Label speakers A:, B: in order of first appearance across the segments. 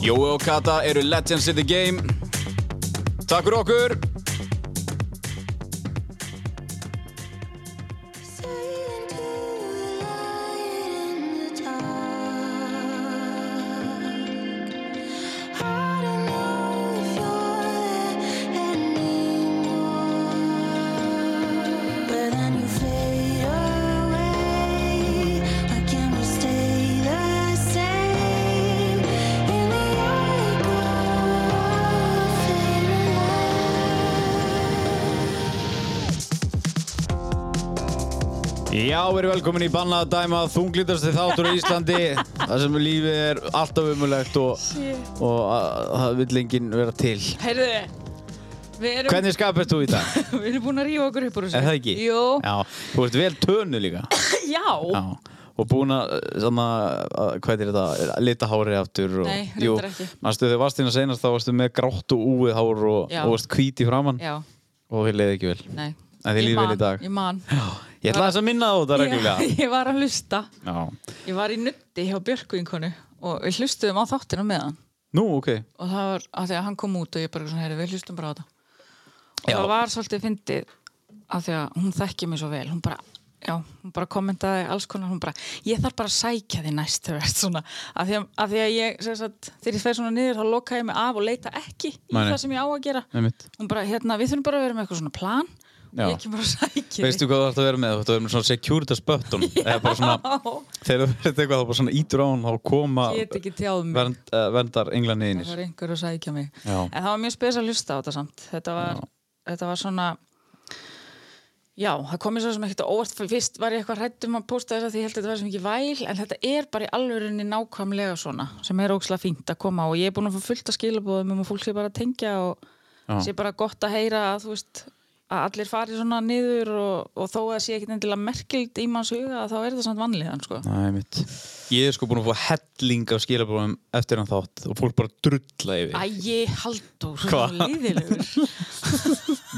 A: Jói og Kata eru legends in the game. Takk fyrir okkur! Já, við erum velkomin í Bannað að dæma þunglindasti þáttur á Íslandi þar sem lífið er alltaf umulegt og, og það vil enginn vera til.
B: Heyrðu, við erum,
A: Hvernig skapast þú í dag?
B: við erum búin að rífa okkur upp úr þessu.
A: Er það ekki?
B: Jú.
A: Já, þú ert vel tönu líka.
B: Já.
A: Já. Og búin að, svona, að- hvað er þetta, lita hárið aftur og...
B: Nei, reyndar ekki.
A: Manstu, þegar varst hérna senast, þá varstu með grátt og úið hár og,
B: Já.
A: og varst hvít í framann
B: Já,
A: og þið leiði ekki vel.
B: nei.
A: En þið
B: Ég
A: líður vel í
B: man,
A: dag.
B: Ég man.
A: Já, ég ætla þess að minna þú þetta reglulega.
B: Ég, ég var að hlusta.
A: Já.
B: Ég var í nutti hjá Björku vinkonu og við hlustuðum á þáttinu með hann.
A: Nú, ok.
B: Og það var að því að hann kom út og ég bara svona, heyrðu, við hlustum bara á þetta. Og
A: Já.
B: það var svolítið fyndið að því að hún þekki mig svo vel. Hún bara, já, hún bara kommentaði alls konar. Hún bara, ég þarf bara að sækja því næst þegar þú ert svona. Að því að, að, því að ég, sem sagt, þegar ég fer svona niður, þá loka ég mig af og leita ekki í
A: Nei, nei.
B: það sem ég á að gera.
A: Nei mitt.
B: hún bara, hérna, við þurfum bara að vera með eitthvað svona plan og
A: Já.
B: ég kemur að sækja
A: Veistu hvað þú ætti að vera með? Þú ætti að vera með svona securitas button. Eða bara svona, þegar þú verður eitthvað, þá bara svona ítur á hann, þá koma
B: ég get ekki tjáð mig
A: vernd, uh, verndar englan
B: það
A: niðinir.
B: var einhver að sækja mig
A: Já.
B: en það var mjög spes að hlusta á þetta samt þetta var, þetta var svona já, það kom mér svo sem ekkert á óvart fyrir fyrst var ég eitthvað hrædd um að posta þess að því ég held að þetta var sem ekki væl en þetta er bara í alvörunni nákvæmlega svona sem er ókslega fínt að koma á. og ég er búin að fá fullt að skilabóðum um að fólk sé bara að tengja og
A: Já.
B: sé bara gott að heyra að þú veist að allir fari svona niður og, og þó að það sé ekkert endilega merkild í manns huga þá er það samt vanlíðan sko.
A: Nei mitt. Ég er sko búin að fá helling af skilabrófum eftir hann þátt og fólk bara drulla yfir.
B: Æi, Halldór, þú
A: Hvað?
B: er líðilegur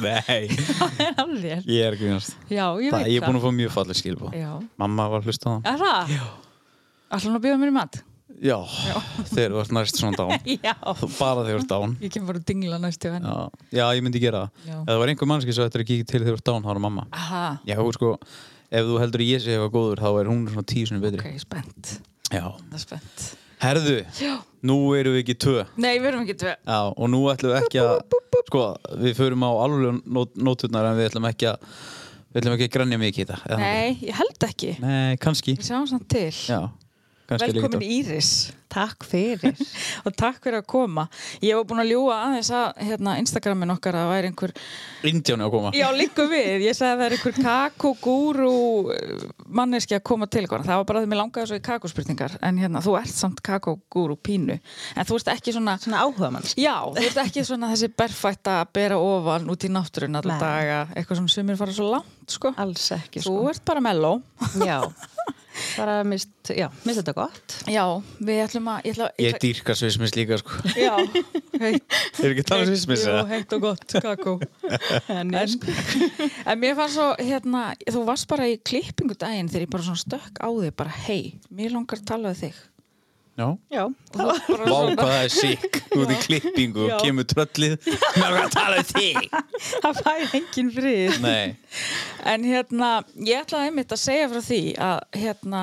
A: Nei,
B: Það er alveg
A: ég er ekki finnast.
B: Já, ég
A: Það, ég
B: veit
A: er búin að fá mjög fallið skilabróf.
B: Já,
A: Mamma var að hlusta á það.
B: er það? Já Ætlar hann að bjóða mér í mat?
A: Já, þegar þú ert næst svona dán.
B: Já
A: Bara þegar þú ert dán.
B: Ég kem bara að dingla næst til henni
A: Já, já, ég myndi gera það.
B: Já.
A: Ef það var einhver mannski svo eftir að kíkja til þegar þú ert dán, þá er mamma.
B: Aha,
A: Já, sko, ef þú heldur að ég sé eitthvað góður, þá er hún svona tíu sinni betri.
B: ok, spennt
A: Já.
B: Það er spennt
A: Herðu,
B: Já
A: nú erum við ekki tvö.
B: Nei, við erum ekki tvö
A: Já, og nú ætlum við ekki að, sko, við förum á alveg nót, nóturnar en við ætlum ekki að, við ætlum ekki að grænja mikið í þetta. eða þannig.
B: Nei, ég held ekki
A: Nei, kannski.
B: Við sjáum samt til
A: Já, kannski líka
B: Velkomin
A: þetta.
B: Íris
C: Takk fyrir.
B: og takk fyrir að koma Ég var búin að ljúga aðeins að hérna, Instagramin okkar að það væri einhver
A: Indjáni að koma.
B: Já, líka við, ég sagði að það er einhver kakogúru manneski að koma til ykkur, það var bara því mér langaði svo í kakospurningar, en hérna, þú ert samt kakogúru pínu, en þú ert ekki svona
C: Svona áhuga manns.
B: Já, þú ert ekki svona þessi berfætt að bera ofan út í náttúrun alla
C: Nei.
B: daga, eitthvað sem sumir fara svo langt, sko.
C: Alls ekki,
B: Þú
C: sko.
B: ert bara melló.
C: Já. Bara mist, já, mist þetta gott.
B: Já, við ætlum að, ég ætla að...
A: Ég dýrka svismis líka, sko.
B: Já, heitt,
A: Er ekki að tala um svismis,
B: jú,
A: eða?
B: heitt og gott kakó.
C: En,
B: En, en mér fannst svo, hérna, þú varst bara í klippingu daginn þegar ég bara svona stökk á þig, bara hei, mér langar að tala við þig.
A: Já.
C: já,
B: Og þú bara
A: Vá,
B: svona,
A: hvað það er sikk út í klippingu og
C: Já.
A: kemur tröllið. Mér er að tala um þig.
B: það fær engin frið.
A: Nei.
B: En hérna, ég ætlaði einmitt að segja frá því að hérna,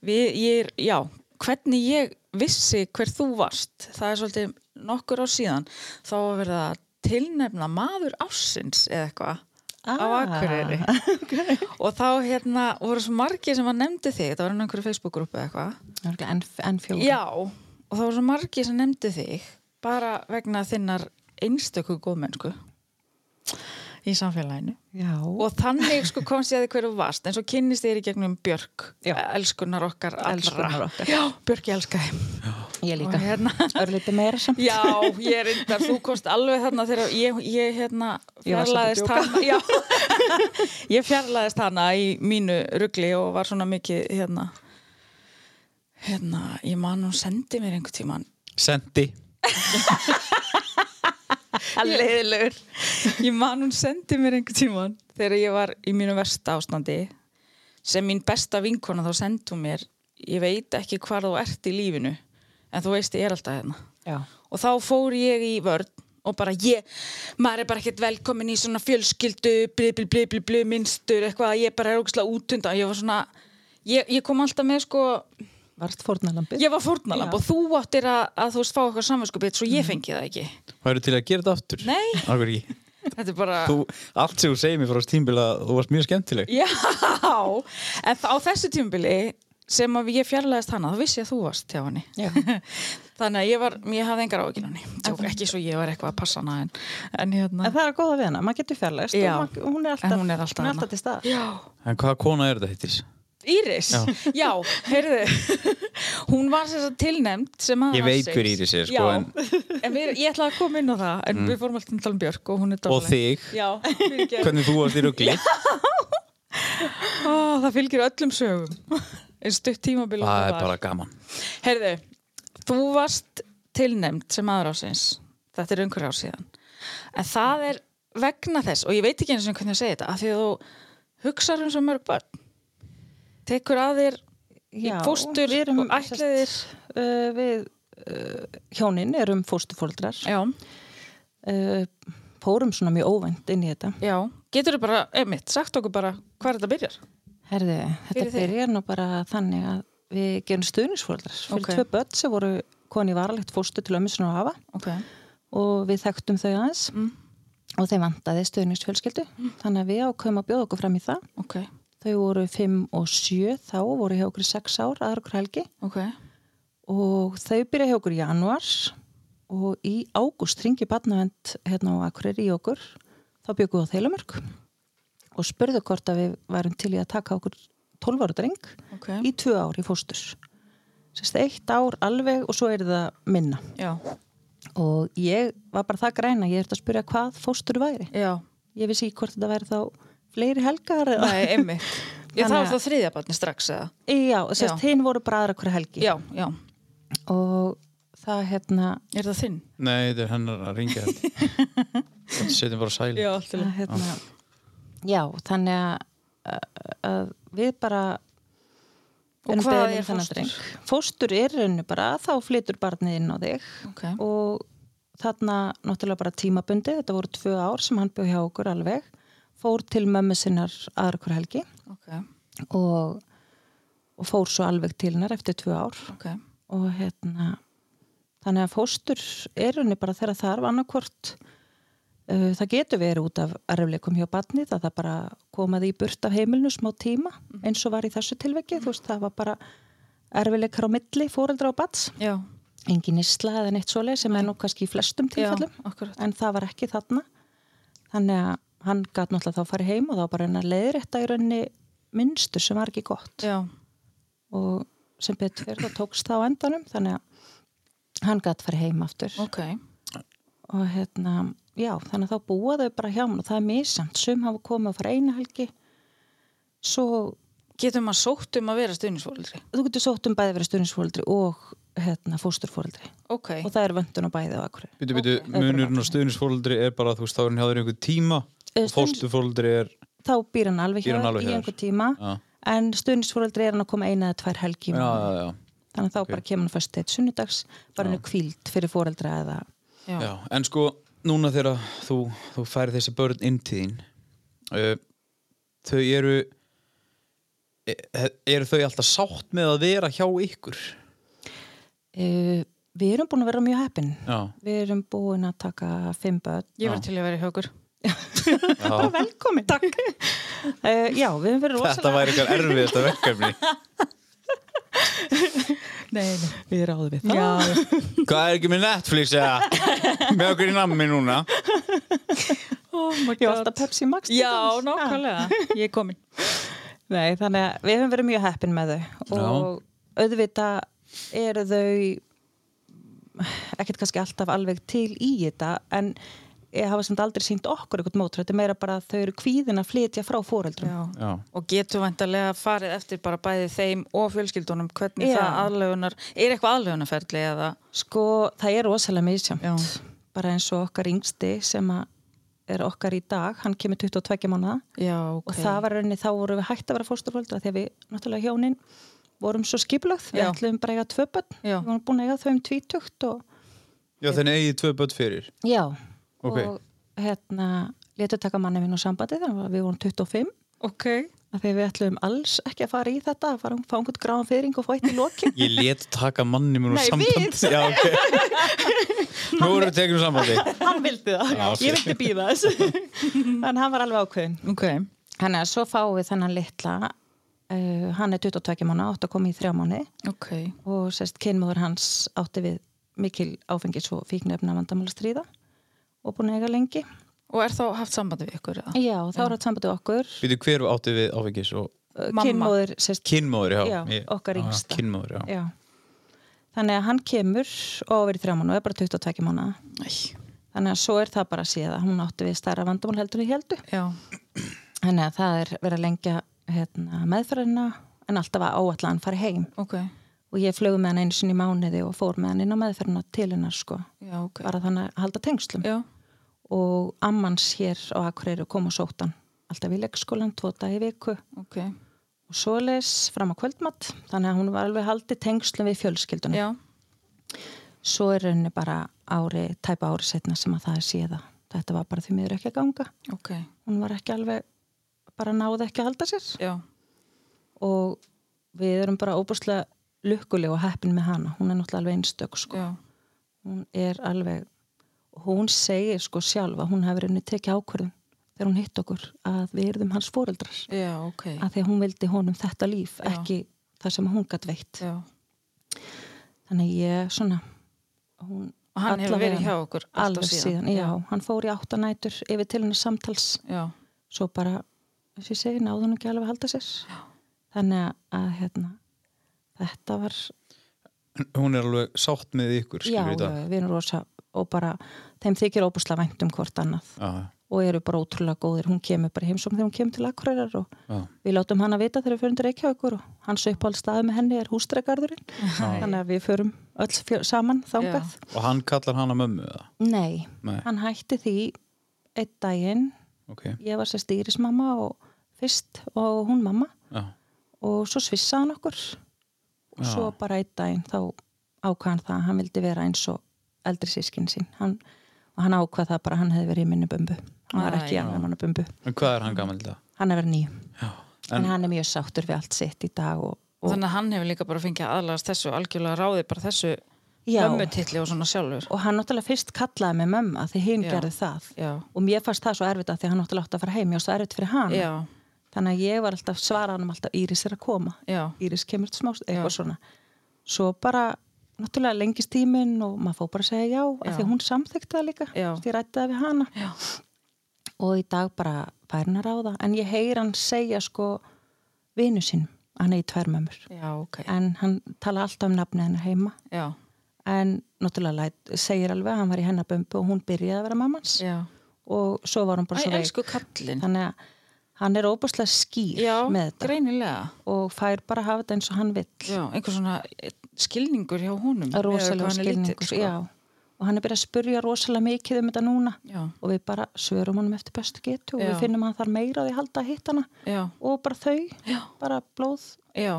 B: við, ég er, já, hvernig ég vissi hver þú varst, það er svolítið nokkur á síðan, þá var verið að tilnefna maður ársins eða eitthvað. á
C: Ah,
B: Akureyri og þá hérna voru svo margir sem að nefndi þig það var enn einhverju Facebook-grúpu eða eitthvað
C: Örugglega enn, enn fjóra.
B: Já, og það voru svo margir sem nefndi þig bara vegna þinnar einstöku góðmennsku í samfélaginu
C: Já.
B: og þannig sko komst ég að því hverju þú varst en svo kynnist þér í gegnum Björk
C: Já.
B: elskunar okkar allra
C: Elskunar okkar.
B: Já, Björk ég elska þig
D: Ég líka.
B: Og hérna,
D: Örlítið meira samt.
B: já, ég er reyndar, þú komst alveg þarna þegar ég, ég hérna
D: Ég var samt að
B: fjarlæðist hana. Já, ég fjarlæðist hana í mínu rugli og var svona mikið hérna, hérna, ég man hún sendi mér einhvern tíman.
C: Sendi
B: Leðilegur. Ég man hún sendi mér einhvern tíman þegar ég var í mínu versta ástandi sem mín besta vinkona þá sendi hún mér, ég veit ekki hvar þú ert í lífinu en þú veist ég er alltaf hérna.
D: Já.
B: og þá fór ég í vörn og bara ég, maður er bara ekkert velkomin í svona fjölskyldu, bli, bli, bli, bli, bli, minnstur, eitthvað, ég bara er ógislega útundan, ég var svona, ég, ég kom alltaf með sko,
D: Vart fórnalambið.
B: ég var fórnalamb
D: Já. Mhm.
B: og þú áttir að, að þú veist fá eitthvað samvinskupið svo ég fengi það ekki.
C: Hvað eru til að gera þetta aftur?
B: Nei.
C: Akkur ekki
B: Þetta er bara...
C: þú, Allt sem þú segir mér frá þessu tímbila Þú varst mjög skemmtileg
B: Já, en þá- á þessu tímubili sem að ég fjarlæðist hana, þá vissi ég að þú varst hjá henni.
D: Já.
B: Þannig að ég var, ég hafði engar áhyggjur af henni. Tjók, ekki svo ég var eitthvað að passa hana en, en hérna.
D: En það er að góða við hana, maður getur fjarlægst
B: Já.
D: og maður, hún er alltaf,
B: En hún er alltaf þarna.
D: til stað.
B: Já.
C: En hvaða kona er þetta hittis?
B: Íris, já, heyrðu hún var þess að tilnefnd sem að
C: Ég veit hver Íris er, sko,
B: já,
C: en- Mm.
B: en, við, ég ætla að koma inn á það en við fórum alltaf um Dalm Björk og hún er dálæg
C: Og þig
B: já, fyrirgefðu.
C: Hvernig þú varst í rugli
B: Ó, það fylgir öllum sögum einn stutt tímabil og
C: Það
B: það
C: er
B: var.
C: bara gaman
B: heyrðu, þú varst tilnefnd sem aðra ásins þetta er einhver ár síðan en það er vegna þess og ég veit ekki eins og hvernig að segja þetta af því að þú hugsar um svo mörg börn tekur að þér
D: Já,
B: fóstur
D: við
B: og ættleiðir.
D: sérst, uh, við uh, hjónin erum fósturfóldrar
B: já,
D: uh, fórum svona mjög óvænt inn í þetta
B: Já, getur þú bara, einmitt, sagt okkur bara hvað þetta byrjar?
D: Herði, þetta
B: Fyrir þig.
D: byrjar nú bara þannig að við gerum stuðningsfóldrar fyrir
B: Ok.
D: tvö börn sem voru koni varalegt fóstur til ömmusun og hafa
B: Ok.
D: og við þekktum þau aðeins og þeim vantaði stuðningsfjölskyldu þannig að við ákveðum að bjóða okkur fram í það
B: Ok,
D: þau voru 5 og 7 þá voru hjá okkur í 6 ár aðra okkur helgi
B: ok.
D: og þau byrja hjá okkur í januar og í ágúst ringi barnavend hérna á Akureyri í okkur þá byggum við á Þeilumörk og spurðu hvort að við værum til í að taka okkur 12 ára dreng
B: Ok.
D: í tvö ár í fóstus Sérst, eitt ár alveg og svo er það minna
B: Já,
D: og ég var bara það græna ég ert að spyrja hvað fóstur væri
B: já.
D: ég vissi ekki hvort þetta væri þá fleiri helgar eða-
B: Nei, einmitt. Já, það
D: Þannig
B: var
D: að-
B: þá þriðja barni strax eða?
D: já, sérst,
B: Já.
D: hinn voru bara aðra okkur helgi
B: Já, já.
D: og það hérna
B: Er það þinn?
C: Nei, þetta er hennar að ringja þetta Setjum bara sæli
B: alltaf.
D: að, hérna, já, þannig að, að- að við bara
B: Og
D: erum
B: hvað er
D: beðin um þennan
B: fóstur?
D: dreng. Fóstur er rauninu bara að þá flytur barnið inn á þig
B: Ok.
D: og þarna náttúrulega bara tímabundi, þetta voru tvö ár sem hann bjóð hjá okkur alveg, fór til mömmu sinnar aðra okkur helgi
B: Ok,
D: og, og fór svo alveg til hennar eftir tvö ár
B: ok.
D: og hérna þannig að fóstur er henni bara þegar þarf annarkvort uh, það getur verið út af erfleikum hjá barnið að það bara komaði í burt af heimilinu smá tíma eins og var í þessu tilveki þú veist það var bara erfileikar á milli fóreldra og bats
B: Já,
D: engin isla eða neitt svoleið sem er nú kannski í flestum
B: já,
D: tilfellum
B: akkurat.
D: en það var ekki þarna þannig að hann gæti náttúrulega þá farið heim og þá bara hennar leiðrétta í rauninni minnstur sem var ekki gott
B: Já,
D: og sem betur fyrir það tókst það á endanum þannig að hann gæti farið heim aftur
B: ok.
D: og hérna, já, þannig að þá búa þau bara hjá hann og það er misamt, sum hafa komið að fara eina helgi svo
B: Getur maður sótt um að vera stuðnisfólitri?
D: þú getur sótt um bæði verið stundisfóreldri og hérna fósturfóreldri
B: Ok,
D: og það er vöndun á bæði á akkur
C: Býtu, býtu, munurinn og stuðnisfóldri er bara að þú veist, þá er hann hjá þér í einhver tíma
D: Eh,
C: og fóstufóldri er
D: þá býr hann alveg
C: Býr hann
D: hjá þér
C: alveg
D: í
C: hjá þér.
D: einhver tíma
C: Já,
D: en stundisfóreldri er hann að koma eina eða tvær helgi í
C: já,
D: mánuði.
C: já,
D: þannig að þá bara kemur hann fyrst eitt sunnudags bara hennu kvíld fyrir fóreldra eða
B: já.
C: já, já En sko, núna þegar þú, þú færi þessi börn inn til þín uh, Þau eru e- Eru þau alltaf sátt með að vera hjá ykkur?
D: uh, við erum búin að vera mjög heppin
C: Já,
D: Við erum búin að taka fimm börn.
B: Ég var til að vera í högur.
C: já
D: Velkomin. Takk. Uh, já, við höfum verið rosalega.
C: Þetta væri eitthvað erfiðasta verkefni
B: Nei, nei.
D: Við ráðum við það.
B: Já, já.
C: Hvað er ekki með Netflix eða? Með okkur í nammi núna
B: Oh my
D: Ég var alltaf Pepsi Max. til
B: Já,
D: dæmis.
B: nákvæmlega. Ég er komin.
D: Já. Nei, þannig að við höfum verið mjög heppin með þau. Og auðvitað eru þau ekkert kannski alltaf alveg til í þetta en ég hafa samt aldrei sínt okkur eitthvað mótur, þetta er meira bara að þau eru kvíðin að flytja frá fóreldrum.
B: Já.
C: Já.
B: og getur vantarlega farið eftir bara bæði þeim og fjölskyldunum hvernig
D: Já.
B: það aðlögunar, er eitthvað aðlögunarferli eða
D: Sko, það er rosalega misjamt,
B: Já.
D: bara eins og okkar yngsti sem að er okkar í dag, hann kemur 22 mánuða
B: já, ok
D: og það var rauninni, þá vorum við hægt að vera fósturfóreldra því að við, náttúrulega hjónin, vorum svo skiplögð, við
B: Já.
D: ætlum bara að eiga tvö börn,
B: Já.
D: við vorum búin að eiga þau um 20 og
C: Já, þannig eigið tvö börn fyrir.
D: Já,
C: Ok.
D: og hérna, letu taka manni minn og sambandi þannig að við vorum 25
B: ok,
D: af því að við ætlum alls ekki að fara í þetta að fara að fá einhvern gráðan fyrring og fá eitt í lokin
C: Ég let taka manni mér úr
D: Nei,
C: sambandi.
D: við.
C: Já, ok. Nú erum við tekið úr sambandi.
D: hann vildi það,
C: Já, ok.
D: ég vildi býða þess en hann var alveg ákveðin
B: ok
D: þannig að svo fáum við þennan litla uh, hann er 22 mánu, átt að koma í þrjá mánu
B: ok,
D: og sérst kynmóður hans átti við mikil áfengis og fíknefna vandamál að stríða og búin að eiga lengi
B: og er þá haft sambandi við ykkur eða?
D: já, þá er átt sambandi við okkur
C: Býtu, hver átti við áfengis og
B: Mamma.
D: kynmóður, sérst
C: kynmóður, já.
D: Já,
C: Ég-
D: okkar
C: Ah,
D: yngsta.
C: Kynmóður, já.
D: Já. Þannig að hann kemur og verið þrjá mánu og er bara 22 mánu.
B: Æ,
D: Þannig að svo er það bara að sé að hún átti við stærra vandamál heldur í heldu.
B: já,
D: Þannig að það er verið að lengja hérna, meðferðina en alltaf að áallan hann fari heim.
B: ok
D: Og ég flög með hann einu sinni í mánuði og fór með hann inn á meðferðina til hennar sko.
B: já, ok,
D: Bara þannig að halda tengslum.
B: já,
D: Og ammans hér á Akureyri kom og sótt hann. Alltaf í leikskólan, tvo dag í viku
B: ok
D: og svoleiðis fram á kvöldmatt. Þannig að hún var alveg haldið tengslum við fjölskyldunum.
B: já,
D: svo er rauninni bara ári, tæpa ári setna sem að það er síða. Þetta var bara því miður ekki að ganga.
B: ok,
D: Hún var ekki alveg, bara náði ekki að halda sér
B: já
D: og við erum bara óbúslega lukkuleg og heppin með hana. Hún er náttúrulega alveg einstök sko.
B: já,
D: Hún er alveg, hún segir sko sjálf að hún hefur rauninni tekið ákvörðun þegar hún hitt okkur að við erum hans fóreldrar.
B: já, ok
D: Að því að hún vildi honum þetta líf,
B: Já.
D: ekki það sem hún gætt veitt.
B: já,
D: Þannig að ég svona, hún
B: og hann hefur
D: Alla
B: verið hjá
D: vegana.
B: okkur alltaf
D: alveg síðan, já, hann fór í áttanætur yfir til hennar samtals
B: já,
D: svo bara, þess ég segi, náðu hann ekki alveg að halda sér já. þannig að, að hérna, þetta var
C: Hún er alveg sátt með ykkur,
D: já,
C: skilur í
D: já,
C: dag.
D: við erum rosa og bara, þeim þykir óbúslega vænt um hvort annað
C: Já, já.
D: og eru bara ótrúlega góðir, hún kemur bara heimsum þegar hún kemur til Akureyrar og
C: Já.
D: við látum hann að vita þegar við förum til Reykjavíkur og hans uppáhald staði með henni er hústregarðurinn þannig að við förum öll fjö, saman þángað
C: Og hann kallar hana mömmu, eða?
D: nei,
C: Nei.
D: hann hætti því einn daginn
C: Ok,
D: ég var sérst Írismamma og fyrst og hún mamma
C: já.
D: og svo svissaði hann okkur og
C: Já.
D: svo bara einn daginn þá ákvað hann það að hann vildi vera eins og eldri sískin sín hann, og hann ákvað það bara að hann hefði verið í minni bumbu hann var ekki í
B: Æ.
D: annar manna bumbu
C: En hvað er hann gammal í dag?
D: hann er verið nýjum
C: Já.
D: en,
C: En,
D: hann er mjög sáttur við allt sitt í dag og, og,
B: þannig að hann hefur líka bara fengið aðlagast þessu algjörlega ráði bara þessu
D: Já.
B: ömmutilli og svona sjálfur
D: og hann náttúrulega fyrst kallaði mig mömma því hinn
B: Já.
D: gerði það
B: já,
D: og mér fannst það svo erfitt að því að hann náttúrulega átti að fara heim ég var svo erfitt fyrir hann
B: já,
D: þannig að ég var alltaf svara hann alltaf Íris er að koma
B: já
D: Íris kemur til smást, eitthvað
B: Já.
D: svona svo bara, náttúrulega lengist tíminn og maður fór bara að segja já, já.
B: Já.
D: af því að hún samþykti það líka,
B: Já.
D: því rætti það við hana
B: Já.
D: og í dag bara fær hann að ráða, en ég heyr hann segja sko vinu sínum hann er í tværmömmur,
B: já, ok,
D: en hann tala alltaf um nafnið hennar heima,
B: já,
D: en náttúrulega læt, segir alveg að hann var í hennar bömbu og hún byrjaði að vera mammans
B: já
D: og svo var hann
B: Æ,
D: bara svo veik,
B: elsku kallin
D: þannig að hann er óbúslega skýr
B: já,
D: með þetta
B: greinilega
D: og fær bara að hafa þetta eins og hann vill
B: já, einhver svona eh, skilningur hjá honum
D: Að rosalega
B: Eða hvað hann er lítill,
D: skilningur
B: sko.
D: já. og hann er byrjað að spurja rosalega mikið um þetta núna
B: já,
D: og við bara svörum honum eftir bestu getu og
B: Já.
D: við finnum að hann þarf meira á því að halda að hitta hana
B: já,
D: og bara þau,
B: já,
D: bara blóð
B: já,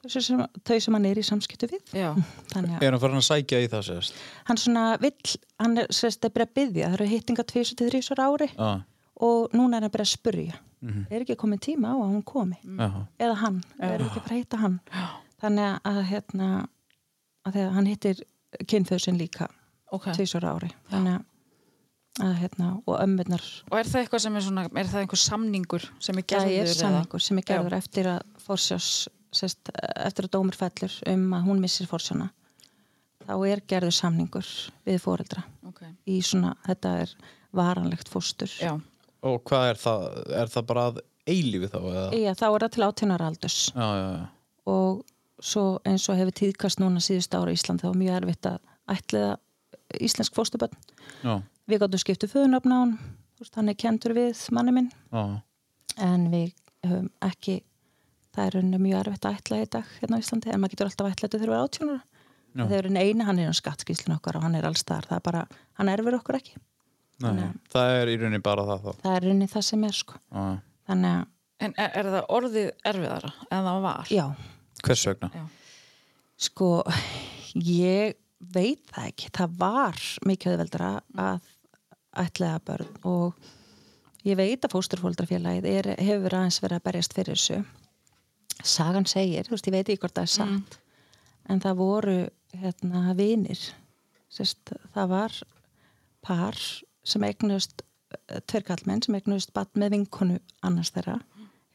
D: þau sem, þau sem hann er í samskiptu við
B: já.
D: þannig að
C: er hann farin að sækja í það, sérst?
D: hann svona vill hann er sérst að byrja að byggja, það eru hittinga 2-3 ári
C: Já,
D: og núna er hann að byrja að spurja er ekki komið tíma á að hún komi
C: já.
D: eða hann, erum við ekki að fara að hitta hann þannig að hérna að þegar hann hittir kynþauðsinn líka
B: ok
D: tvisur ári þannig að, að hérna, og ömmurnar
B: og er það eitthvað sem er svona, er það einhver samningur sem er
D: það
B: gerður
D: er
B: eða-
D: samningur sem er gerður eftir að forsjás, sest, eftir að dómur fellur um að hún missir forsjána þá er gerður samningur við foreldra
B: ok,
D: í svona, þetta er varanlegt fóstur
B: já,
C: Og hvað er það? Er það bara að eilífi þá, eða?
D: Eða, þá er það til átjónar aldurs
C: Já, já, já.
D: og svo eins og hefur tíðkast núna síðust ára í Ísland þá er mjög erfitt að, ætliða íslensk fóstubönn.
C: já,
D: Við gáttum skiptu föðunafna á hann, þú veist, hann er kentur við manni minn,
C: já,
D: en við höfum ekki, það er rauninni mjög erfitt að ætla í dag hérna á Íslandi, en maður getur alltaf ætla þetta þegar við erum átjónur.
C: Já.
D: Þegar við erum eini, hann er á skattskíslun okkar og hann er alls þar, það er bara, hann erfir okkur ekki.
C: nei,
D: Nei.
C: það er í rauninni bara það þá.
D: Það er rauninni það sem er, sko.
C: Já.
D: Þannig að,
B: En er, er það orðið erfiðara en það var?
D: já,
C: Hvers vegna?
B: Já.
D: sko, ég veit það ekki, það var mikið auðveldara að ætlaða börn og ég veit að fósturfóldrafélagið er, hefur aðeins verið að berjast fyrir þessu. Sagan segir, þú veist, ég veit ekki hvort það er satt, en það voru hérna vinir, Sest, það var par sem eignust, tveir kallmenn sem eignust batt með vinkonu annars þeirra,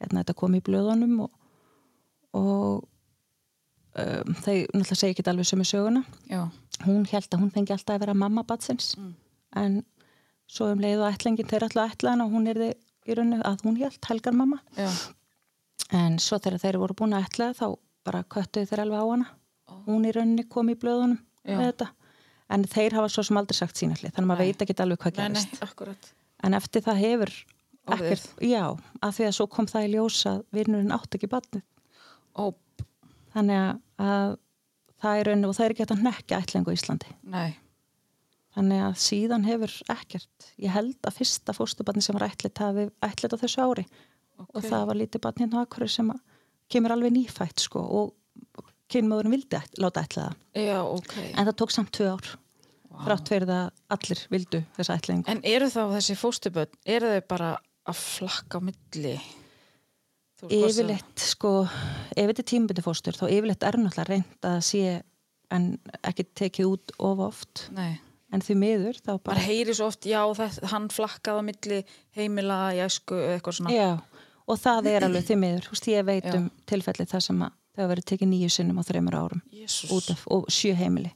D: hérna þetta kom í blöðunum og, og um, þeir náttúrulega segja ekki alveg sömu söguna
B: Já.
D: hún held að hún fengi alltaf að vera mamma batsins
B: Mm.
D: en svo um leið og ætlingin þeir alltaf ætlaðan og hún er í rauninu að hún held helgar mamma
B: Já.
D: en svo þegar þeir voru búin að ætla þá bara köttuðu þeir alveg á hana hún í rauninni kom í blöðunum
B: Já.
D: með þetta en þeir hafa svo sem aldrei sagt sína hlið þannig að maður
B: Nei.
D: veit ekki alveg hvað
B: Nei, nei,
D: gerist
B: akkurat.
D: en eftir það hefur
B: Orðið.
D: ekkert, já, að því að svo kom það í ljósa vinnurinn átt ekki batnið
B: Ó,
D: þannig að- að það er raun og það er ekki hægt að nekja ætlingu í Íslandi
B: nei.
D: þannig að síðan hefur ekkert ég held að fyrsta fóstubarni sem var ætlit hafi ætlit á þessu ári og
B: Ok.
D: það var lítið barni hérna á akkur sem að kemur alveg nýfætt sko og kynmöðurinn vildi ætl, láta ætla það
B: Já, ok. En,
D: en það tók samt tvö ár frátt fyrir það allir vildu þessa ætlingu
B: eru þá þessi fóstuböld, eru þau bara að flakka á milli? Þú veist, hvort sem-
D: yfirleitt sko, ef þetta er tímbundi fóstur þá yfirleitt er náttúrulega reynd að sé en ekki tekið út of oft
B: Nei.
D: en því miður þá bara
B: Bara heyri svo oft, já, þess, hann flakkaði á milli heimila, jæsku, eða eitthvað svona.
D: Já, og það er alveg því miður. Þú veist, ég veit
B: hérna. Já.
D: um tilfelli það sem að það hafa verið tekið nýju sinnum á þreymur árum
B: Jésús.
D: út af og sjö heimili.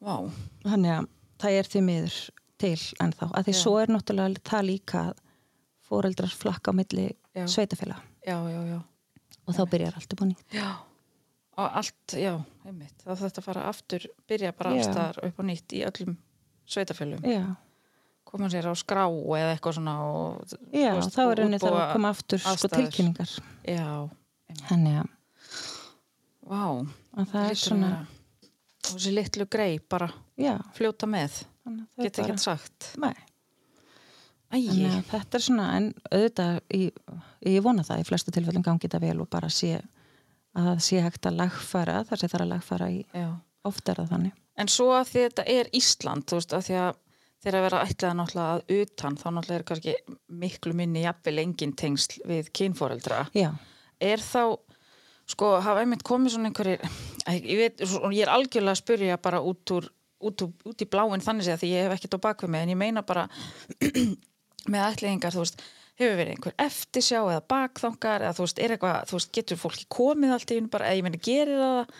B: Vá.
D: Þannig að það er því miður til ennþá. Að því
B: Já.
D: svo er náttúrulega það líka að fóreldrar flakka á milli
B: Já.
D: sveitafélag
B: Já, já, já.
D: og þá byrjar allt upp á nýtt.
B: Já. Og allt, já, einmitt. Það þetta fara aftur, byrja bara
D: Já.
B: allstaðar upp á nýtt í öllum sveitafélum.
D: Já,
B: koma sér á skrá eða eitthvað svona og,
D: Já
B: þú veist,
D: þá er henni það
B: útbúa
D: að koma aftur sko
B: aðstæður.
D: tilkynningar.
B: Já,
D: Þannig að,
B: vá
D: að það er
B: hlýtur
D: svona,
B: að vera- og þessi litlu grei bara
D: já,
B: fljóta með,
D: þannig að það
B: geta
D: er
B: ekki sagt
D: bara, nei. Þannig
B: Æi,
D: að þetta er svona, en auðvitað, ég, ég vona það í flestu tilfellum gangi þetta vel og bara sé að sé hægt að lagfæra þar sem það er að lagfæra í
B: já
D: oft er það þannig.
B: En svo að því þetta er Ísland, þú veist, að því að þegar að vera ætlaða náttúrulega að utan, þá náttúrulega er kannski miklu minni jafnvel engin tengsl við kynforeldra.
D: Já,
B: er þá sko, hafa einmitt komið svona einhverjir Æ, ég, veit, svo- ég er algjörlega að spyrja bara út úr út, úr, út í bláin þannig séð því ég hef ekkert á bakvið mig en ég meina bara með ætliðingar, þú veist hefur verið einhver eftirsjá eða bakþangar eða þú veist, er eitthvað, þú veist, getur fólki komið allt í einu bara, eða ég meina gerir það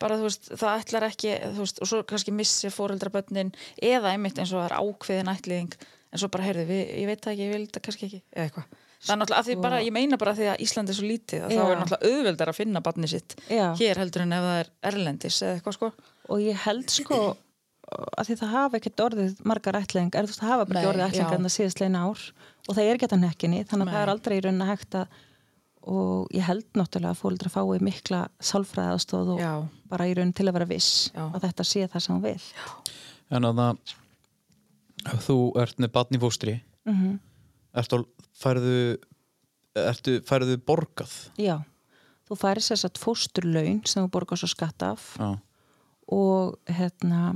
B: bara þú veist, það ætlar ekki þú veist, og svo kannski missir fóreldrabönnin eða einmitt eins og það er ákveðin ætliðing en svo bara, heyrðu, við, ég veit það ekki, ég vil þetta kannski ekki, eða eitthvað það er náttúrulega, að því bara, ég meina bara því að Ísland er svo lítið að þá
D: Sko. Já.
B: er náttúrulega auðveldar að finna barni sitt
D: Já.
B: hér heldur en ef það er erlendis eða eitthvað sko
D: og ég held sko að því það hafa ekkert orðið margar ætling, er þú veist, það hafa bara
B: Nei,
D: ekki orðið ætling
B: já.
D: en það síðast leina ár og það er ekki þetta nekkinni, þannig að
B: Nei.
D: það er aldrei í rauninni hægt að, og ég held náttúrulega að fólitra fái mikla sálfræðastóð og
B: já,
D: bara í rauninni til að vera viss
B: Já.
D: að þetta sé það sem hún vil.
C: En að það, ef þú ert með batni fóstri,
D: Mm
C: ertu, al- færðu, ertu, færðu borgað?
D: Já, þú færir sér satt fósturlaun sem þú borgar svo skatt af
C: Já,
D: og hérna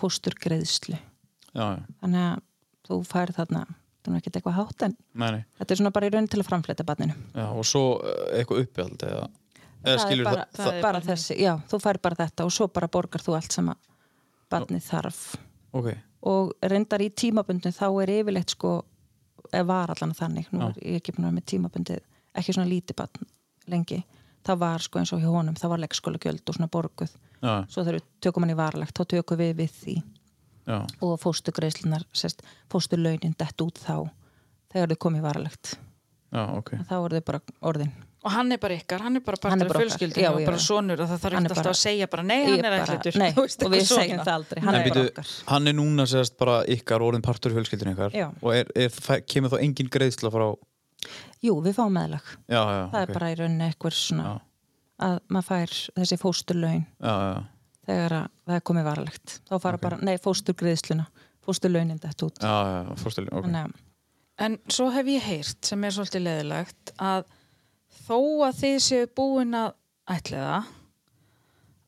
D: fósturgreðslu.
C: já, já,
D: Þannig að þú færir þarna, þannig að ekki eitthvað hátt en
C: meni.
D: þetta er svona bara í raun til að framfleta barninu.
C: Já, og svo eh, eitthvað uppehald eða, eða
D: Það er
C: skilur
D: bara,
C: það, það,
D: bara þessi, já, þú færir bara þetta og svo bara borgar þú allt sem að barnið þarf.
C: ok,
D: Og reyndar í tímabundin þá er yfirleitt sko, eða var allan þannig, nú er ég ekki búin að vera með tímabundið, ekki svona lítið barn lengi. Það var sko eins og hjá honum, það var leggskóla og svona borguð.
C: já,
D: svo þegar við tökum hann í varalegt þá tökum við við því
C: já,
D: og fóstugreislunar, sérst, fóstulaunin dett út þá þegar þau komið varalegt
C: já, ok,
D: þá eru þau bara orðin
B: og hann er bara ykkar, hann er bara
D: Hann
B: partur
D: er
B: af
D: bara okkar,
B: fjölskyldinu
D: já,
B: og
D: já,
B: bara
D: já.
B: sonur og það þarf
D: Hann
B: ekki
D: er
B: alltaf
D: bara-
B: að segja bara nei,
D: Ég
B: hann er
D: bara-
B: ætlitur
D: nei, og við segjum það aldrei, hann
B: nei,
D: er
C: En
D: bara
C: býtu,
D: okkar.
C: hann er núna segast bara ykkar orðin partur fjölskyldin ykkar
D: Já.
C: og er, er, fæ- kemur þá engin greiðsla frá
D: Jú, við fáum meðlag.
C: Já, já,
D: Það er bara hérna. í rauninni eitthvað svona
C: Já.
D: að maður fær þessi fósturlaun
C: Já, já, já.
D: þegar að það er komið varalegt. Þá fara bara, nei, fósturgriðsluna, fósturlaunin þetta út.
C: Já, já, já, fórstæli, ok
D: Þannig að,
B: En svo hef ég heyrt, sem er svolítið leðilegt, að þó að þið séu búin að ætliða,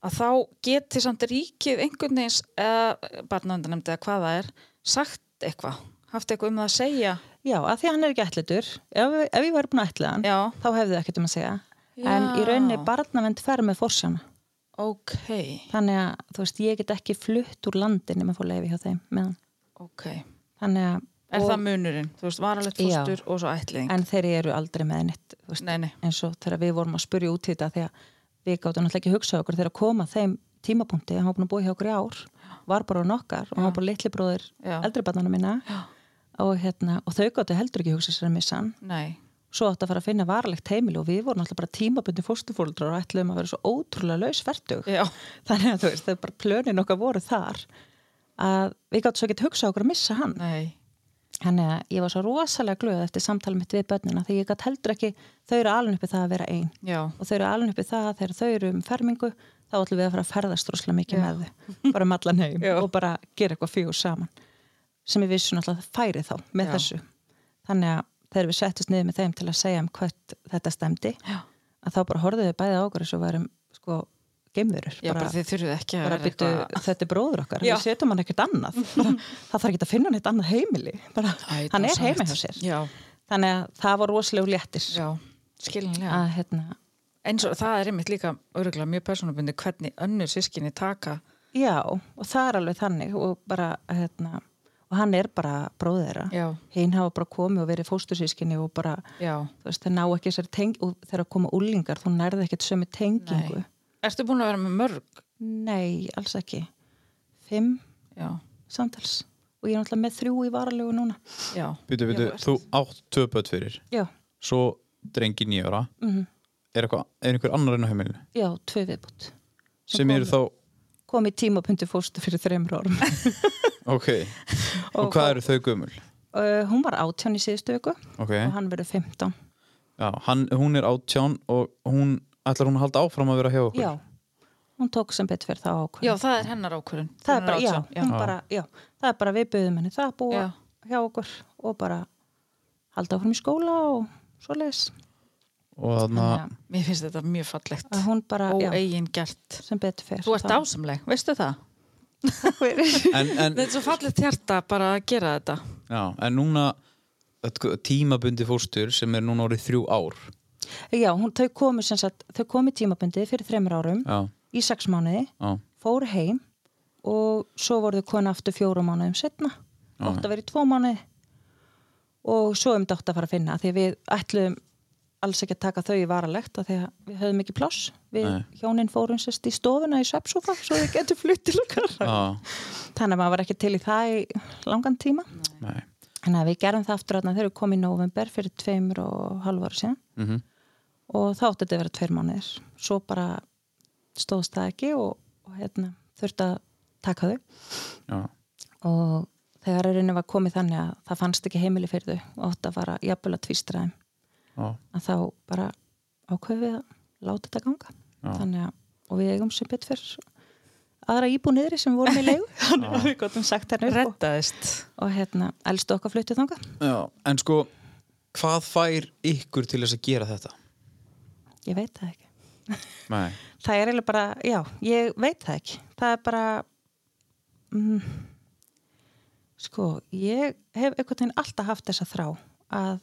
B: að þá geti samt ríkið einhvern veginn, eða barnavöndanemnd eða hvað það er, sagt eitthvað, haft eitthvað um það að segja.
D: já, að því að hann er ekki ætlitur, ef, ef ég væri búin að ætla hann,
B: Já,
D: þá hefði það ekkert um að segja. En í rauninni
B: Já.
D: barnavend fer með fórsjána.
B: ok,
D: Þannig að, þú veist, ég get ekki flutt úr landi nema að fá leifi hjá þeim meðan.
B: ok. Er
D: Þannig að,
B: það munurinn? Þú veist, varalegt
D: Já.
B: fóstur og svo ætliðing.
D: en þeir eru aldrei með nýtt, þú veist,
B: Nei, nei,
D: eins og þegar við vorum að spurja út í þetta því að við gáttum náttúrulega ekki að hugsa okkur þegar að koma að þeim tímapunkti, hann var búin að búa hjá okkur í ár var bara á nokkar og hann var bara litli bróðir
B: Já.
D: eldri barnana minna og, hérna, og þau gáttu heldur ekki að hugsa sér að missa hann
B: nei.
D: svo átti að fara að finna varalegt heimili og við vorum alltaf bara tímabundi fóstufóldrar og ætluðum að vera svo ótrúlega lausvertug
B: Já,
D: þannig að þú veist, þau bara plönin okkar voru þar að við gáttum svo ekki að hugsa okkur að missa hann
B: nei.
D: Þannig að ég var svo rosalega glöð eftir samtala mitt við börnina því ég gætt heldur ekki, þau eru alveg uppið það að vera einn
B: Já,
D: og þau eru alveg uppið það að þegar þau eru um fermingu þá ætlum við að fara að ferðast rosalega mikið
B: Já.
D: með þau bara um allan heim
B: Já.
D: og bara gera eitthvað fjögur saman sem ég vissi náttúrulega að færi þá með
B: Já.
D: þessu þannig að þegar við settist niður með þeim til að segja um hvert þetta stemdi
B: Já.
D: að þá bara horfðuðu bæði á okkur eins og varum sko gemurur
B: já bara, þið þurfið ekki að
D: bara
B: vera
D: byrju,
B: eitthvað.
D: þetta er bróður okkar,
B: Já.
D: við setjum hann ekkert annað bara, það þarf ekki að finna hann eitt annað heimili bara,
B: Æ,
D: hann er
B: dásamlegt.
D: heima hjá sér
B: Já,
D: þannig að það var rosalega léttir
B: já, skiljanlega.
D: að hérna,
B: eins og það er einmitt líka örgulega mjög persónubundi hvernig önnur sískinni taka
D: já og það er alveg þannig og bara hérna, og hann er bara bróður þeirra
B: Já.
D: hinn hafa bara komið og verið fóstursískinni og bara,
B: já,
D: þú veist, þeir ná ekki sér teng og þegar að koma úlingar, þú nærði ekkert sömu tengingu,
B: nei Ertu búin að vera með mörg?
D: nei, alls ekki fimm
B: Já,
D: samtals og ég er náttúrulega með þrjú í varalegu núna
B: já,
C: Býtu, býtu,
B: Já,
C: þú átt tvö börn fyrir
D: já,
C: svo drengi nýjóra
D: mhm
C: er, eitthvað, er einhver annar enn á heimilinu
D: Já, tvö viðbútt.
C: sem eru þá,
D: Kom í tímapunktu fórstu fyrir þreymur árum.
C: ok og
D: Og-
C: hvað eru þau gömul?
D: uh, hún var átján í síðustu viku
C: Ok,
D: og hann verið 15.
C: já, hann, hún er átján og hún, ætlar hún að halda áfram að vera hjá okkur?
D: Já, hún tók sem betur fyrir þá ákvörð.
B: já, það er hennar ákvörun
D: það er bara, já,
B: já.
D: hún
C: Já.
D: bara, já, það er bara við byggðum henni það að búa
B: Já.
D: hjá okkur og bara halda áfram í skóla og svoleiðis.
C: og þannig að,
D: Þannig
B: Mér finnst þetta mjög fallegt
D: að hún bara, já,
B: Óeigin gert
D: sem betur fyrir.
B: Þú ert dásamleg, veistu það?
C: en, en,
B: Þetta er svo fallegt hjarta bara að gera þetta
C: já, en núna þetta tímabundi fóstur sem er núna orðið þrjú ár
D: Já, hún, þau komu sem sagt, þau komu tímabundið fyrir þreymur árum
C: já,
D: í sex mánuði.
C: já,
D: fór heim og svo voru þau konu aftur fjóra mánuðum setna átt að vera í tvo mánuði og svo um dátt að fara að finna af því að við ætluðum alls ekki að taka þau í varalegt af því að við höfðum ekki pláss við
C: Nei.
D: hjónin fórum sérst í stofuna í svepsofa svo þau getur flutt til okkar
C: já,
D: þannig að maður var ekki til í það í langan tíma
C: nei
D: þannig að við gerum það aftur þarna þegar við komum í november fyrir tveimur og halvu ára síðan
C: mm
D: og þá átti þetta að vera tveir mánuðir svo bara stóðst það ekki og, og hérna, þurfti að taka þau
C: já,
D: og þegar rauninni var komið þannig að það fannst ekki heimili fyrir þau og átt að fara jafnvel að tvístra þeim
C: já,
D: að þá bara ákveðum við að láta þetta ganga
C: Já.
D: þannig að, og við eigum sem betur fyrir aðra íbúniðri sem við vorum í leigu þannig að við gotum sagt henni upp og,
B: Reddaðist
D: og hérna, elstu okkar fluttu þanga
C: já, en sko hvað fær ykkur til þess að gera þetta?
D: ég veit það ekki
C: nei,
D: það er eiginlega bara, já, ég veit það ekki það er bara mm, sko, ég hef einhvern veginn alltaf haft þessa þrá að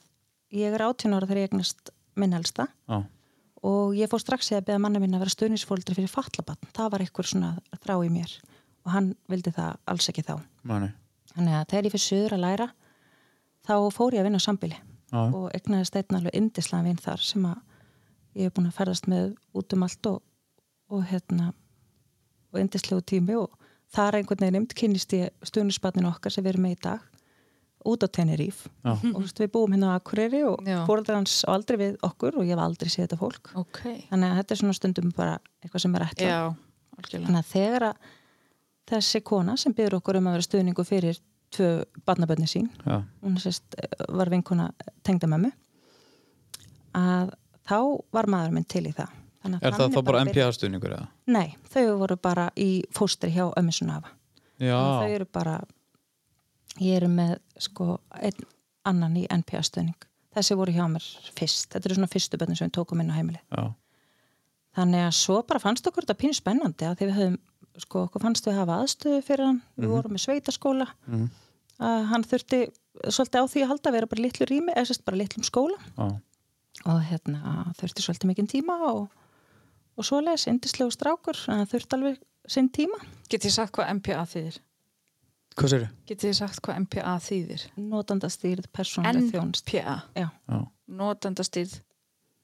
D: ég er 18 ára þegar ég egnast minn elsta
C: já,
D: og ég fór strax í að beða manna mín að vera stuðnisfóldri fyrir fatlabatn, það var einhver svona þrá í mér og hann vildi það alls ekki þá
C: nei, nei
D: þannig að þegar ég fyrir söður að læra þá fór ég að vinna á sambili
C: Já.
D: og egnaðist einn alveg indislega vinn þar sem að ég hef búin að ferðast með út um allt og, og hérna og indislegu tími og þar einhvern veginn umt kynnist ég stuðnisbarninu okkar sem við erum með í dag út á Teneríf
C: Já.
D: og þú veist, við búum hérna á Akureyri og
B: Já.
D: fóreldrar hans á aldrei við okkur og ég hef aldrei séð þetta fólk
B: ok,
D: þannig að þetta er svona stundum bara eitthvað sem er ætla
B: já, algjörlega
D: þannig að þegar að þessi kona sem byrður okkur um að vera stuðningu fyrir tvö barnabönni sín
C: Já.
D: hún sérst eh, var vinkona tengdamömmu að þá var maður minn til í það Þannig að
C: Er það
D: þannig
C: þá bara
D: byrja-
C: MPA stuðningur eða?
D: Nei, þau voru bara í fóstri hjá ömmisunnafa
C: Já,
D: þau eru bara ég eru með sko einn annan í NPA stöðning þessi voru hjá mér fyrst þetta eru svona fyrstu börnum sem við tókum inn á heimili
C: já,
D: þannig að svo bara fannst okkur þetta pínu spennandi að því við höfum sko okkur fannst við hafa aðstöðu fyrir hann við vorum með sveitaskóla
C: Mhm.
D: að hann þurfti svolítið á því að halda að vera bara í litlu rými eða sérst bara litlum skóla
C: já.
D: og hérna þurfti svolítið mikinn tíma og, og svoleiðis indislegu strákur en hann þurfti alveg sinn tíma
B: Getið þið sagt hvað MPA þýðir?
C: Hvað sér
B: Getið þið sagt hvað MPA þýðir?
D: notandastýrð persónuleg þjónst
B: NPA,
D: já,
C: Já,
B: notandastýrð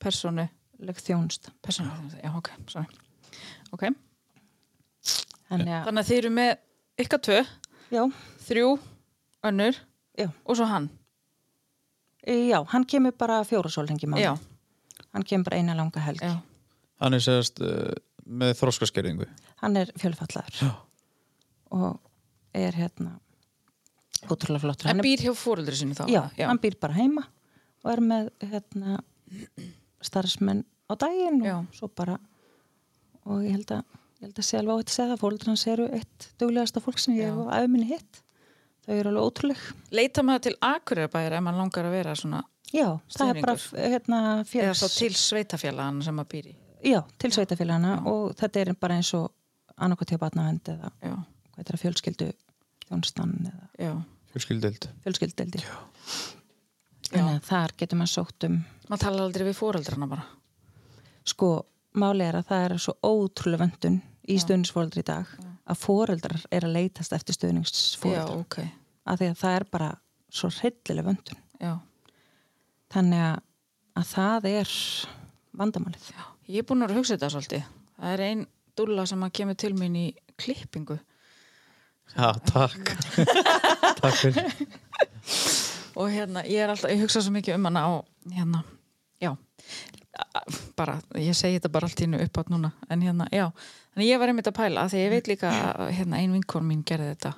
B: persónu,
D: leg þjónst
B: persónu, já, ok, sorry. Ok,
D: þannig að,
B: þannig að þið eru með ykkar tvö,
D: já,
B: þrjú, önnur
D: Já.
B: og svo hann.
D: já, hann kemur bara fjóra sólhengi
B: Já,
D: mánu, hann kemur bara eina langa helgi
B: já,
C: hann er segast uh, með þróskaskerðingu
D: hann er fjölfallaður
C: Já.
D: og er hérna ótrúlega flottur
B: en
D: hann er,
B: býr hjá fóruldri sinni þá?
D: já,
B: já,
D: hann býr bara heima og er með hérna starfsmenn á daginn og
B: Já.
D: svo bara og ég held að ég held að sé alveg á þetta segja það fólk hans eru eitt duglegasta fólk sem ég
B: Já.
D: hef aðeins minni hitt þau eru alveg ótrúleg
B: Leita maður til Akureyrabæra ef maður langar að vera svona,
D: já, það er bara
B: Stuðningur.
D: hérna
B: eða
D: félags
B: svo til sveitafélagana sem maður býr í.
D: já, til sveitafélagana og þetta er bara eins og annarkot hjá batnavend eða
B: Já,
D: hvað þetta er fjölskyldu þjónstan eða
B: já,
C: fjölskyldild
D: fjölskyldeldi
B: já.
D: þannig að þar getur maður sótt um
B: Maður talar aldrei við fóreldrana bara.
D: sko, máli er að það er svo ótrúlega vöndun í stuðningsfóreldri í dag að foreldrar er að leitast eftir
B: Já,
D: stuðningsfóreldra
B: ok,
D: af því að það er bara svo hryllilega vöndun
B: já.
D: þannig að, að það er vandamálið
B: Ég er búin að vera að hugsa þetta svolítið. Það er ein dúlla sem að kemur til mín í klippingu
C: Já, takk Takk fyrir
B: og hérna, ég er alltaf, ég hugsa svo mikið um hana og hérna, já bara, ég segi þetta bara allt í hennu upp átt núna, en hérna, já þannig ég var einmitt að pæla, af því ég veit líka að hérna, ein vinkon mín gerði þetta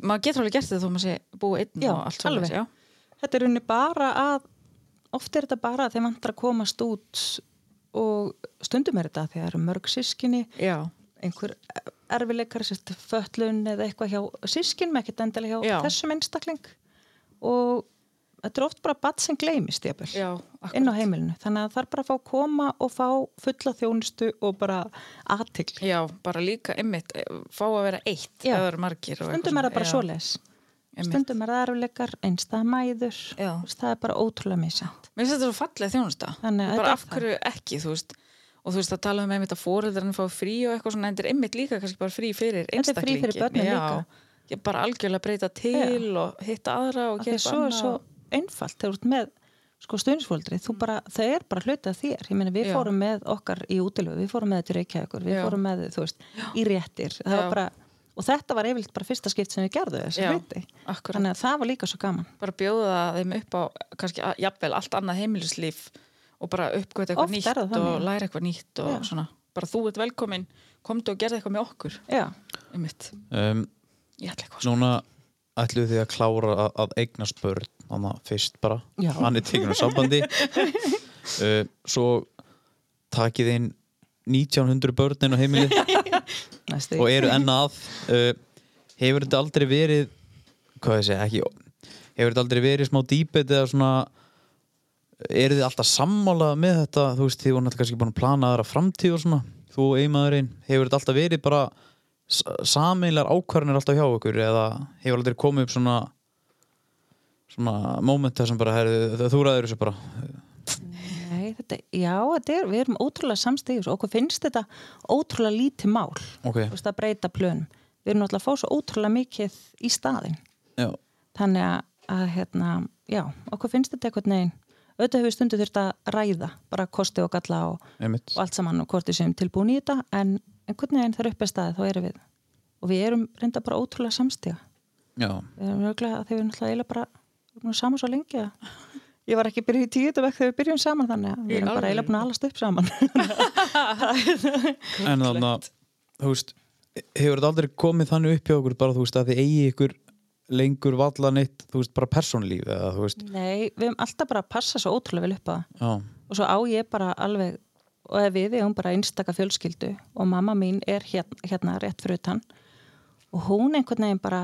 B: maður getur alveg gert þetta þó maður sé búið einn
D: Já,
B: og allt svoleiðis,
D: alveg. þetta er unni bara að oft er þetta bara að þeim vantar að komast út og stundum er þetta að því að það eru mörg sískinni
B: já,
D: einhver erfileikar sérst föllun eða eitthvað hjá sískinum ekkert endilega hjá
B: Já.
D: þessum einstakling og þetta er oft bara bat sem gleymist jafnvel
B: já, já, akkur
D: inn á heimilinu þannig að það er bara að fá að koma og fá fulla þjónustu og bara aðtigl
B: já, bara líka einmitt, eh, fá að vera eitt
D: Já.
B: ef það eru margir og eitthvað
D: stundum er
B: svona.
D: það bara
B: Já,
D: svoleiðis
B: einmitt.
D: stundum er það erfileikar, einstæða mæður
B: Já.
D: Þú veist, það er bara ótrúlega misjant
B: Mér finnst þetta svo fallega þjónusta
D: Þannig að
B: bara
D: þetta er
B: af hverju ekki, þú veist og þú veist að tala um einmitt að fóreldrarnir fá frí og eitthvað svona, en þetta er einmitt líka kannski bara frí fyrir
D: Þetta er frí
B: einstaklingin
D: fyrir börnin
B: já,
D: líka.
B: Ég bara algjörlega breyta til og hitta aðra og
D: af
B: gera
D: því að svo er
B: annað. Mm.
D: svo einfalt þegar þú ert með sko stuðnisfóldri, þú bara, það er bara hluti af þér, ég meina við
B: Já.
D: fórum með okkar í útilöfu, við fórum með þetta í Reykjavíkur við
B: Já.
D: fórum með, þú veist, í réttir það
B: Já.
D: var bara, og þetta var yfirleitt bara fyrsta skipt sem við gerðum þessu
B: Já,
D: hluti
B: akkúrat.
D: þannig að það var líka svo gaman
B: bara bjóða þeim upp á kannski að- jafnvel allt annað heimilislíf og bara uppgöta
D: Oft
B: eitthvað
D: er
B: nýtt
D: það
B: og
D: þannig.
B: læra eitthvað nýtt og
D: Já.
B: svona, bara þú ert velkomin komdu og gerði eitthvað með okkur
D: Já,
B: einmitt,
C: um,
B: ég ætla eitthvað
C: Núna ætluðu þið að klára að, að eignast börn Þannig að fyrst bara
D: Já.
C: Hann er tekinn á sambandi uh, Svo takið inn 1900 börn inn á heimilið
D: næstu
C: og eru enn að uh, hefur þetta aldrei verið hvað ég segja, ekki hefur þetta aldrei verið smá dýbet eða svona eru þið alltaf sammála með þetta, þú veist, þið voru náttúrulega kannski búin að plana aðra framtíð og svona, þú og eiginmaðurinn hefur þetta alltaf verið bara sameinlegar ákvarðanir alltaf hjá okkur eða hefur aldrei komið upp svona svona moment þar sem bara heru, þú ræður þessu bara
D: Nei, þetta, já, þetta er, við erum ótrúlega samstíðis og okkur finnst þetta ótrúlega lítið mál
C: ok,
D: þú veist, að breyta plönum við erum náttúrulega að fá svo ótrúlega mikið í staðinn
C: já,
D: þannig að, að hérna, já, okkur finnst þetta eitthvað neginn auðvitað hefur stundu þurft að ræða bara kosti og galla og,
C: einmitt
D: og allt saman og hvort við séum tilbúin í þetta en einhvern veginn þar upp er staðið þá erum við og við erum reynda bara ótrúlega samstíga
C: já,
D: við erum örgulega að þeir eru náttúrulega eiginlega bara við erum búin saman svo lengi að ég var ekki byrjuð í tíðutabæk þegar við byrjum saman þannig að
B: Í
D: við erum bara
B: alvöru?
D: eiginlega búin að alast upp saman
A: en þannig að þú veist hefur þetta aldrei komið þannig upp hjá okkur bara þú veist að þið eigi ykkur lengur valla neitt þú veist bara persónlíf eða þú veist
D: Nei, við erum alltaf bara að passa svo ótrúlega vel upp á það
A: já,
D: og svo á ég bara alveg og ef við eigum bara einstaka fjölskyldu og mamma mín er hérna, hérna rétt fyrir utan og hún einhvern veginn bara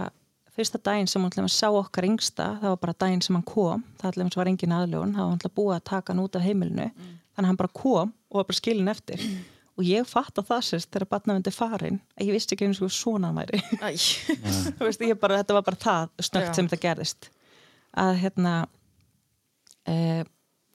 D: fyrsta daginn sem hún til dæmis sá okkar yngsta, það var bara daginn sem hann kom það allir var engin aðljóðun, það var hann búið að taka hann út af heimilinu, þannig að hann bara kom og var bara skilin eftir og ég fatta það sérst þegar batnafundi farin að ég vissi ekki eins og svona hann væri
B: Æ,
D: Þú veist, ég bara, þetta var bara það snögt
B: Já.
D: sem það gerðist að hérna e,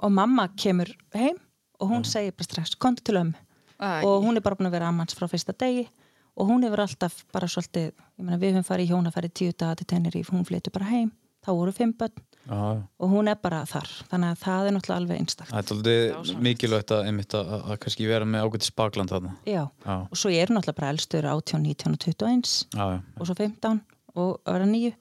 D: og mamma kemur heim og hún segir bara strax, komdu til ömmu
B: Æ.
D: og hún er bara búin að vera ammans frá fyrsta degi og hún hefur alltaf bara svolítið ég meina við höfum farið í hjónafæri tíu daga til Teneríf, hún flytur bara heim, þá voru fimm börn
A: já, já.
D: og hún er bara þar þannig að það er náttúrulega alveg einstakt
A: það er aldrei mikilvægt að einmitt að, að, að kannski vera með ágætt spakland þarna
D: Já.
A: já,
D: og svo ég er náttúrulega bara elstur 18, 19 og 21
A: já, já,
D: og svo 15 og öra nýju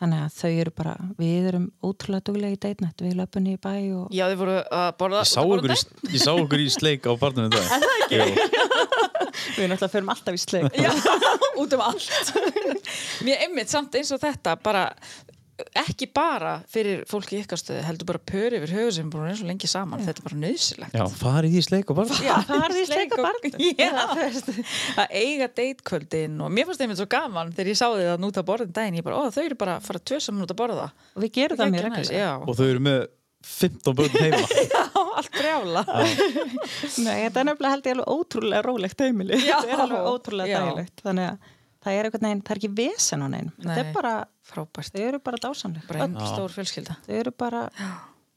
D: þannig að þau eru bara, við erum ótrúlega duglega í deitnætt, við löpum niður í bæ og
B: Já, þið voru að borða
A: ég sá
B: út að borða
A: ykkur í, ég sá ykkur í sleik á barnum þetta er það ekki?
D: við náttúrulega förum alltaf í sleik
B: Já, út um allt Mér einmitt samt eins og þetta bara ekki bara fyrir fólk í ykkar stöðu heldur bara pör yfir höfu sem er búin eins og lengi saman þetta er bara nöðsilegt
A: já, farið í sleik á barnum
D: Já, farið í sleik og barn
B: Já, þú veist, að eiga deitkvöldin og mér fannst einmitt svo gaman þegar ég sá þið að núta borðin daginn ég bara, ó þau eru bara að fara tvö saman út að borða
D: og við gerum það mér
B: Geggjað næs,
D: ekki
B: Já,
A: og þau eru með 15 börn heima
B: Já, allt brjála
D: Nei, þetta er nefnilega held ég alveg ótrúlega rólegt heimili
B: Já.
D: þetta er alveg ótrúlega
B: Já.
D: dægilegt þannig að það er eitthvað neginn, það er ekki vesen á neginn þetta er
B: Nei.
D: bara,
B: Frábært,
D: þau eru bara dásamleg
B: bara hérna einn stór fjölskylda
D: þau eru bara,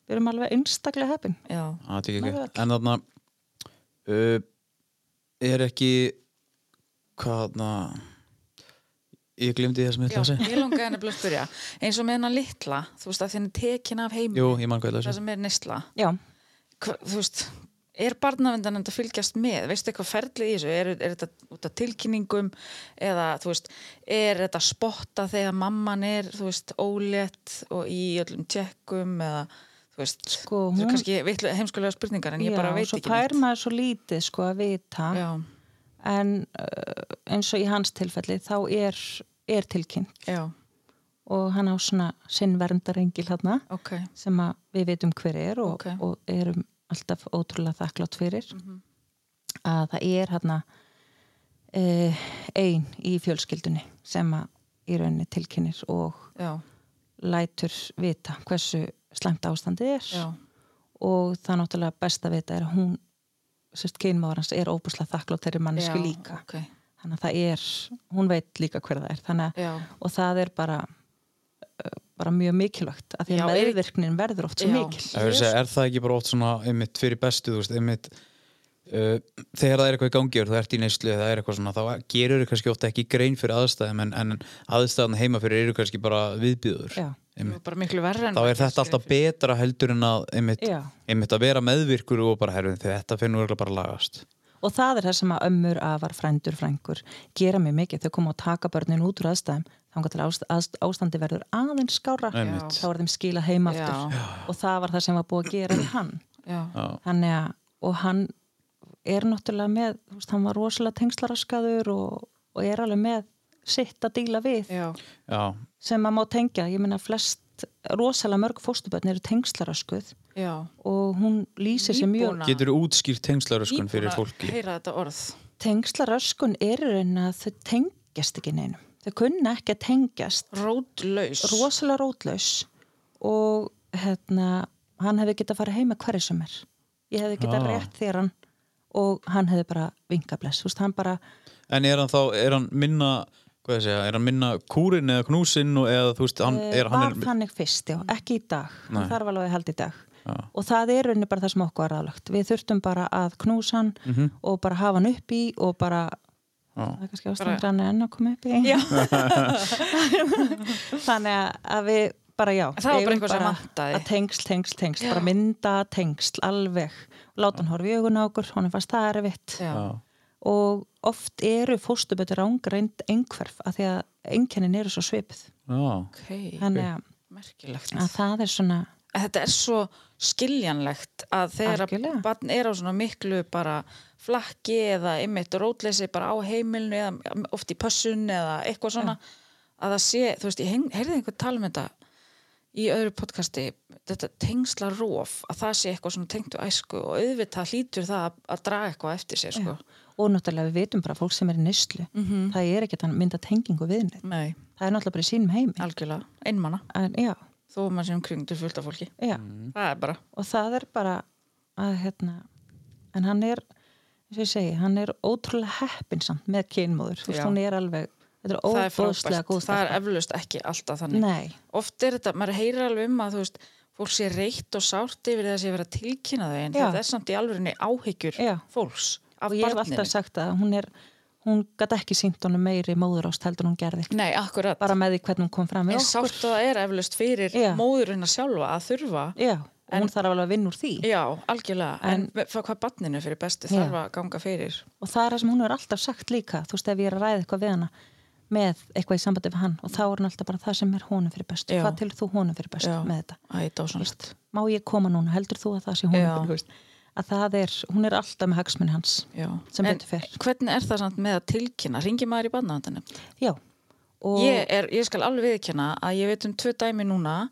D: við erum alveg einstaklega heppin
B: Já,
A: Já, þetta er ekki
D: Með öll.
A: ekki. En þarna uh, er ekki hvað þarna ég glemdi það sem ég
B: Já
A: ætla að segja
B: ég langaði henni að spyrja eins og með hennar litla, þú veist að þenni tekin af heim
A: Jú, ég man hvað ég ætla
B: það
A: að segja
B: sem er neysla
D: já,
B: hva, þú veist, er barnavendanend að fylgjast með, veistu eitthvað ferlið í þessu er, er þetta út af tilkynningum eða þú veist, er þetta spotta þegar mamman er, þú veist ólétt og í öllum tjekkum eða, þú veist
D: Sko,
B: þetta
D: hún-
B: er kannski vitlu, heimskulega spurningar en ég bara
D: já
B: veit
D: svo
B: ekki
D: fær maður svo lítið sko að vita
B: já,
D: en uh, eins og í hans tilfelli þá er, er tilkynnt
B: já,
D: og hann á svona sinn verndarengil hérna
B: ok
D: sem að við veitum hver er og,
B: Ok. Mhm.
D: og erum alltaf ótrúlega þakklátt fyrir að það er hérna uh, ein í fjölskyldunni sem að í rauninni tilkynir og
B: já,
D: lætur vita hversu slæmt ástandið er
B: já,
D: og það náttúrulega best að vita er að hún sérst kynmáður hans er óbúslega þakklátt þeirri mannesku
B: já,
D: líka
B: ok,
D: þannig að það er, hún veit líka hver það er þannig að,
B: já
D: og það er bara uh, bara mjög mikilvægt að því
B: Já,
D: að
B: er-
D: meðvirknin verður oft svo
B: Já.
D: mikil
A: Það er að segja, Er það ekki bara oft svona einmitt fyrir bestu þú veist, einmitt Uh, þegar það er eitthvað í gangi og það ert í neyslu eða það er eitthvað svona, þá gerur þau kannski ofta ekki grein fyrir aðstæðum en, en aðstæðan heima fyrir eru kannski bara viðbjöður
D: já,
A: Einmitt.
B: bara miklu verra en
A: þá er þetta alltaf betra heldur en að einmitt,
D: já.
A: einmitt að vera meðvirkur og bara herfið þegar þetta finnur örugglega bara að lagast
D: og það er það sem að ömmur, afar, frændur, frængur gera mjög mikið, þau koma og taka börnin út úr aðstæðum, þá engar til ást, ást, ástandi verður aðeins skára
A: Einmitt.
D: þá er þeim skila heima
B: Já.
D: aftur og það var það sem var búið að gera við hann
B: já,
A: Já.
D: þannig að, og hann er náttúrulega með, þú veist, hann var rosalega tengslaraskaður og, og er alveg með sitt að díla við
B: já,
A: Já,
D: sem maður má tengja, ég meina flest rosalega mörg fóstubötn eru tengslaraskuð
B: já
D: og hún lýsir sér mjög
B: Nýbúna-
A: Getur þú útskýrt tengslaröskun fyrir
B: nýbúin að
A: fólki?
B: heyra þetta orð
D: tengslaröskun er í rauninni að þau tengjast ekki neinum þau kunna ekki að tengjast
B: Rótlaus
D: rosalega rótlaus og hérna, hann hefði getað að fara heima hverju sem er ég hefði getað
A: Ah.
D: rétt þér hann og hann hefði bara vingabless, þú veist, hann bara
A: En er hann þá, er hann minna hvað ég segja, er hann minna kúrin eða knúsin og eða þú veist, hann
D: Eh,
A: er,
D: var
A: hann er
D: þannig fyrst, já, ekki í dag
A: Nei.
D: hann þarf alveg að halda í dag
A: Já.
D: og það er unni bara það sem okkur er aðlagt við þurftum bara að knúsa hann og bara hafa hann upp í og bara
A: Mhm. Já.
D: það er kannski ástæður hann er enn að koma upp í
B: Já.
D: þannig að- að við bara já
B: En það var bara
D: eigum
B: eitthvað sem vantaði.
D: að tengsl, tengsl, tengsl, bara mynda tengsl alveg, láta hann horfa í augun á okkur honum fannst það erfitt
B: Já.
A: Já,
D: og oft eru fóstubötur ángreind einhverf að því að einkennin eru svo svipið
A: já,
B: Ok,
D: þannig að
B: merkilegt
D: að það er svona
B: að þetta er svo skiljanlegt að þegar
D: Algjörlega.
B: að barn er á svona miklu bara flakki eða einmitt rótleysi bara á heimilinu eða oft í pössun eða eitthvað svona að það sé, þú veist, ég heng- heyrði einhvern tala um þetta í öðru podcasti þetta tengsla róf, að það sé eitthvað svona tengt við æsku og auðvitað hlýtur það að, að draga eitthvað eftir sér, sko
D: og náttúrulega við vitum bara að fólk sem er í nyslu
B: Mhm.
D: það er ekki að mynda tengingu við neitt
B: Nei,
D: það er náttúrulega bara í sínum heimi
B: algjörlega, einmana
D: en, já,
B: þó að maður sé umkringdur fullt af fólki
D: já.
B: það er bara,
D: og það er bara að hérna en hann er, eins og ég segi, hann er ótrúlega heppinsamt með kynmóður þú veist,
B: Já.
D: hún er alveg, þetta er
B: það er
D: óbóðslega
B: frábært
D: góð
B: það er
D: stelpa.
B: eflaust ekki alltaf þannig
D: nei,
B: oft er þetta, maður heyrir alveg um að þú veist, fólk sé reitt og sárt yfir þess að ég verið að tilkynna þau en
D: Já.
B: þetta er samt í alvörinni áhyggjur
D: Já.
B: fólks af
D: og ég hef alltaf
B: barninu.
D: sagt að hún er hún gæti ekki sínt honum meiri móðurást heldur en hún gerði,
B: Nei, akkurat.
D: bara með því hvernig hún kom fram við
B: Mm. en sárt og það er eflust fyrir
D: Já.
B: móðurinn að sjálfa að þurfa.
D: já, og hún þarf alveg að vinna úr því
B: Já, algjörlega. En,
D: En-
B: en hvað barninu fyrir bestu
D: Já.
B: þarf að ganga fyrir?
D: og það er það sem hún er alltaf sagt líka þú veist ef ég er að ræða eitthvað við hana með eitthvað í sambandi við hann og þá er hann alltaf bara það sem er honum fyrir bestu,
B: Já.
D: hvað til þú honum fyrir bestu
B: Já.
D: með þetta,
B: Æ, dásanlegt.
D: má ég koma núna, heldur þú að það sé honum
B: Já.
D: fyrir bestu að það er, hún er alltaf með hagsmunni hans
B: Já.
D: Sem
B: en
D: betur fer.
B: hvernig er það samt með að tilkynna? Ringi maður í barnaðandunum?
D: já, og
B: ég, er, ég skal alveg viðkjanna að ég veit um tvö dæmi núna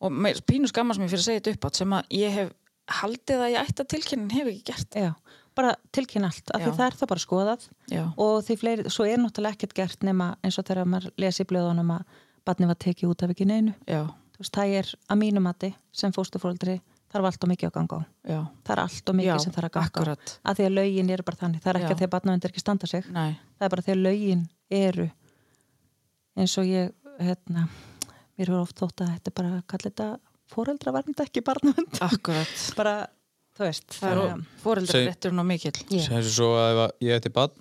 B: og mér- pínu skammast mér fyrir að segja þetta uppátt sem að ég hef haldið að ég ætti að tilkynna en hef ekki gert.
D: já, bara tilkynna allt af því
B: Já.
D: það er það bara skoðað
B: Já,
D: og því fleiri, svo er náttúrulega ekkert gert nema eins og þegar maður lesi í blöðunum að barni var tekið út af ekki neinu
B: já,
D: þú veist, það er að mínu mati sem fóstufóldri þarf allt og mikið að ganga á
B: já.
D: það er allt og mikið
B: Já,
D: sem þarf að ganga á.
B: akkurat.
D: að því að lögin eru bara þannig, það er ekki
B: Já.
D: að því að barnavendur ekki standa sig
B: Nei,
D: það er bara því að lögin eru eins og ég hérna, mér hefur oft þótt að þetta er bara að kalla þetta foreldra varnda ekki
B: Ah.
D: barnavend
B: akkurat.
D: bara, þú veist
B: Það
D: þannig
B: eru
D: að-
B: fóreldrar
A: Seg-
B: réttur nú mikill.
D: Já.
A: sem þessu svo að ef að ég ætti bann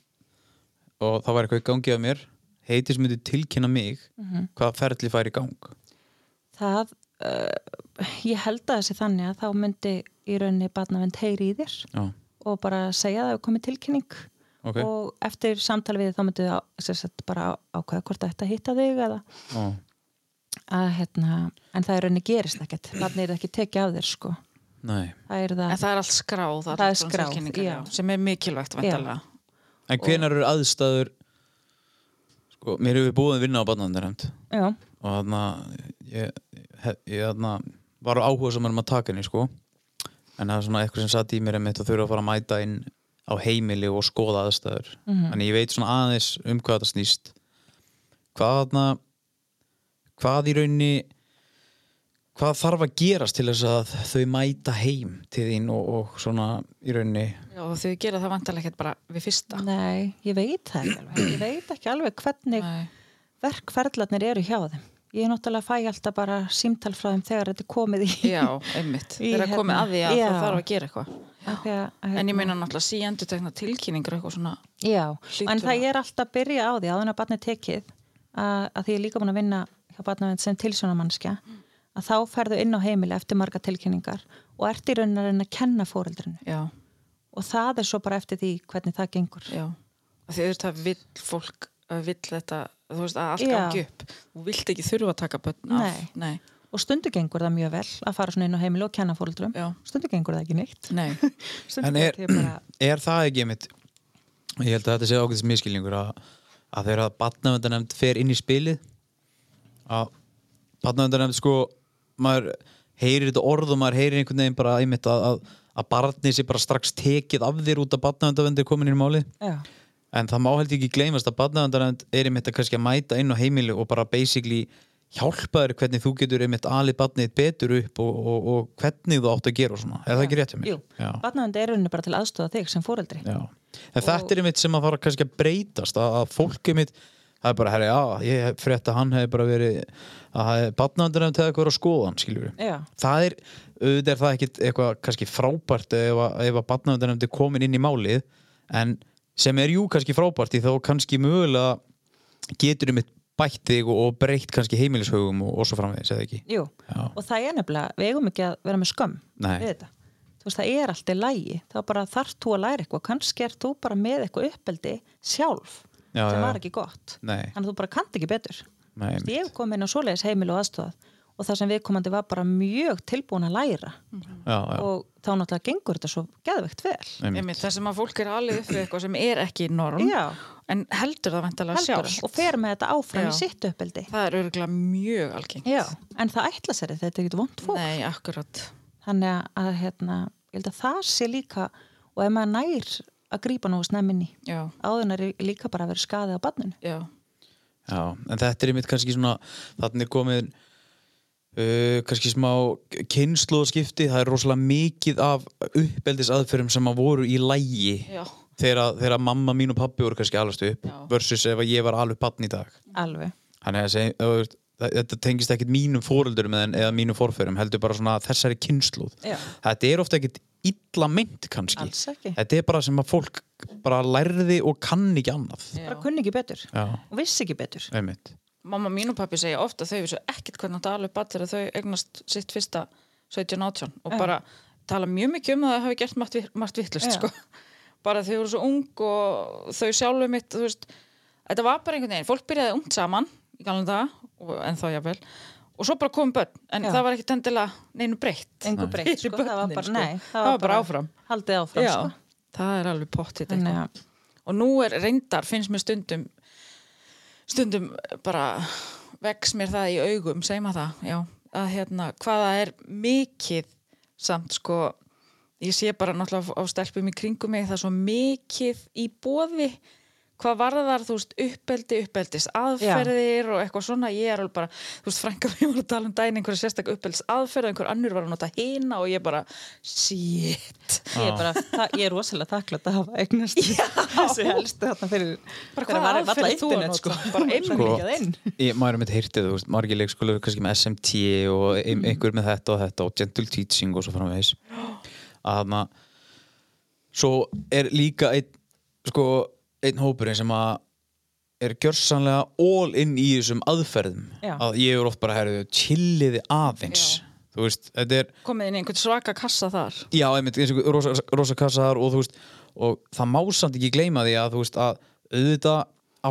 A: og það var eitthvað í gangi af mér heiti sem myndi tilkynna mig
D: Mhm.
A: hvað ferli fær í gang
D: það uh, ég held að þessi þannig að þá myndi í rauninni barnavend heyri í þér
A: já,
D: og bara segja það að komið tilkynning
A: ok
D: og eftir samtal við þig þá myndið á, sem sagt, bara ákveða hvort þetta hitta þig eða
A: já,
D: að hérna, en það er rauninni gerist ekkert þannig er það ekki tekið af þér sko
A: nei
D: það er
B: En
D: það,
B: það er allt skráð.
D: Það er
B: allt svona
D: skráð,
B: tilkynningar,
D: já.
B: Sem er mikilvægt, vandalega.
A: en hvenar eru aðstæður sko, mér hefur búið að vinna á barnaverndarhemd
D: já,
A: og þarna ég, hef- ég þarna var áhuga saman um að taka henni sko en það er svona eitthvað sem satt í mér einmitt að þurfa að fara að mæta inn á heimili og skoða aðstæður þannig ég veit svona aðeins um hvað þetta snýst hvað þarna hvað í raunni hvað þarf að gerast til þess að þau mæta heim til þín og, og svona í raunni
B: Já, og þau gera það vandalega ekkert bara við fyrsta.
D: nei, ég veit það ekki alveg ég veit ekki alveg hvernig
B: Nei.
D: verkferðlarnir eru hjá þeim ég er náttúrulega að fæ alltaf bara símtal frá þeim þegar þetta er komið í
B: Já, einmitt.
D: Í
B: Þeir að komið
D: hérna-
B: að því að
D: Já.
B: það þarf að gera eitthvað.
D: Af því að, hérna,
B: En ég meina náttúrulega síendur tekna tilkynningur eitthvað svona.
D: já,
B: Hlýtur
D: en það
B: að-
D: er alltaf að byrja á því áður en að barnið tekið að, að því ég er líka búin að vinna hjá barnavend sem tilsjónamannskja að þá ferðu inn á heimili eftir marga tilkynningar og ert í raunin að reyna að kenna fóreldrinu
B: Já,
D: og það er svo bara eftir því hvernig það gengur
B: Já, af því auðvitað vill fólk uh, vill þetta, þú veist, að allt
D: Já.
B: gangi upp þú vilt ekki þurfa að taka börn af
D: Nei.
B: nei,
D: og stundu gengur það mjög vel að fara svona inn á heimil og kenna fóruldrum
B: Já.
D: stundu gengur það ekki neitt
B: nei,
D: stundu
A: En er,
D: gengur það bara
A: er það ekki mitt ég held að þetta sé ákveðis miskilningur að, að þegar að batnavendanemnd fer inn í spilið að batnavendanemnd sko maður heyrir þetta orð og maður heyrir einhvern veginn bara einmitt að, að, að barnið sé bara strax tekið af þér út að batnavendavendir komin inn í máli
D: já,
A: en það má heldur ekki gleymast að batnavendanemnd er einmitt að kannski að mæta inn á heimili og bara basically hjálpa þér hvernig þú getur einmitt alið batnið betur upp og, og, og hvernig þú átt að gera og svona, er það ekki rétt hjá mér?
D: jú, barnavend er rauninni bara til aðstóða þig sem fóreldri
A: Já. En þetta er einmitt sem að fara kannski að breytast að, að fólk einmitt það er bara, herri, já, ég frétt að hann hefði bara verið að batnaðandunum til eitthvað að skoða hann, skiljur við.
D: já,
A: Það er, auðvitað er það ekkit eitthvað kannski frábært ef að, ef að batnaðandunum er komin inn í málið en sem er jú kannski frábært í þá kannski mögulega getur einmitt bætt þig og, og breytt kannski heimilishögum og, og svo framvegis, eða ekki?
D: jú
A: Já.
D: og það er nefnilega, við eigum ekki að vera með skömm
A: Nei.
D: við þetta, þú veist það er allt í lægi þá bara þarf þú að læra eitthvað kannski er þú bara með eitthvað uppeldi sjálf
A: Já,
D: sem
A: já.
D: var ekki gott
A: Nei.
D: þannig að þú bara kannt ekki betur
A: Nei,
D: Þú veist, ég hef komið inn á svoleiðis heimil og aðstóðað og það sem viðkomandi var bara mjög tilbúin að læra
A: já, já,
D: og þá náttúrulega gengur þetta svo geðvegt vel.
A: einmitt.
B: Einmitt, það sem að fólk er alveg upp við eitthvað sem er ekki norm
D: Já.
B: en heldur það vantalega
D: Heldur,
B: sjálf
D: og fer með þetta áfram
B: Já.
D: í sitt uppeldi.
B: það er örgulega mjög algengt
D: Já, en það ætla sér þetta, þetta er ekkert vond fólk.
B: Nei, akkurat
D: Þannig að- að hérna, ég held að það sé líka, og ef maður nær að grípa nógu snemminni,
B: Já,
D: áðunar er líka bara að vera skadið á barninu.
B: já,
A: já, en þetta er einmitt kannski svona þannig komið uh, kannski smá kynnslóðskipti það er rosalega mikið af uppeldisaðferðum sem að voru í lægi
B: já,
A: þegar, að- þegar að mamma mín og pabbi voru kannski alast upp
B: Já.
A: versus ef að ég var alveg bann í dag
D: Alveg.
A: Þannig að segja, þú veist, þa- þetta tengist ekkit mínum fóröldurum eða, eða mínum forförum, heldur bara svona þessari kynnslóð.
D: Já.
A: Þetta er ofta ekkit illa meint kannski.
D: Alls ekki.
A: Þetta er bara sem að fólk bara lærði og kann ekki annað.
B: já.
D: Bara kunni ekki betur.
A: Já,
D: Og vissi ekki betur.
A: einmitt.
B: Mamma mín og pappi segja ofta að þau vissu ekkert hvernig það alveg bara þegar þau eignast sitt fyrsta 17-18 og bara tala mjög mikið um það að það hafi gert margt, vi- margt vittlust
D: Já.
B: sko. bara þau voru svo ung og þau sjálfu mitt þú veist, þetta var bara einhvern veginn, fólk byrjaði ungt saman í galum það, en þá jáfnvel og svo bara komum börn, en
D: Já.
B: það var ekkert endilega neinu breytt
D: Engu breytt,
B: Fyrir
D: sko. Það var
B: börnin,
D: bara,
B: sko.
D: nei.
B: Það var bara áfram.
D: Haldið áfram, sko.
B: það er alveg pottitt eitthvað
D: Þannig að,
B: og nú er reyndar, finnst mér stundum stundum bara vex mér það í augum segjum að það, já, að hérna hvaða er mikið samt sko, ég sé bara náttúrulega á- á stelpum í kringum mig það er svo mikið í bóði hvað varðar, þú veist, uppeldi, uppeldis aðferðir og eitthvað svona ég er alveg bara, þú veist, frænka mér var að tala um dæn einhverja sérstak uppeldis aðferð og einhver annur var að nota hina og ég bara shit,
D: ég, er bara, það, ég er rosalega þakklætt að hafa eignast þessi helstu þarna fyrir
B: bara
D: fyrir að
B: hvaða
D: vara varla
B: aðferð þú að
D: internet,
B: nota
D: sko.
B: bara einmitt
A: Sko,
D: mikið að inn.
A: ég, maður er með heyrtið, þú veist, margir leikskóla kannski með SMT og ein, einhver með þetta og þetta og gentle teaching og svo framvegis að þarna svo er líka einn sko, einn hópurinn sem að er gjörsanlega all in í þessum aðferðum
D: Já.
A: að ég er oft bara herðu, chilliði aðeins
B: Já.
A: þú veist, þetta er
B: komið inn í einhvern svaka kassa þar
A: Já, einmitt, eins og rosa, rosa kassaðar og þú veist, og það má samt ekki gleyma því að þú veist, að auðvitað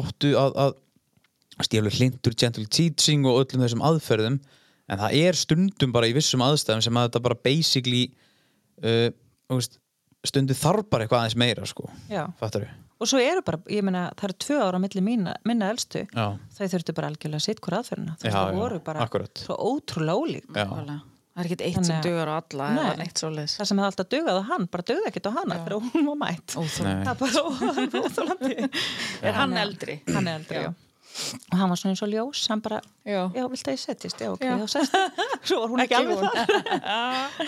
A: áttu að, að stílu hlindur gentle teaching og öllum þessum aðferðum en það er stundum bara í vissum aðstæðum sem að þetta bara basically uh, þú veist, stundum þarf bara eitthvað aðeins meira, sko
D: Já.
A: Fattar við?
D: Og svo eru bara, ég meina, það eru tvö ára á milli mína, minna elstu.
A: Já,
D: Þau þurftu bara algjörlega sitt hver aðferðina. Þú
A: Já,
D: veist, það
A: já,
D: voru bara
A: akkúrat.
D: svo ótrúlega ólík.
A: já,
B: Nákvæmlega. það er ekkert eitt sem
D: Þannig að-
B: dugar á alla eða
D: Nei.
B: neitt svo leis
D: Það sem það alltaf dugað á hann, bara dugði ekkert á hana þegar hún var mætt.
A: nei,
D: Það er bara óþólandi.
B: er hann eldri?
D: Hann er eldri, já. Og hann var svona eins og ljós, hann bara,
B: Já.
D: já, vilt að ég settist? Já, ok,
B: Já.
D: já, sest. Svo var hún ekki alveg það.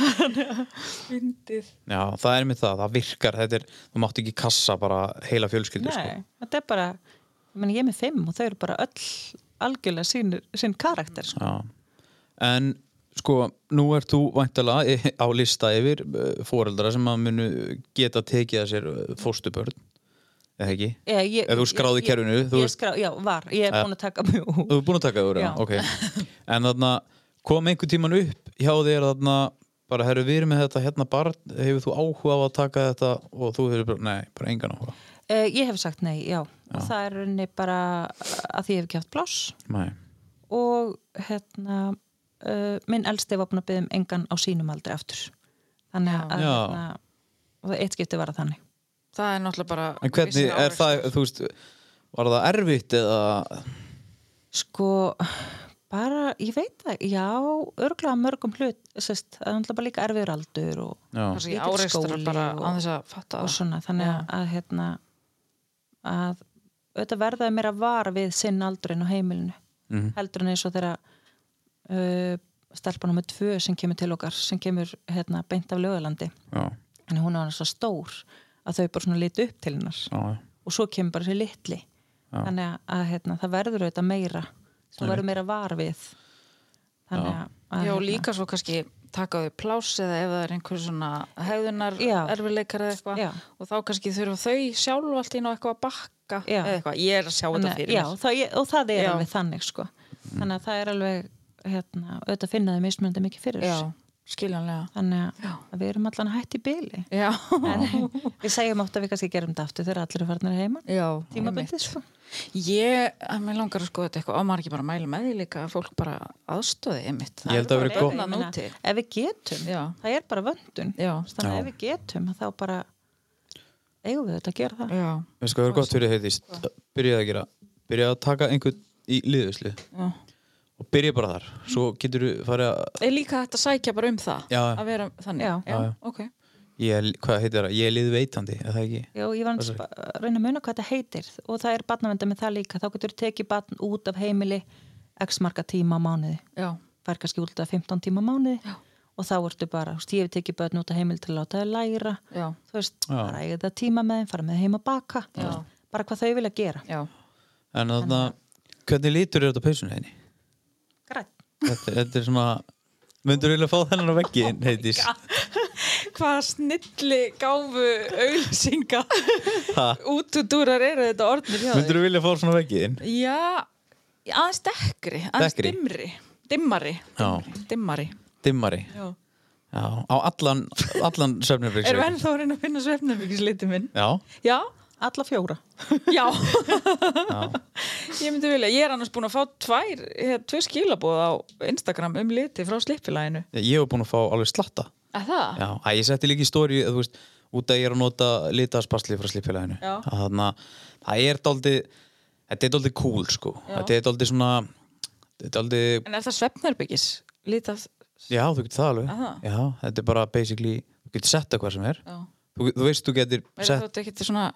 B: Fyndið.
A: já, það er einmitt það, það virkar þetta er, þú mátt ekki kassa bara heila fjölskyldu, sko
D: Nei, þetta er bara, ég meina, ég er með fimm og þau eru bara öll algjörlega sín, sín karakter, sko.
A: Já. En sko, nú ert þú væntalega á lista yfir fóreldra sem að munu geta tekið að sér eh, fóstubörn, eða ekki?
D: Ég, ég,
A: Ef þú skráð í
D: ég-
A: kerfinu,
D: ég,
A: þú
D: ég
A: veist-
D: skrá, já, var, ég er búin að taka mjög út
A: Þú er búin að taka það úr, já,
D: Já.
A: ok. En þarna, kom einhver tíman upp hjá þér þarna, bara herru, við erum með þetta hérna barn, hefur þú áhuga á að taka þetta og þú hefur bara, nei, bara engan áhuga.
D: uh, ég hef sagt nei, já, og það er rauninni bara eh, að því ég hef ekki haft pláss
A: Nei,
D: og hérna uh, minn elsti var búin að byggja um engan á sínum aldrei aftur þannig að
A: Já.
D: hérna, og eitt skipti var að þannig
B: það er náttúrulega bara
A: en hvernig
B: vissin
A: er það, þú veist, var það erfitt eða,
D: sko bara, ég veit það, já örglega mörgum hlut, sest, það er náttúrulega bara líka erfiður aldur og,
A: já,
B: árekstur kannski
D: lítill
B: árekstra
D: skóli
B: bara
D: og-
B: á þess að fatta
D: og
B: það
D: svona,
B: Já.
D: þannig að, að hérna að auðvitað verðaði mér að vara við sinn aldurinn á heimilinu
A: Mhm.
D: heldur en eins og þeirra uh, stelpa nummer tvö sem kemur til okkar sem kemur hérna beint af lögulandi
A: já,
D: en hún var svo stór að þau bara svona liti upp til hennar
A: já, já.
D: og svo kemur bara þessi litli
A: Já.
D: þannig að, að hérna, það verður auðvitað meira þú verður meira var við þannig að, að
B: já
D: hérna,
B: líka svo kannski taka á þau plás eða ef það er einhver svona hegðunar
D: Já.
B: erfileikar eða eitthvað
D: Já.
B: og þá kannski þurfa þau sjálf allt inn á eitthvað að bakka
D: Já.
B: eða eitthvað, ég er að sjá þetta
D: þannig, að-
B: fyrir
D: já,
B: mér.
D: það, ég- og það er
B: Já.
D: alveg þannig sko. þannig að það er alveg hérna, auðvitað finnaði mismunandi mikið fyrir
B: Já.
D: þessu.
B: skiljanlega
D: þannig
B: Já.
D: að, að við erum allan hætt í byli
B: já,
D: en við segjum átt að við kannski gerum þetta aftur þegar allir eru farnir heima
B: já
D: tímabundið sko
B: einmitt. ég, að mér langar að skoða þetta eitthvað og maður ekki bara að mæla með því líka að fólk bara aðstóði einmitt
A: Ég held að
B: er
A: vera
B: bara
A: gott-
D: Ég
B: vinnan
D: meina,
B: úti.
D: ef við getum,
B: Já.
D: það er bara vöndun
B: Já.
D: þannig
A: Já.
D: að ef við getum þá bara eigum við þetta að gera það
B: já,
A: Veistu hvað er gott fyrir heiðist? Byrjaði að gera Byrjaði að taka einhvern í liðuslu
B: já.
A: og byrja bara þar Svo getur þú farið að
B: er líka hægt að sækja bara um það
A: Já.
B: að vera þannig
D: Já.
A: Já, já.
B: ok
A: Ég er, hvað heitir það? Ég er liðveitandi, er það ekki?
D: Já, ég var aðeins
A: Sorry.
D: að reyna að muna hvað þetta heitir og það er barnavenda með það líka þá getur þú tekið barn út af heimili x marga tíma á mánuði
B: já,
D: fær kannski út af 15 tíma á mánuði Já. og þá ertu bara, þú veist, ég hef tekið barn út af heimili til að láta þau læra
B: já,
D: þú veist,
A: Já.
D: bara eiga það tíma með þeim, fara með þau heim að baka þú
B: Já.
D: veist, bara hvað þau vilja gera
B: já
A: En þannig að, hvernig lítur er þetta á peysunni henni?
D: Grætt.
A: Þetta, þetta er svona, myndur vilja fá þennan á veggin, heitis
B: hvaða snilli gáfu auðlýsinga
A: Ha?
B: útudúrar eru þetta orðnir hjá
A: Myndur vilja fá svona á veggin?
B: þér já, aðeins dekkri aðeins
A: Dekkri?
B: dimmri, dimmari
A: Já.
B: dimmari
A: Dimmari
B: já.
A: Já, á allan, allan söfnirfriks
B: erum ennþá að reyna að finna svefnabyggisliti minn
A: Já,
B: já,
D: alla fjóra
B: já ég myndi vilja, ég er annars búin að fá tvær, eh, tvö skilabóð á Instagram um liti frá slippilæginu
A: ég hef búin að fá alveg slatta
B: að það?
A: Já, að ég setti líka í stóri þú veist, út að ég er að nota litaðspasli frá slípfélaginu
B: Já.
A: þannig að það er dálítið þetta er dálítið cool sko
B: Já.
A: þetta er dálítið svona þetta er dálítið,
B: en er það svefnabyggis? litað,
A: já þú getur það alveg
B: Aha.
A: já, þetta er bara basically þú getur sett hvað sem er
B: já
A: þú, þú veist þú getur
B: er
A: sett
B: þetta ekki svona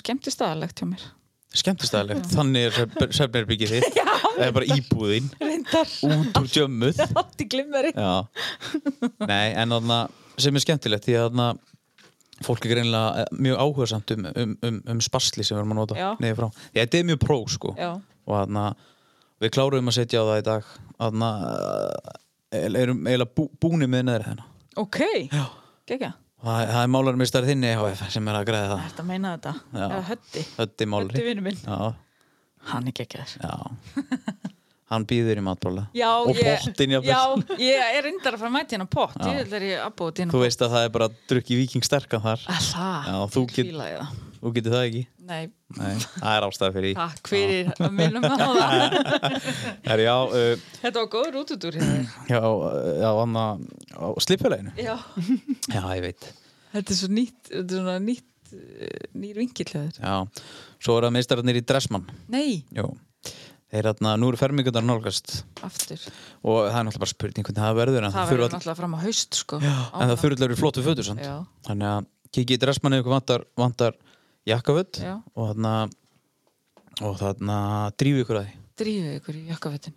B: skemmtistaðalegt hjá mér?
A: skemmtistæðilegt þannig er svefnirbyggið þitt það er bara íbúðin
B: reyndar
A: út úr djömmuð
B: átt í glimmeri
A: Já, nei, en þarna sem er skemmtilegt því að þarna fólk er greinlega eh, mjög áhugasamt um, um, um, um sparsli sem við erum að nota
B: Já.
A: niður frá. Því að þetta er mjög pró, sko
B: Já.
A: og þarna, við kláruðum að setja á það í dag þarna eh, erum eiginlega bú, búni með neður hérna
B: ok, gegja
A: það, það er málarmistar þinni EHF sem er að greiða það
B: þetta meina þetta,
A: Já.
B: eða hötti
A: Þetta er
B: hötti
A: málari
B: vinnu minn,
A: Já,
B: hann er gegjaður
A: já Hann býður í matbóla
B: já,
A: og
B: ég-
A: bóttin
B: já, ég er reyndar að fara að mæta hérna pott
A: Já.
B: ég vil er ég að búa
A: Þú
B: þetta hérna
A: veist að það er bara drukki vikingsterkan þar
B: að það,
A: Já, þú
B: Ég
A: get-
B: fíla ég það.
A: Þú getur það ekki
B: nei,
A: Nei, það er ástæða fyrir því.
B: takk fyrir að minnum á það
A: Herri, já, uh,
B: þetta var góður útudúr hérna
A: já, uh, já, anna, á slipjuleginu.
B: já,
A: Já, ég veit.
B: þetta er svo nýtt þetta er svona nýtt, eh, nýr vingillöður
A: Já, svo eru það meistararnir í Dressmann.
B: nei,
A: Jú, þeir hérna, nú eru fermingarnar nálgast
B: aftur
A: og það er náttúrulega bara spurning hvernig það verður en það
B: það verður
A: þurfa all-
B: náttúrulega fram á haust sko
A: Já, en það þurfa allir að vera í flottu fötur samt.
B: Já.
A: Þannig að kikið í Dressmann eða ykkur vantar, vantar jakkaföt
B: Já.
A: og þarna og þarna drífu ykkur að því.
B: drífið ykkur í jakkafettin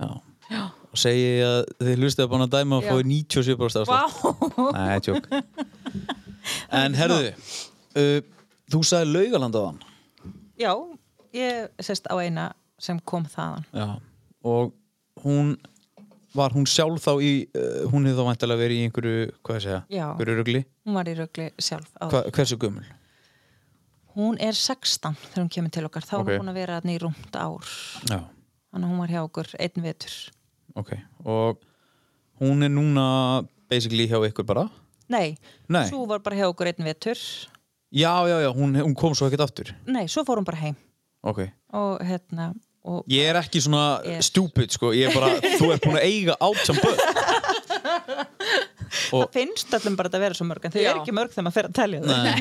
A: Já. Og segi að þið hlustið að bána dæma og
B: Já.
A: fóði 97% afslátt.
B: vá,
A: Nei, tjók En herðu uh, Þú sagði laugaland á þann
D: Já, ég sérst á eina sem kom þaðan
A: Já. Og hún Var hún sjálf þá í uh, Hún hefði þá væntalega verið í einhverju Hvað ég segja?
D: Já.
A: Einhverju rugli
D: hún var í rögli sjálf á
A: Hva, Hversu gömul?
D: hún er 16 þegar hún kemur til okkar þá
A: Ok.
D: er hún búin að vera þarna í rúmt ár
A: Já,
D: þannig að hún var hjá okkur einn vetur
A: ok Og hún er núna Basically hjá ykkur bara
D: nei,
A: Nei.
D: svo var bara hjá okkur einn vetur
A: Já, já, já, hún, hún kom svo ekkert aftur
D: nei, svo fór hún bara heim
A: Ok
D: og hérna og
A: Ég er ekki svona
D: Ég-
A: stupid sko Ég er bara, þú er búin að eiga átján börn
D: það finnst allum bara að vera svo mörg en þau
B: Já.
D: eru ekki mörg þegar maður fer að telja þau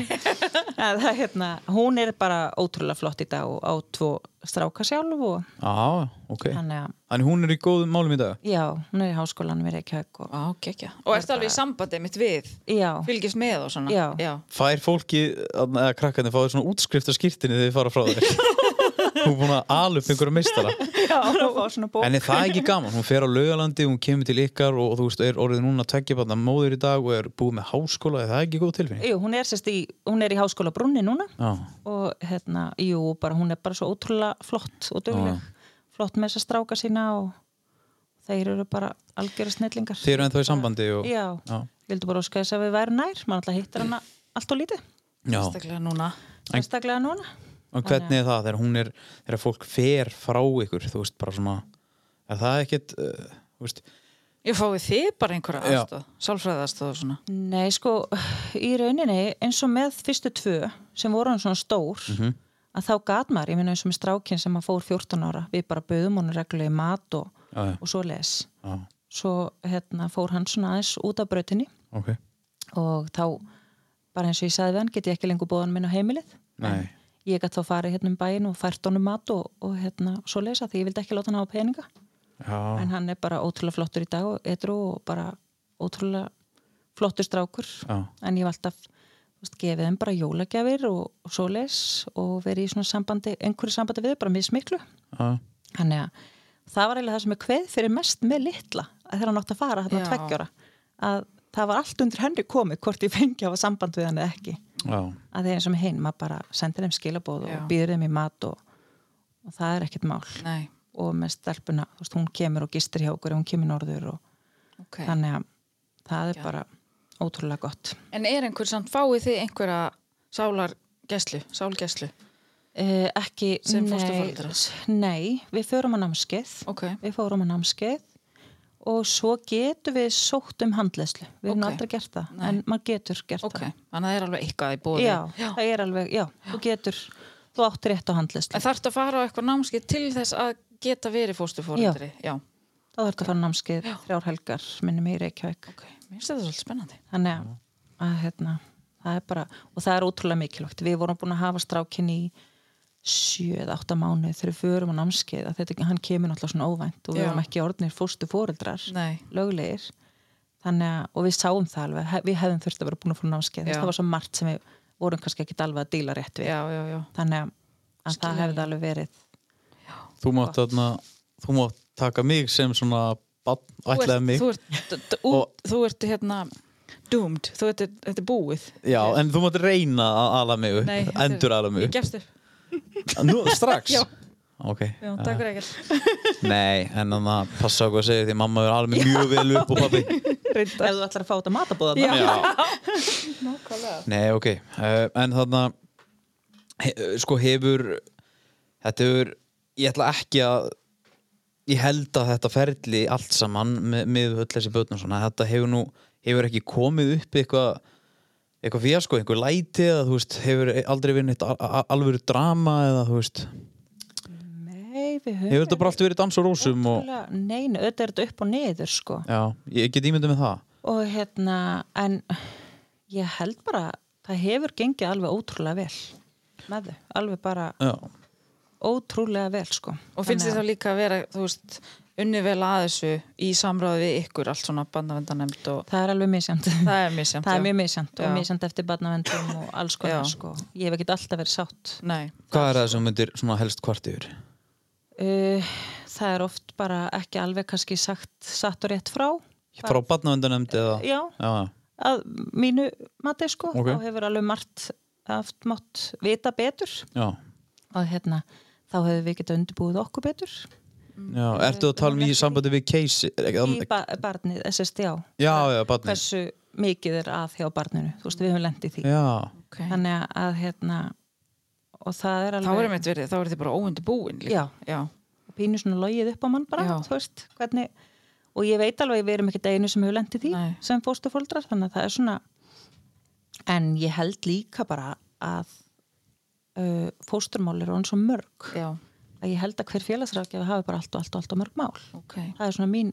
D: En það, er hérna, hún er bara ótrúlega flott í dag og á tvo stráka sjálf og
A: Já, ok
D: þannig að
A: Þannig hún er í góðum málum í dag
D: já, hún er í háskólanum í Reykjavík og
B: Á, gekkja. Og ertu alveg í sambandi mitt við?
D: já,
B: Fylgist með og svona?
D: Já.
A: fær fólki, þarna, eða krakkarnir fáið svona útskrift af skýrtinni þegar þið fara frá þér hún er búin að ala upp einhverja meistara
D: já, hún fá svona bók
A: en er það ekki gaman, hún fer á laugalandi hún kemur til ykkar og, og þú veist, er orðið núna tveggja banna móður í dag og er búið með háskóla er það ekki góð tilfinning?
D: Jú, hún er, sérst í, hún er í háskóla brunni núna
A: Já,
D: og hérna, jú, bara hún er bara svo ótrúlega flott og dugleg flott með þess að stráka sína og þeir eru bara algjöru snillingar
A: þið eru ennþá í sambandi og,
D: Já,
A: Já.
D: ég vildi bara óska þess að við værum nær maður alltaf hittir hana allt og lítið
A: Já.
B: Staklega núna.
D: einstaklega núna
A: en hvernig er það þegar hún er þegar fólk fer frá ykkur, eh, þú veist, bara svona er það ekkit, uh, þú veist
B: Ég fái þið bara einhverja
A: Já.
B: aðstóð, sálfræðastóð og svona.
D: Nei, sko, í rauninni eins og með fyrstu tvö sem voru hann svona stór
A: Mhm.
D: að þá gat maður, ég minna eins og með strákinn sem að fór 14 ára, við bara böðum honum reglulega í mat og,
A: Já, já.
D: og svo les
A: Já,
D: svo hérna fór hann svona aðeins út af brautinni
A: ok.
D: og þá bara eins og ég sagði við hann get ég ekki lengur bóðan minn á heimilið
A: Nei.
D: ég gætt þá farið hérna um bæin og fært honum mat og, og hérna svo lesa því ég vildi ekki láta hann hafa peninga
A: Já,
D: en hann er bara ótrúlega flottur í dag og etru og bara ótrúlega flottur strákur
A: já.
D: en ég hef alltaf þú veist, gefið þeim bara jólagjafir og, og svoleiðis og verið í svona sambandi, einhverju sambandi við þau, bara mjög smiklu.
A: já.
D: Þannig að það var eiginlega það sem er kveð fyrir mest með litla að þegar hann átti að fara hann
B: Já.
D: að tveggjara að það var allt undir henni komið hvort ég fengi að hafa samband við hann eða ekki
A: Já,
D: að þeir eins og með hinn, maður bara sendir þeim skilabóð
B: Já.
D: og býður þeim í mat og, og það er ekkert mál
B: Nei,
D: og með stelpuna, þú veist, hún kemur og gistir hjá okkur, hún kemur norður og
B: ok.
D: þannig að það er bara ótrúlega gott
B: En er einhver samt, fáið þið einhverja sálargeslu, sálgeslu?
D: Uh, ekki,
B: Sem
D: nei,
B: fósturforeldrar?
D: s- Nei, við förum að námskeið
B: Ok,
D: Við fórum að námskeið og svo getum við sótt um handleyslu Við hefum
B: Ok.
D: aldrei gert það,
B: Nei.
D: en maður getur gert
B: ok. Þannig að það er alveg eitthvað í
D: það
B: bóði.
D: já, það er alveg, já, þú getur Þú átt rétt á handleyslu
B: En þarftu að fara á eitthvað námskið til þess að geta verið fóstufórundri? Já. Já,
D: Þá þarf að fara á námskeið þrjár helgar minnum í Reykjavík
B: ok. Mér finnst þetta svolítið spennandi.
D: Þannig að, að hérna, það er bara og það er ótrúlega mikilvægt. Við vorum búin að hafa strákinn í sjö eða átta mánuð þegar við förum á námskeið að þetta, hann kemur náttúrulega svona óvænt og við
B: Já.
D: vorum ekki orðnir fórstu fóreldrar
B: Nei.
D: löglegir þannig að, og við sáum það alveg, he- við hefðum þurft að vera búin að fór námskeið,
B: Já.
D: þess það var svo margt sem við vorum kannski ekki alveg að díla rétt við
B: Já, já, já.
D: þannig að, að það hefði alveg verið
A: þú mátt þarna, þú mátt taka mig sem svona bann, ætlaði mig.
B: Þú ert, þú ert, þú,
A: Og-
B: þú ert hérna doomed, þú ert, þetta er búið.
A: Já, en þú mátt reyna að ala mig upp,
B: Nei, þetta er-
A: endur ala mig
B: Ég
A: upp.
B: gefst upp.
A: Nú, strax?
B: Já.
A: Ok.
B: Já, takk fyrir ekkert.
A: Nei, en þannig að passa á hvað að segja því mamma er alveg mjög vel upp og pabbi.
D: ef þú ætlar að fá þetta matabóðan
B: Já.
A: Nei, ok. Uh, en þannig að, he, sko, hefur, þetta hefur, ég ætla ekki að, ég held að þetta ferli allt saman með, með öll þessi börn og svona, þetta hefur nú, hefur ekki komið upp eitthvað, eitthvað fíasko, einhver læti eða, þú veist, hefur aldrei verið neitt al- al- alvöru drama eða, þú veist,
D: nei, við höfum
A: hefur þetta bara allt verið dans og rósum og,
D: ótrúlega- nei, nei, auðvitað er þetta upp og niður sko
A: já, ég get ímyndið með það.
D: og hérna, en ég held bara, það hefur gengið alveg ótrúlega vel með þau, alveg bara
A: Já,
D: ótrúlega vel sko
B: Og finnst þið
D: Þannig
B: þá líka að vera, þú veist, unni vel að þessu í samráði við ykkur, allt svona bandavendanemnd og
D: að það er alveg misjönd
B: það er misjæmt.
D: það
B: já.
D: er mjög misjönd
B: Já.
D: og misjönd eftir barnavendum og alls
B: Já.
D: konar sko. ég hef ekkert alltaf verið sátt
B: Nei,
A: hvað er það sem þú myndir svona helst kvart yfir?
D: uh, það er oft bara ekki alveg kannski sagt satt og rétt frá
A: Frá barnavöndanemnd eða?
D: já,
A: Já,
D: að mínu mati sko
A: Ok.
D: þá hefur alveg margt haft mátt vita betur
A: já,
D: og hérna þá hefur við getað undirbúið okkur betur Mm.
A: já. Ertu að tala um í sambandi við case?
D: í ba barnið, SSD á
A: Já, já, barni.
D: hversu mikið er að hjá barninu þú veist við höfum lendið því
A: Já,
B: ok.
D: þannig að, að hérna og það er
B: Þá
D: alveg
B: er mitt verið, þá er þið bara óundi búin líka.
D: Já.
B: Já.
D: og pínu svona logið upp á mann bara,
B: Já.
D: þú veist, hvernig og ég veit alveg, við erum ekkert einu sem hefur lendið því
B: Nei.
D: sem fóstufóldrar, þannig að það er svona en ég held líka bara að uh, fósturmál eru hann svo mörg
B: Já,
D: að ég held að hver félagsrákjafi hafi bara allt og allt og allt og mörg mál
B: ok.
D: það er svona mín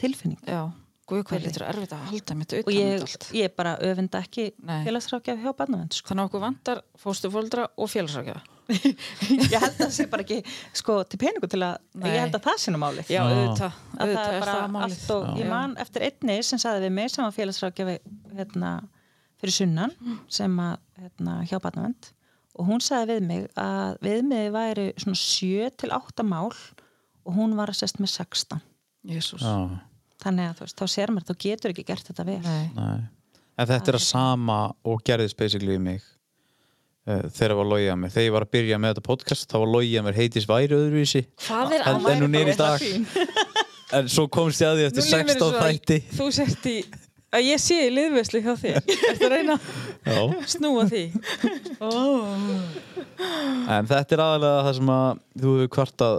D: tilfinning
B: Já, guð hvað lítur erfitt að halda mitt
D: og
B: utan
D: ég,
B: um allt.
D: ég bara öfenda ekki
B: Nei.
D: félagsrákjafi hjá barnavend sko.
B: Þannig að okkur vantar fóstufóldra og félagsrákjafa.
D: ég held að það sé bara ekki sko, til peningu til að,
B: Nei.
D: ég held að það sé nú málið
B: Já,
A: Já.
B: auðvitað,
D: að það
B: auðvitað
D: er
B: er
D: bara
B: það málið.
D: allt og ég
B: Já.
D: man eftir einni sem saði við mig sem var félagsrákjafi hérna, fyrir sunnan sem að hérna, hjá barnavend og hún saði við mig að viðmiði væri svona 7 til 8 mál og hún var að sest með 16
B: Jésús.
A: já,
D: þannig að þú veist, þá sér maður, þú getur ekki gert þetta vel
B: Nei,
A: nei. En
D: Ah.
A: þetta er að sama og gerðist basically í mig uh, þegar var logið að mér. Þegar ég var að byrja með þetta podcast, þá var logið að mér heitis væri öðruvísi.
B: Hvað er
A: En, en hún er í dag. En svo komst ég að því eftir
B: Nú líður mér
A: 16
B: svo að
A: þætti.
B: Þú sért í að ég sé í liðveslu hjá þér Ertu að reyna að
A: Já.
B: snúa því
A: En þetta er aðalega það sem að þú hefur kvartað,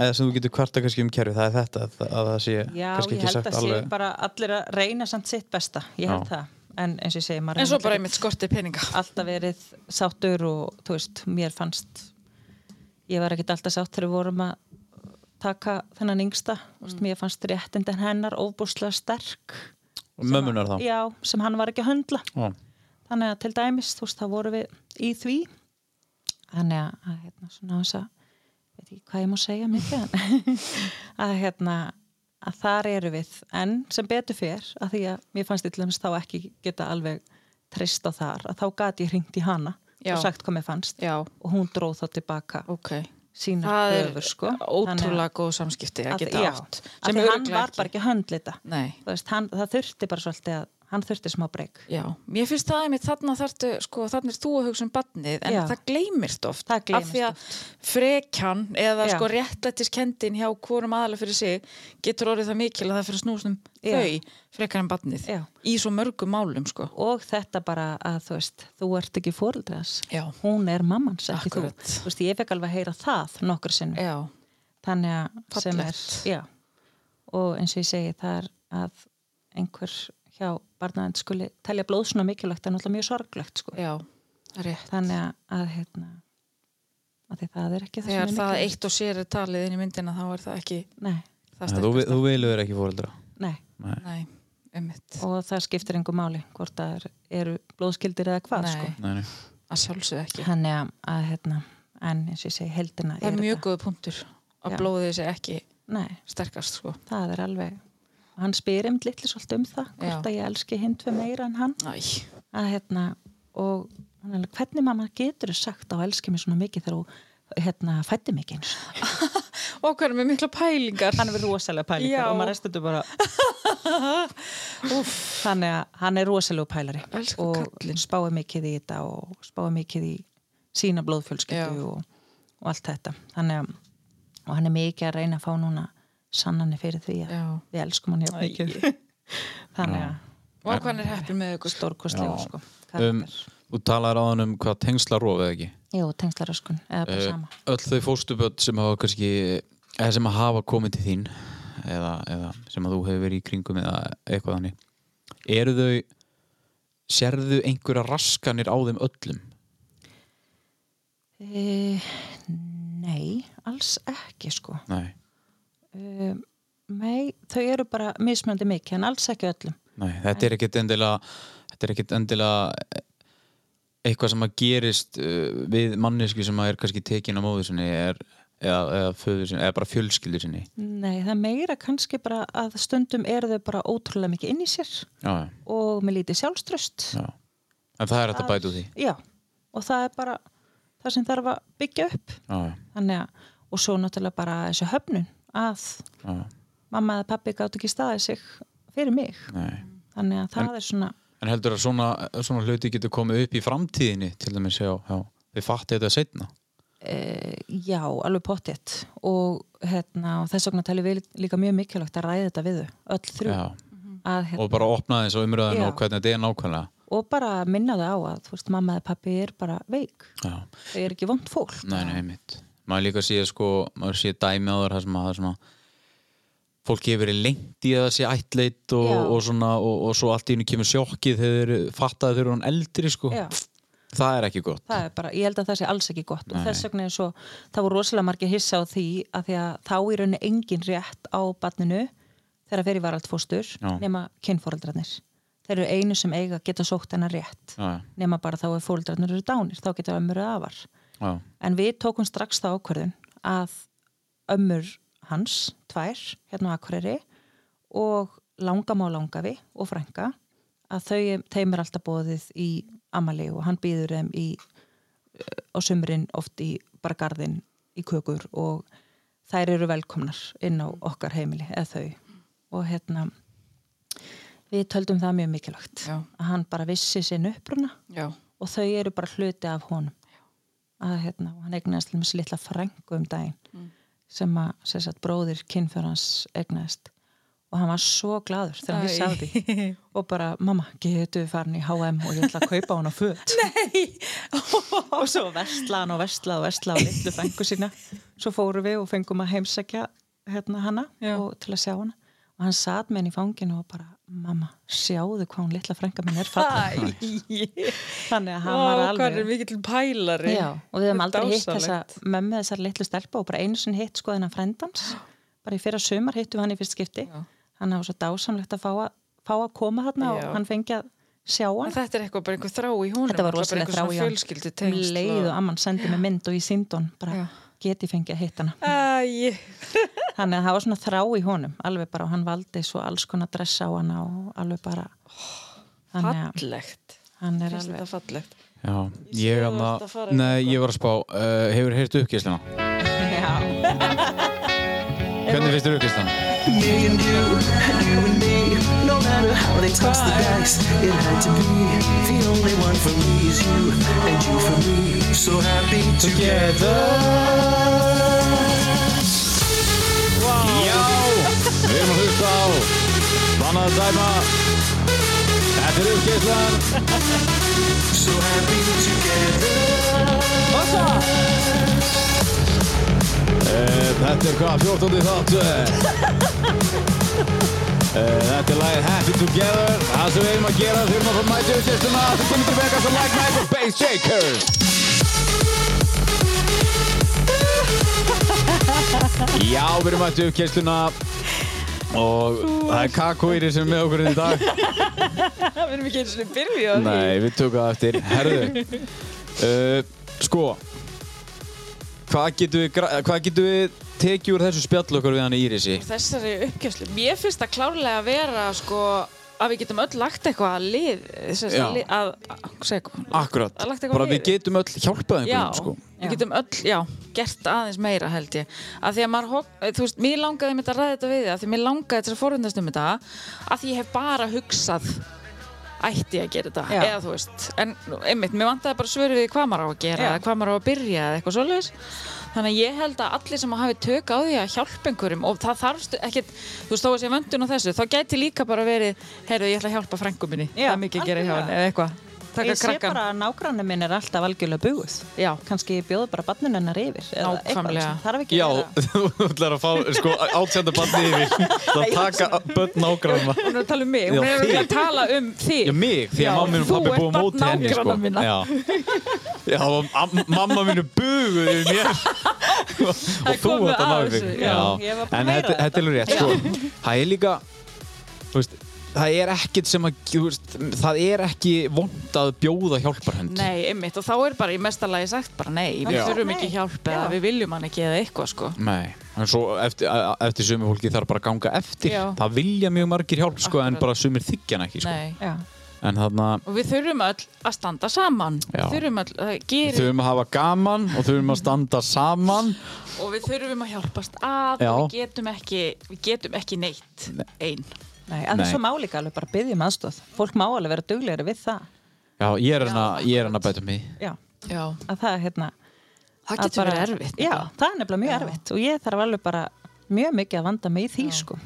A: eða sem þú getur kvartað kannski um kerfi, það er þetta að, að það sé
D: Já,
A: kannski
D: ég
A: ekki
D: held
A: sagt
D: að sé
A: alveg.
D: bara allir að reyna samt sitt besta, ég held
A: Já.
D: það. En eins og ég segi, maður
B: en svo bara
D: hefur náttúrulega
B: einmitt skorti peninga
D: alltaf verið sáttur og þú veist, mér fannst ég var ekkert alltaf sátt þegar við vorum að taka þennan yngsta mm. veist, mér fannst réttindin hennar ofbúslega sterk
A: Mömmunar þá.
D: já, sem hann var ekki að höndla
A: Já.
D: þannig að til dæmis, þú veist, þá vorum við í því þannig að, að hérna, svona þess að veit ekki hvað ég má segja mikið en að hérna, að þar eru við en sem betur fyrr, að því að mér fannst yllumst þá ekki geta alveg treyst á þar, að þá gat ég hringt í hana
B: Já.
D: og sagt hvað mér fannst
B: já,
D: og hún dróð þá tilbaka
B: ok
D: sína
B: það er
D: höfur, sko
B: ótrúlega góð samskipti að geta
D: já,
B: átt
D: af
B: sem
D: því hann
B: örugglega
D: var
B: ekki.
D: bara ekki að höndlita
B: Nei,
D: Þú veist, hann, það þurfti bara svolítið að hann þurfti smá breyk
B: já, mér finnst það einmitt þarna þartu, sko, þarna er þú að hugsa um badnið en
D: Já.
B: það gleymist oft
D: Það gleymist
B: af því að frekjan eða
D: Já.
B: sko réttlættiskendin hjá hvorum aðalega fyrir sig getur orðið það mikil að það fyrir að snúast um
D: Já.
B: þau frekar en badnið
D: Já.
B: í svo mörgum málum, sko
D: og þetta bara að þú veist þú ert ekki fóreldras
B: Já.
D: hún er mammans, ekki
B: Akkurat.
D: þú þú veist, ég fekk alveg að heyra það nokkur sinnum
B: já,
D: þannig að sem er
B: Fallegt.
D: já, og eins og ég segi það er að einhver hjá barnaðend skuli telja blóð svona mikilvægt en alltaf mjög sorglegt sko.
B: já, rétt
D: þannig að, að hérna að því það er ekki það
B: þegar
D: sem
B: það
D: er mikilvægt
B: eitt og sér er talið inn í myndina þá er það ekki
D: nei,
B: það
A: Þú,
B: sterkast
A: þú vilur ekki fóreldra.
D: nei.
B: nei, ummitt
D: og það skiptir einhver máli hvort það er, eru blóðskildir eða hvað
B: Nei.
D: sko.
A: Nei, nei.
B: að sjálfsög ekki
D: þannig að, að hérna, en eins og ég segi heldina
B: það er mjög góð punktur að
D: Já.
B: blóðið sé ekki
D: nei,
B: sterkast sko.
D: það er alveg hann spyr um litli svolítið um það hvort
B: Já.
D: að ég elski hinn tvei meira en hann
B: Æ,
D: að hérna og hann er alveg, hvernig mamma getur sagt að hún elski mig svona mikið þegar hún hérna fætti mig ekki eins og?"
B: og hvað er með mikla pælingar
D: hann er rosalega pælingar
B: Já.
D: og maður restuður bara Úff, þannig að hann er rosalega pælari
B: Elsku
D: og
B: kallinn.
D: spáir mikið í þetta og spáir mikið í sína
B: Já.
D: blóðfjölskyldu og, og allt þetta þannig að og hann er mikið að reyna að fá núna sannanir fyrir því að
B: Já.
D: við elskum hann hjá mikið þannig að
B: og hvað hann er heppin með ykkur
D: stórkostlega
A: Já.
D: sko
A: Um,
D: um,
A: þú talaðir á um hvað tengsla rófið ekki.
D: Jú, tengslaröskun, eða bara
A: Eh,
D: sama
A: Öll þau fóstuböld sem hafa kannski, eða sem að hafa komið til þín, eða, eða sem að þú hefur verið í kringum eða eitthvað þannig. Eru þau, sérðu einhverja raskanir á þeim öllum?
D: e, Nei, alls ekki sko
A: Nei,
D: Um, Nei, þau eru bara mismöndi mikið en alls ekki öllum.
A: nei, þetta er ekkit endilega, þetta er ekkit endilega eh, eitthvað sem að gerist uh, við mannesku sem að er kannski tekin á móður sinni er, eða, eða, föður sinni, eða bara fjölskyldur sinni.
D: Nei, það er meira kannski bara að stundum eru þau bara ótrúlega mikið inn í sér
A: Já, já,
D: og með lítið sjálfströst.
A: já. En það er hægt að bæta úr því.
D: Já, og það er bara það sem þarf að byggja upp.
A: Já, já,
D: Þannig að, og svo náttúrulega bara þessu höfnun að
A: já, já.
D: mamma eða pappi gátt ekki staðið sig fyrir mig.
A: Nei.
D: Þannig að það er svona,
A: En heldur að svona, svona hluti getur komið upp í framtíðinni til dæmis já, já, við fatti þetta setna
D: e, já, alveg pottitt og, hérna, og þess vegna talið við líka mjög mikilvægt að ræða þetta við þau, öll þrjú.
A: já,
D: Að, hérna,
A: og bara opna þess að umröðan
D: Já.
A: og hvernig þetta er nákvæmlega
D: og bara minna það á að þú veist, mamma eða pappi er bara veik
A: já,
D: þau er ekki vond fólk
A: nei, nei, mitt maður líka sé sko, maður sé dæmi á þar það sem að, það sem að fólk hefur verið lengt í að það sé ættleit og,
D: Já.
A: og svona, og, og svo allt í hennu kemur sjokkið þegar þeir fattaði þegar hann eldri sko,
D: Já.
A: það er ekki gott
D: það er bara, ég held að það sé alls ekki gott
A: Nei.
D: og þess vegna er svo, það voru rosalega margir hissa á því að því að þá er henni engin rétt á barninu þegar fyrir var allt fóstur
A: Já.
D: nema kynfóreldrarnir þeir eru einu sem eiga að geta sótt hennar rétt
A: já,
D: nema bara þá er fóreldrarnir eru dánir þá geta ömmur eða afar
A: já,
D: en við tókum strax þá ákvörðun að ömmur hans, tvær, hérna á Akureyri og langam á langafi og frænga að þau, þeim er alltaf bóðið í Amali og hann býður þeim í á sumrin oft í bara garðin í kökur og þær eru velkomnar inn á okkar heimili eða þau og hérna við töldum það mjög mikilvægt
B: Já.
D: að hann bara vissi sinn uppruna
B: já,
D: og þau eru bara hluti af honum að hérna, og hann egnaðist til þessi
B: Mm.
D: litla frængu um daginn sem að sem sagt, bróðir kynfjörans egnaðist og og hann var svo gladur þegar hann
B: Æ.
D: vissi af því og bara, mamma, getur við farin í H&M og ég ætla að kaupa hann á föt og svo vestla hann og vestla og vestla á litlu fengu sína svo fórum við og fengum að heimsækja hérna hana
B: Já.
D: og til að sjá hana og hann satt með henni í fanginu og bara mamma, sjáðu hvað hún litla frænka minn er falla þannig að hann var
B: Ó, hvað
D: alveg
B: er mikill pælari
D: Já, og við höfum
B: Þetta er
D: aldrei hitt þessa
B: dásamlegt.
D: mömmu þessar litlu stelpa og bara einu sinni hitt sko þennan frendans bara í fyrra sumar hittum við hann í fyrst skipti
B: Já.
D: hann hafa svo dásamlegt að fá að, fá að koma hann og
B: Já.
D: hann fengi að sjá
B: En
D: hann
B: Þetta er eitthvað bara einhver þrá í húnum
D: þetta var
B: bara
D: rosalega
B: einhver
D: þrá
B: svona
D: í hann
B: Fjölskyldu
D: um
B: tengsl
D: leið og amman sendi mig mynd og ég síndi hann bara
B: Já.
D: geti fengið að hitt hana
B: Æ,
D: þannig að það var svona þrá í honum alveg bara og hann valdi svo alls konar dress á hana og alveg bara þannig að
B: fallegt
D: hann er
B: Oh, Finnst
D: alveg
B: þetta fallegt
E: Já,
B: sé
E: ég,
B: að þú
A: hérna-
E: anna,
B: ert að fara
E: nei, ég var að spá uh,
A: eh,
E: Hefur heyrt uppgæsluna?
D: Já.
E: Hvernig finnst þér uppgæsluna?
F: Me and you, and you and me. No matter how they toss the dice, it had to be. The only one for me is you, and you for me. So happy together.
A: Já, við erum að hlusta á Vanna að dæma Þetta er uppgeislan
F: So happy together.
A: Eh, Þetta er hvað, 14. þáttu Eh, Þetta er lagið Happy Together Það sem við erum að gera, þurfum að fara að mæta uppgeisluna Það komum til vega sem Like Mike og Bass Shakers Já, við erum mættu uppgeisluna og það er kakóýri sem er með okkur í dag
B: Það verðum ekki eins og byrja
A: Nei, við tökum það eftir. Herðu, uh, sko, hvað getum við, gra- hvað getum við tekið úr þessu spjall okkur við hann Írisi?
B: Þessari uppgjöfslu Mér finnst það klárlega að vera sko að við getum öll lagt eitthvað að lið sérst,
A: Já.
B: að, lið- að, að, seg,
A: Akkurat,
B: Það er lagt eitthvað
A: bara við
B: fyrir.
A: getum öll hjálpað
B: já,
A: einhverjum, sko.
D: Já.
B: við getum öll já, gert aðeins meira held ég að því að maður, hok- þú veist, mér langaði mér að ræða þetta við þig, að því að mér langaði til að forvindast um þetta að því ég hef bara hugsað ætti ég að gera þetta
D: Já.
B: eða þú veist, en einmitt, mér vantaði bara svöru við hvað maður á að gera
D: Já.
B: eða hvað maður á að byrja eða eitthvað svoleiðis þannig að ég held að allir sem hafi tök á því að hjálpa einhverjum og það þarfst ekkert, þú veist, þó að sé vöndun á þessu þá gæti líka bara verið, heyrðu, ég ætla að hjálpa frængu minni,
D: Já,
B: það er mikið að gera hjá
D: algjörlega.
B: henni eða eitthvað, taka
D: ég sé
B: krakkan
D: bara að nágrannu minn er alltaf algjörlega búið
B: Já.
D: kannski bjóðu bara barninu hennar yfir eða eitthvað,
B: Nákvæmlega.
D: sem þarf ekki
A: Já,
D: að vera
A: þú ætlar að fá, sko, átsenda barnið yfir, það taka börn nágranna.
B: Hún er að tala um mig, hún
A: Já,
B: er
A: þig.
B: örugglega að tala um þig
A: Já, mig, því
B: Já,
A: að mamma minn og
B: þú
A: pabbi
B: ert
A: búið á
B: barn
A: móti henni, sko.
B: nágranna minna.
A: Já, já og am- mamma mínu buguði yfir mér og þú
B: komið
A: átt að
B: að
A: náðu
B: þessu,
A: þig.
B: já.
D: Ég var búin
A: en
D: að heyra
A: þetta
D: þetta.
A: þetta er alveg rétt, sko. Það er líka, þú veist, það er ekkert sem að, þú veist, það er ekki vond að bjóða hjálparhönd.
B: Nei, einmitt, og þá er bara í mesta lagi sagt bara nei, við
A: Já.
B: þurfum
D: Nei.
B: ekki hjálp eða
D: Já.
B: við viljum hann ekki eða eitthvað sko
A: Nei, en svo eftir, a- a- eftir sömu fólki þarf bara að ganga eftir.
B: Já.
A: Það vilja mjög margir hjálp, sko, en
B: Akkurat.
A: bara sumir þykjan ekki, sko.
B: Nei,
D: Já.
A: En þannig að
B: og við þurfum öll að standa saman
A: Já.
B: Við þurfum öll, það
A: við
B: gerir
A: þurfum að hafa gaman og þurfum að standa saman.
B: og við þurfum að hjálpast að
A: Já.
B: og við getum ekki, við getum ekki neitt einn
D: Nei, að
A: Nei.
D: þessu málíka alveg bara byggjum aðstóð. Fólk má alveg vera duglegri við það.
A: Já, ég er hann að, ég er hann að bæta um mig.
D: Já,
B: Já,
D: að það er hérna...
B: það
D: að
B: getur
D: bara-
B: verið erfitt
D: Já,
B: nefnilega.
D: það er nefnilega mjög erfitt og ég þarf alveg bara mjög mikið að vanda mig í því, sko.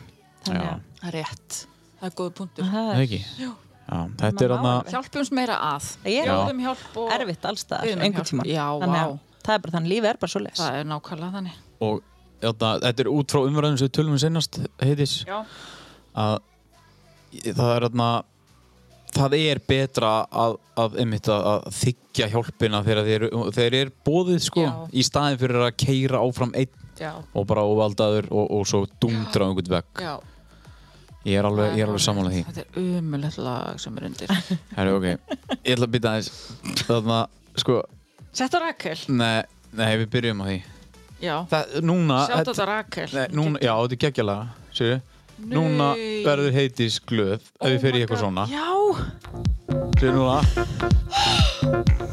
D: Þannig
A: Já.
D: að
B: Það er rétt, það er góð punktur
D: það
A: Það
D: er
A: ekki? Já. þetta er hérna- hann
D: Mamma á
A: að,
B: Hjálpumst meira að,
D: Ég er
B: bjóðum hjálp og
D: erfitt
B: Við
D: allstaðar,
B: erum hjálp.
D: einhvern tíman.
B: Já,
D: þannig
B: vá.
D: að það er bara þannig, lífið er bara svo les.
B: það er nákvæmlega þannig
A: og þetta, þetta er út frá umræðum sem við tölum við sinnast, heitis,
B: Já,
A: að það er hann að, það er betra að, að, einmitt, að, að þykja hjálpina þegar þeir, þeir er bóðið, sko,
B: Já.
A: í staðin fyrir að keira áfram einn
B: já,
A: og bara óvaldaður og, og svo dundra á einhvern vegg.
B: já
A: Ég er alveg,
B: Það
A: ég er alveg sammála því.
B: hárrétt. Þetta er umulett lag sem er undir
A: Herru, ok, ég ætla að býta aðeins, þannig að, sko,
B: Sett á Rakel
A: nei, nei, við byrjum á því.
B: Já,
A: Það, núna,
B: sjátt á þetta Rakel
A: Ah, Nei, núna, já, þetta er geggjalega, séu Núna
B: Nei.
A: verður heitis glöð ef
G: Oh
A: við fyrir í eitthvað svona
B: Já,
A: Séu núna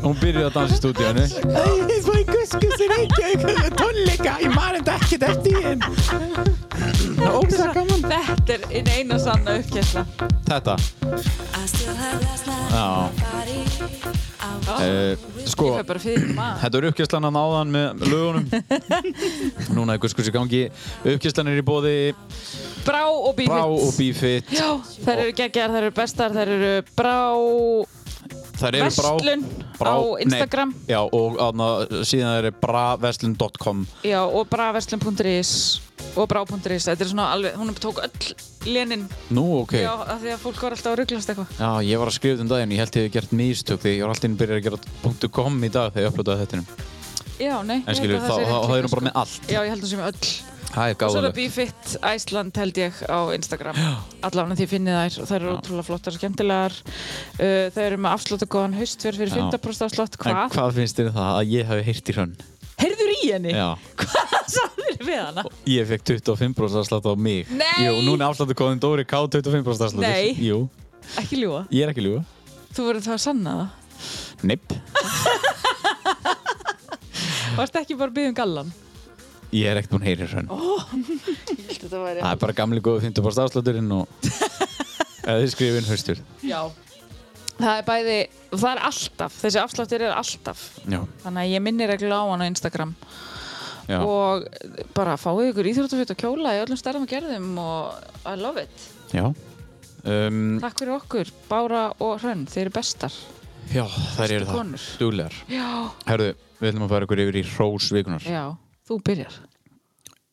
A: Hún byrjuði að dansa í stúdíunni
G: Eins og í guskus í Reykjavík tónleika, ég man þetta ekkert eftir því en
B: ósa gaman Þetta er einn eina sanna uppkessla
A: Þetta Já
G: Ah,
A: uh, Sko,
B: Ég fæ bara fyrir maður
A: þetta er uppkjæslan að náðan með lögunum Núna er guskus í gangi Uppkjæslan er í bóði
B: Brá og Bífitt.
A: Brá og Bífitt
B: Já, þær eru geggjar, þær eru bestar, þær eru Brá,
A: Þær eru Brá
B: Verslun á Instagram.
A: Nei, já, og aðna, síðan þær eru braverslun.com
B: já, og braverslun.is og brá.is. Þetta er svona alveg, hún tók öll lénin,
A: Nú, ok
B: já, af því að fólk var alltaf að rugglast eitthvað.
A: Já, ég var að skrifa þetta um daginn, ég held ég hef gert mistök því ég var alltaf inn að byrja að gera .com í dag þegar ég upplötaði þetta
B: Já, nei. ég held
A: En skilur, þá,
B: að sé
A: þá,
B: rétt
A: þá
B: líka,
A: erum bara
B: sko.
A: með allt
B: Já, ég held að það sé með öll.
A: Það er
B: Og svo er það
A: gáðulegt
B: Bífitt Æsland held ég á Instagram allan því finnið þær og þær eru ótrúlega flottar og skemmtilegar uh, þær eru með afslótt og góðan haustverð fyrir
A: Já.
B: 15% afslótt
A: En
B: hvað?
A: hvað finnst þér um það að ég hafi heyrt í hrönn?
B: Heyrður í henni?
A: Já,
B: Hvað sagður við hana?
A: ég fekk 25% afslátt á mig
B: Nei!
A: Jú, núna afsláttu kóðin Dóri K 25% afsláttur
B: Nei.
A: Jú,
B: Ekki ljúa
A: ég er ekki ljúga
B: Þú verður það að sanna það
A: Nipp
B: Varst ekki bara að biðja um gallan?
A: Ég er ekkert búinn að heyra í hrönn
B: Þetta væri
A: Það er bara gamli góðu 50% afslátturinn og eða þið skrifið inn haustur
B: Já Það er bæði, og það er alltaf, þessi afsláttir er alltaf
A: Já,
B: Þannig að ég minni regla á hann á Instagram
A: já
B: og bara fáið ykkur íþjóttafjöld og kjóla í öllum stærðum og gerðum og I love it
A: Já, um,
B: Takk fyrir okkur, Bára og Hrönn, þeir eru bestar.
A: já þær eru það
B: konur.
A: Dúlegar
B: Já.
A: Herðu, við ætlum að fara ykkur yfir í Rós vikunar
B: Já, þú byrjar.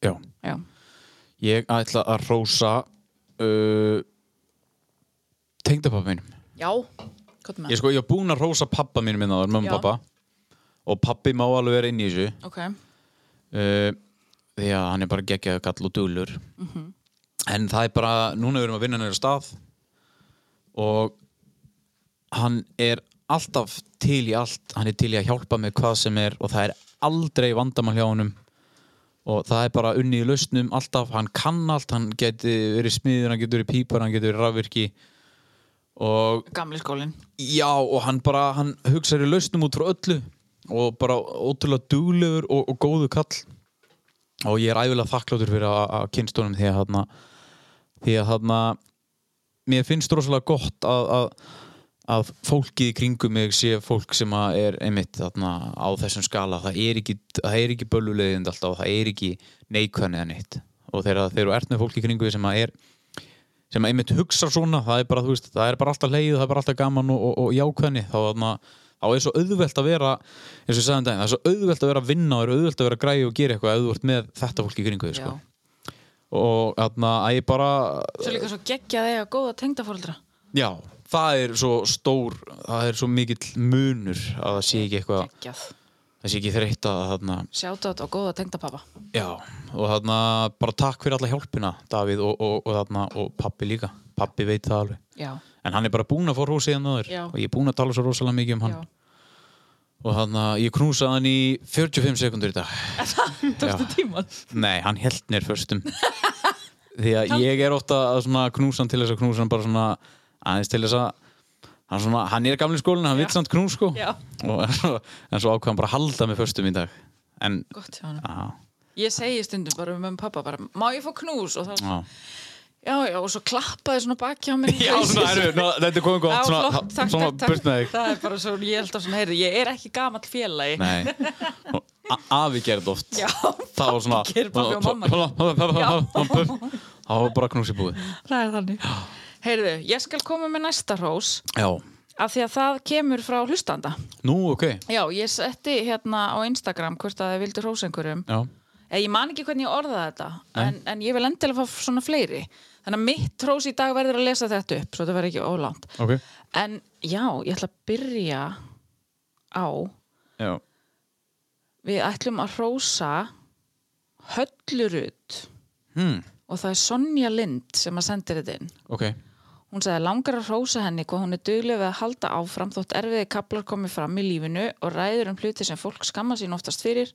A: Já.
B: Já.
A: Ég ætla að rósa uh, tengdapappa mínum
B: Já, gott með.
A: Ég sko, ég var búinn að rósa pappa mínum minna þar, mamma og
B: Já.
A: pappa og pappi má alveg vera inn í þessu
B: Ok,
A: uh, því að hann er bara geggjaðu kall og dúlur en það er bara, núna við erum að vinna nefnir stað og hann er alltaf til í allt, hann er til í að hjálpa með hvað sem er og það er aldrei vandamál hjá honum og það er bara unni í lausnum alltaf, hann kann allt hann geti verið smiður, hann getur verið pípar hann getur verið rafvirki og
B: gamli skólinn.
A: Já, og hann bara, hann hugsaður í lausnum út frá öllu og bara ótrúlega duglegur og, og góðu kall og ég er æfilega þakkláttur fyrir að, að kynstónum því að þarna því að þarna mér finnst rosalega gott að, að, að fólkið í kringum mig sé fólk sem að er einmitt þarna á þessum skala, það er ekki það er ekki bölvulegðind alltaf og það er ekki neikvæðan eða neitt og þegar þegar þú ert með fólki í kringum þig sem að er sem einmitt hugsa svona, það er bara, þú veist, það er bara alltaf leið, það er bara alltaf gaman og, og, og jákvæðni, þá, þarna, þá er svo auðvelt að vera, eins og ég sagði um daginn, það er svo auðvelt að vera að vinna, það er auðvelt að vera að græja og gera eitthvað ef þú ert með þetta fólki í kringu þig, sko.
B: Já.
A: og þarna að ég bara,
B: Svo líka svo geggja þegar góða tengdafóldra.
A: já, það er svo stór, það er svo mikill munur að það sé ekki eitthvað,
B: Geggjað.
A: það sé ekki þreytt að þarna,
B: Sjátátt á góða tengdapappa.
A: já, og þarna bara takk fyrir alla hjálpina, Davíð og, og, og þarna, og pappi líka, pappi veit það alveg.
B: Já,
A: En hann er bara búinn að fá hrósið hann aður
B: Já.
A: og ég er búinn að tala svo rosalega mikið um hann
B: já.
A: og hann að ég knúsaði hann í 45 sekundur í dag
B: Tókstu tíman?
A: Nei, hann held mér förstum Því að ég er ofta að svona knúsa hann til þess að knúsa hann bara svona aðeins til þess að hann, svona, hann er gamli skólinn, hann vill samt knús sko
B: Já.
A: og, en svo ákvað hann bara að halda mig förstum í dag en
B: Gott hjá hann.
A: á,
B: Ég segi stundum bara um pappa bara, má ég fá knús? Og þá,
A: á.
B: já, já, og svo klappaði svona baki á mér.
A: Já, svona, heru, ná, þetta er komið
B: Já,
A: gott svona,
B: flott, takk,
A: svona
B: takk,
A: burt með
B: takk.
A: þig
B: Það er bara svo, ég held að svona, heyrðu, ég er ekki gamall félagi.
A: Nei, Og a- afi gerði oft
B: Já,
A: Það var svona
B: gerir pabbi og mamma.
A: Það var bara knús í búið
B: það er þannig. Heyrðu, ég skal koma með næsta hrós
A: Já,
B: af því að það kemur frá hlustanda.
A: nú ok
B: Já, ég setti hérna á Instagram hvort að þið vildu hrósa einhverjum.
A: Já,
B: Eh, Ég man ekki hvernig ég orðaði þetta, en, en ég vil endilega fá svona fleiri. Þannig að mitt hrós í dag verður að lesa þetta upp, svo þetta verður ekki ólánt.
A: ok
B: En já, ég ætla að byrja á,
A: Já,
B: við ætlum að hrósa höllurut
A: hmm.
B: og það er Sonja Lind sem að sendir þetta inn.
A: ok
B: Hún sagði langar að hrósa henni hvað hún er dugleg við að halda áfram þótt erfiði kaplar komi fram í lífinu og ræður um hluti sem fólk skamma sín oftast fyrir.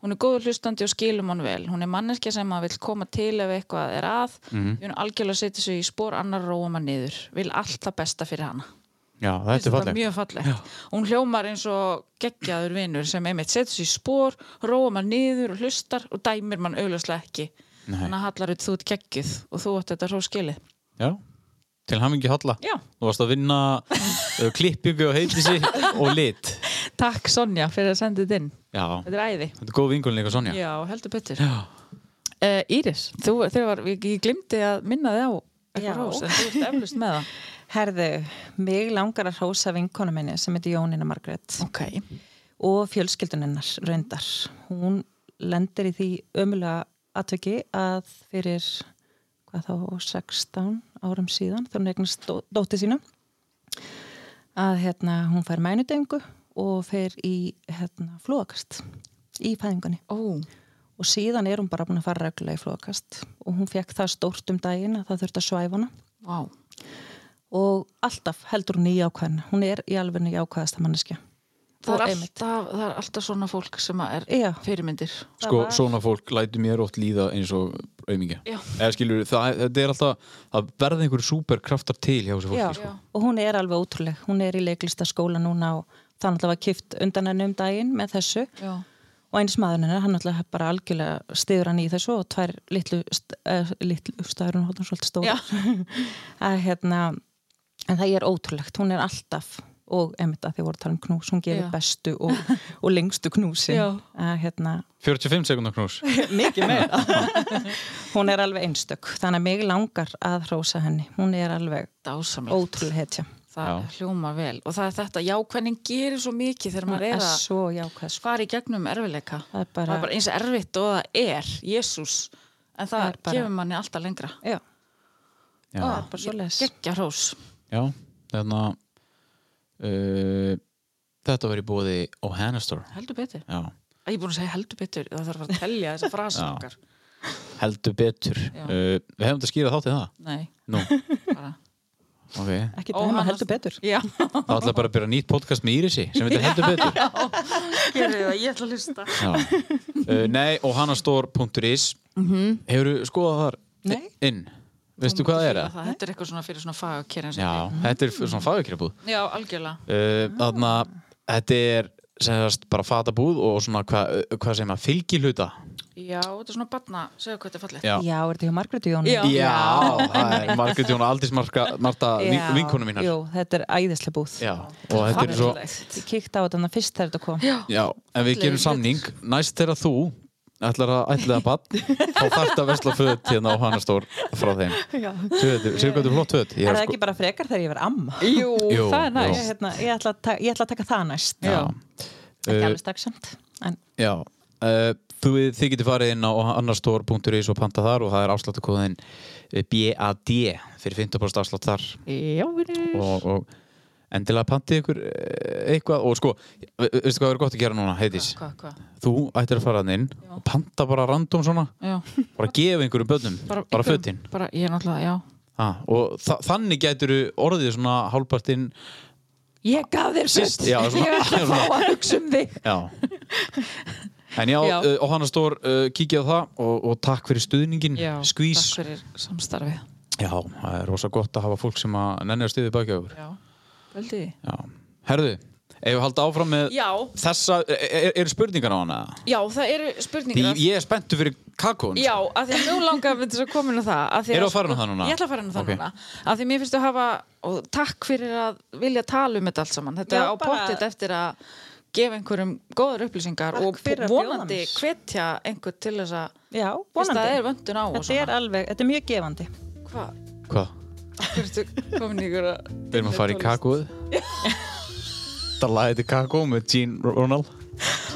B: Hún er góður hlustandi og skilum hann vel. Hún er manneskja sem að vil koma til ef eitthvað er að.
A: Mhm.
B: Hún algjörlega setja sig í spór annar róum hann niður. Vil allt það besta fyrir hana.
A: Já, þetta er
B: Finnst þetta
A: falleg
B: mjög fallegt. Hún hljómar eins og geggjaður vinur sem einmitt setur sér í spór, róa mann niður og hlustar og dæmir mann augljóslega ekki.
A: Nei.
B: Þannig að hallar ut þú ert geggjuð og þú átt þetta hróskilið.
A: Já, til hamingi Halla
B: Já.
A: Þú varst að vinna uh, klippingu og heitlisi og lit
B: Takk Sonja fyrir að senda þetta inn.
A: Já,
B: Þetta er æði.
A: þetta er góð vingun líka Sonja
B: Já, heldur betur. Uh, Íris, þú, þegar var, ég, ég glimti að minna þig á
D: Já.
B: eitthvað rós, en þú ert eflust með það.
D: Herðu, mig langar að hrósa vinkonu minni sem heitir Jónina Margrét
B: Ok,
D: og fjölskylduninnar raundar. Hún lendir í því ömulega atveki að fyrir hvað þá 16 árum síðan þegar hún eignast dó- dóttir sína að hérna, hún fær mænudengu og fer í hérna, flóakast í fæðingunni
B: ó,
D: og síðan er hún bara búin að fara reglulega í flóakast og hún fekk það stórt um daginn að það þurfti að svæfa hana
B: vá,
D: og alltaf heldur hún í jákvæðin hún er í alvegni jákvæðasta manneskja
B: það
D: Og
B: er,
D: einmitt.
B: alltaf, það er alltaf svona fólk sem að er
D: Já.
B: fyrirmyndir.
D: Það
A: Sko,
D: var-
A: svona fólk lætur mér oft líða eins og aumingja.
B: Já.
A: Eða skilur, það, þetta er alltaf, það verða einhverju superkraftar til hjá þessu
D: Já,
A: fólki, sko.
D: og hún er alveg ótrúleg, hún er í leiklistaskóla núna og það náttúrulega var kift undan henni um daginn með þessu
B: Já,
D: og eins maðurinn hennar, hann náttúrulega bara algjörlega stiður hann í þessu og tvær litlu, st uh, litlu staður hún hóttan svolítið
B: Já.
D: stóð að hérna en það er ótrúlegt, hún er alltaf og emitt að því voru að tala um knús, hún gerir
B: Já.
D: bestu og, og lengstu knúsi
B: Já.
D: að hérna
A: 45 sekundar knús.
D: mikið meira hún er alveg einstök, þannig að mig langar að hrósa henni, hún er alveg
B: dásamlega.
D: ótrúlega hetja
B: það hljóma vel. Og það er þetta, jákvæðin gerir svo mikið þegar maður er að
D: svo jákvæð sko.
B: fara í gegnum erfileika.
D: Það er bara-
B: eins erfitt og það er, Jésús, en það,
D: Það er bara-
B: gefur manni alltaf lengra.
D: Já,
A: Já.
B: Ah.
D: það er bara svo les
B: Gekkja hrós.
A: Já, þarna, uh, þetta var í bóði O'Hanastor.
B: Heldur betur.
A: Já,
B: Ég er búin að segja heldur betur, það þarf að fara að telja þessa frasa
A: Já.
B: okkar.
A: heldur betur.
B: Já.
A: Uh, við hefum þetta skýrað þáttið það.
B: Nei,
A: Nú,
B: bara.
A: ok.
D: ekki
B: Ó,
D: dæma
B: hann-
D: heldur betur
B: Já,
A: Það ætla bara að byrja nýtt podcast með Írisi sem heitir heldur betur.
B: gerðu það, ég ætla að hlusta.
A: Já. Uh, nei, og hannastór.is mm -hmm. Hefur skoðað þar
D: Nei.
A: inn? Veistu hvað það er?
B: Það, þetta er eitthvað svona fyrir svona fagakirjan sem
A: Já, þetta er svona fagakirabúð
B: Já, algjörlega.
A: uh, Þannig að þetta er sem sagt bara fatabúð og svona hvað hva segir maður, fylgihluta
B: Já, þetta er svona batna, segja hvað þetta er fallið.
A: Já,
D: Já, er þetta hjá Margréti Jónu?
B: Já.
A: það er Margrét Jóna Aldís Marka, Marta
D: Já.
A: vinkonu mínar
D: Jú, þetta er æðislega búð
A: Já, og þetta er svo
B: Fallegt.
D: Ég kíkti á þetta fyrst þegar þetta kom
A: Já, en við gerum samning, næst þegar þú ætlar að ætla að bann þá þarft að vesla föt hérna á hannastór frá þeim Sér hvað þetta er flott föt Ég
D: Er
A: er
D: það
A: sko-
D: ekki bara frekar þegar ég var amma?
B: Jú,
A: Jú,
B: það er
A: jú.
D: Ég,
B: næst.
D: hérna, ég, ætla að ta- ég ætla að taka það næst
A: Já.
D: Ekki
A: Uh,
D: alveg staksamt En
A: Já, uh, þú, þið getið farið inn á annarstor.is og panta þar og það er afsláttakóðin eh, BAD fyrir 50% afslátt þar
B: Já, vinur.
A: og, og endilega pantið ykkur eh, eitthvað og sko, ve- ve- veistu hvað er gott að gera núna, heitís?
B: Hvað, hvað?
A: Þú ættir að fara þarna inn og panta bara random svona
B: Já.
A: bara gefa einhverjum börnum, bara, bara
B: einhver-
A: fötin
B: Bara, ég er náttúrulega, já.
A: ah, og þa þannig gætur orðið svona hálpartinn
B: Ég gaf þér
A: Sist- já, svona- Ég ætla að fá
B: að hugsa um þig.
A: Já En já,
B: Já.
A: já. Uh, og hann stór uh, kíkja á það og, og takk fyrir stuðningin,
B: Já,
A: skvís
B: takk fyrir samstarfið.
A: Já, það er rosa gott að hafa fólk sem að nenni að stuði baki á okkur
B: Já, veldi því.
A: Já. Herðu, ef við halda áfram með
B: Já,
A: þessa, e, eru er, er spurningar á hana?
B: já, það eru
A: Því
B: spurningar.
A: ég er spenntu fyrir kakón
B: Já, af því að mjög langar við þess að koma inn á það af því
A: Erum við að fara inn á það núna?
B: Ég ætla að fara inn á það
A: Ok.
B: núna af því mér finnst að hafa og takk fyrir að vilja tala um þetta allt saman þetta
D: Já,
B: á
D: bara-
B: pottit eftir að gefa einhverjum góðar upplýsingar
D: Takk
B: og
D: fyrir að bjóða
B: vonandi
D: mér.
B: hvetja einhver til þess að
D: já,
B: Fyrst
D: vonandi
B: það er vöndun á og
D: Þetta
B: svona.
D: er alveg, þetta er mjög gefandi
B: hvað,
A: Hvað?
B: hverstu komin í ykkur að
A: Við erum að fara í kakóð Það lagði til kakó með Gene Ronald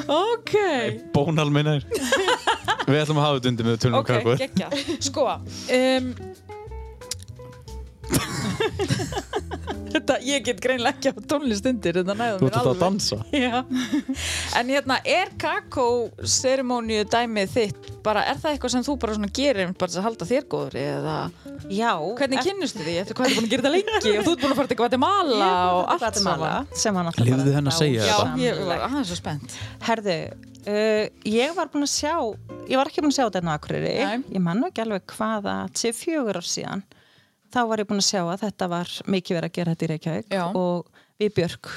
B: Ok,
A: Bónal minna er Við ætlum að hafa þetta undir með tölum
B: ok,
A: kakóð
B: gekkja Sko um, Þetta, ég get greinlega ekki á tónlist undir Þetta næðum
A: Þú ert alltaf að dansa
B: Já. En hérna, er kakó-seremóniu dæmið þitt, bara er það eitthvað sem þú bara svona gerir einmitt bara til að halda þér góður eða
D: Já,
B: hvernig kynnustu því eftir hvað þú búin að gera þetta lengi og þú ert búin að fara til Guatemala og allt saman.
D: sem hann alltaf
A: Leyfðu
D: bara
A: henni að segja
B: Já,
A: þetta.
B: ég
D: dásamlegt.
B: var aðeins svo spennt.
D: Herðu, uh, ég var búin að sjá, ég var ekki búin að sjá þetta enn á Akureyri,
B: Nei.
D: ég man nú ekki alveg hvaða, til fjögur ár síðan, þá var ég búin að sjá að þetta var mikið verið að gera þetta í Reykjavík
B: Já.
D: og við Björk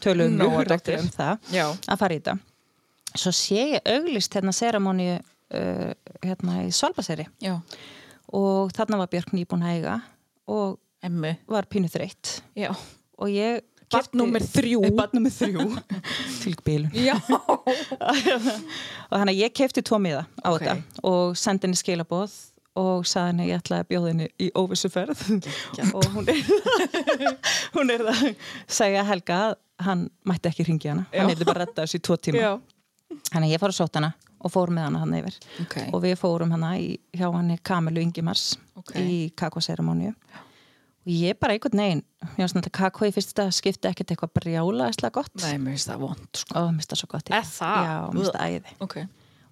D: tölum
B: Nóg
D: mjög
B: að
D: dóttir
B: eftir.
D: um það
B: Já.
D: að fara í þetta. Svo sé ég auglist hérna seramóni uh, hérna í Svalbaseri
B: Já,
D: og þarna var Björk nýbúin að eiga og
B: emmi.
D: var pínu þreytt
B: Já,
D: og ég
B: Barn númer þrjú.
D: Barn nummer þrjú. Tilbílu.
B: Já.
D: og þannig að ég kefti tvo miða á
B: Ok.
D: þetta og sendi henni skilaboð og sagði henni að ég ætlaði að bjóða henni í óvissuferð og hún er hún er það segja Helga að hann mætti ekki ringi hana hann
B: Já.
D: hefði bara að redda þessu í tvo tíma
B: Já.
D: þannig að ég fór að sóta hana og fór með hana hann yfir
B: Ok.
D: og við fórum hana í, hjá hann Kamilu Ingimars
B: Ok.
D: í kakoseremóniu og ég bara einhvern veginn ég var svona alltaf kakó í fyrsta skipti ekkert eitthvað brjálaðislega gott
B: Nei, mér finnst það vond, sko.
D: og mér finnst það svo gott í
B: Er
D: dag.
B: það?
D: Já, mér finnst það æði
B: Ok.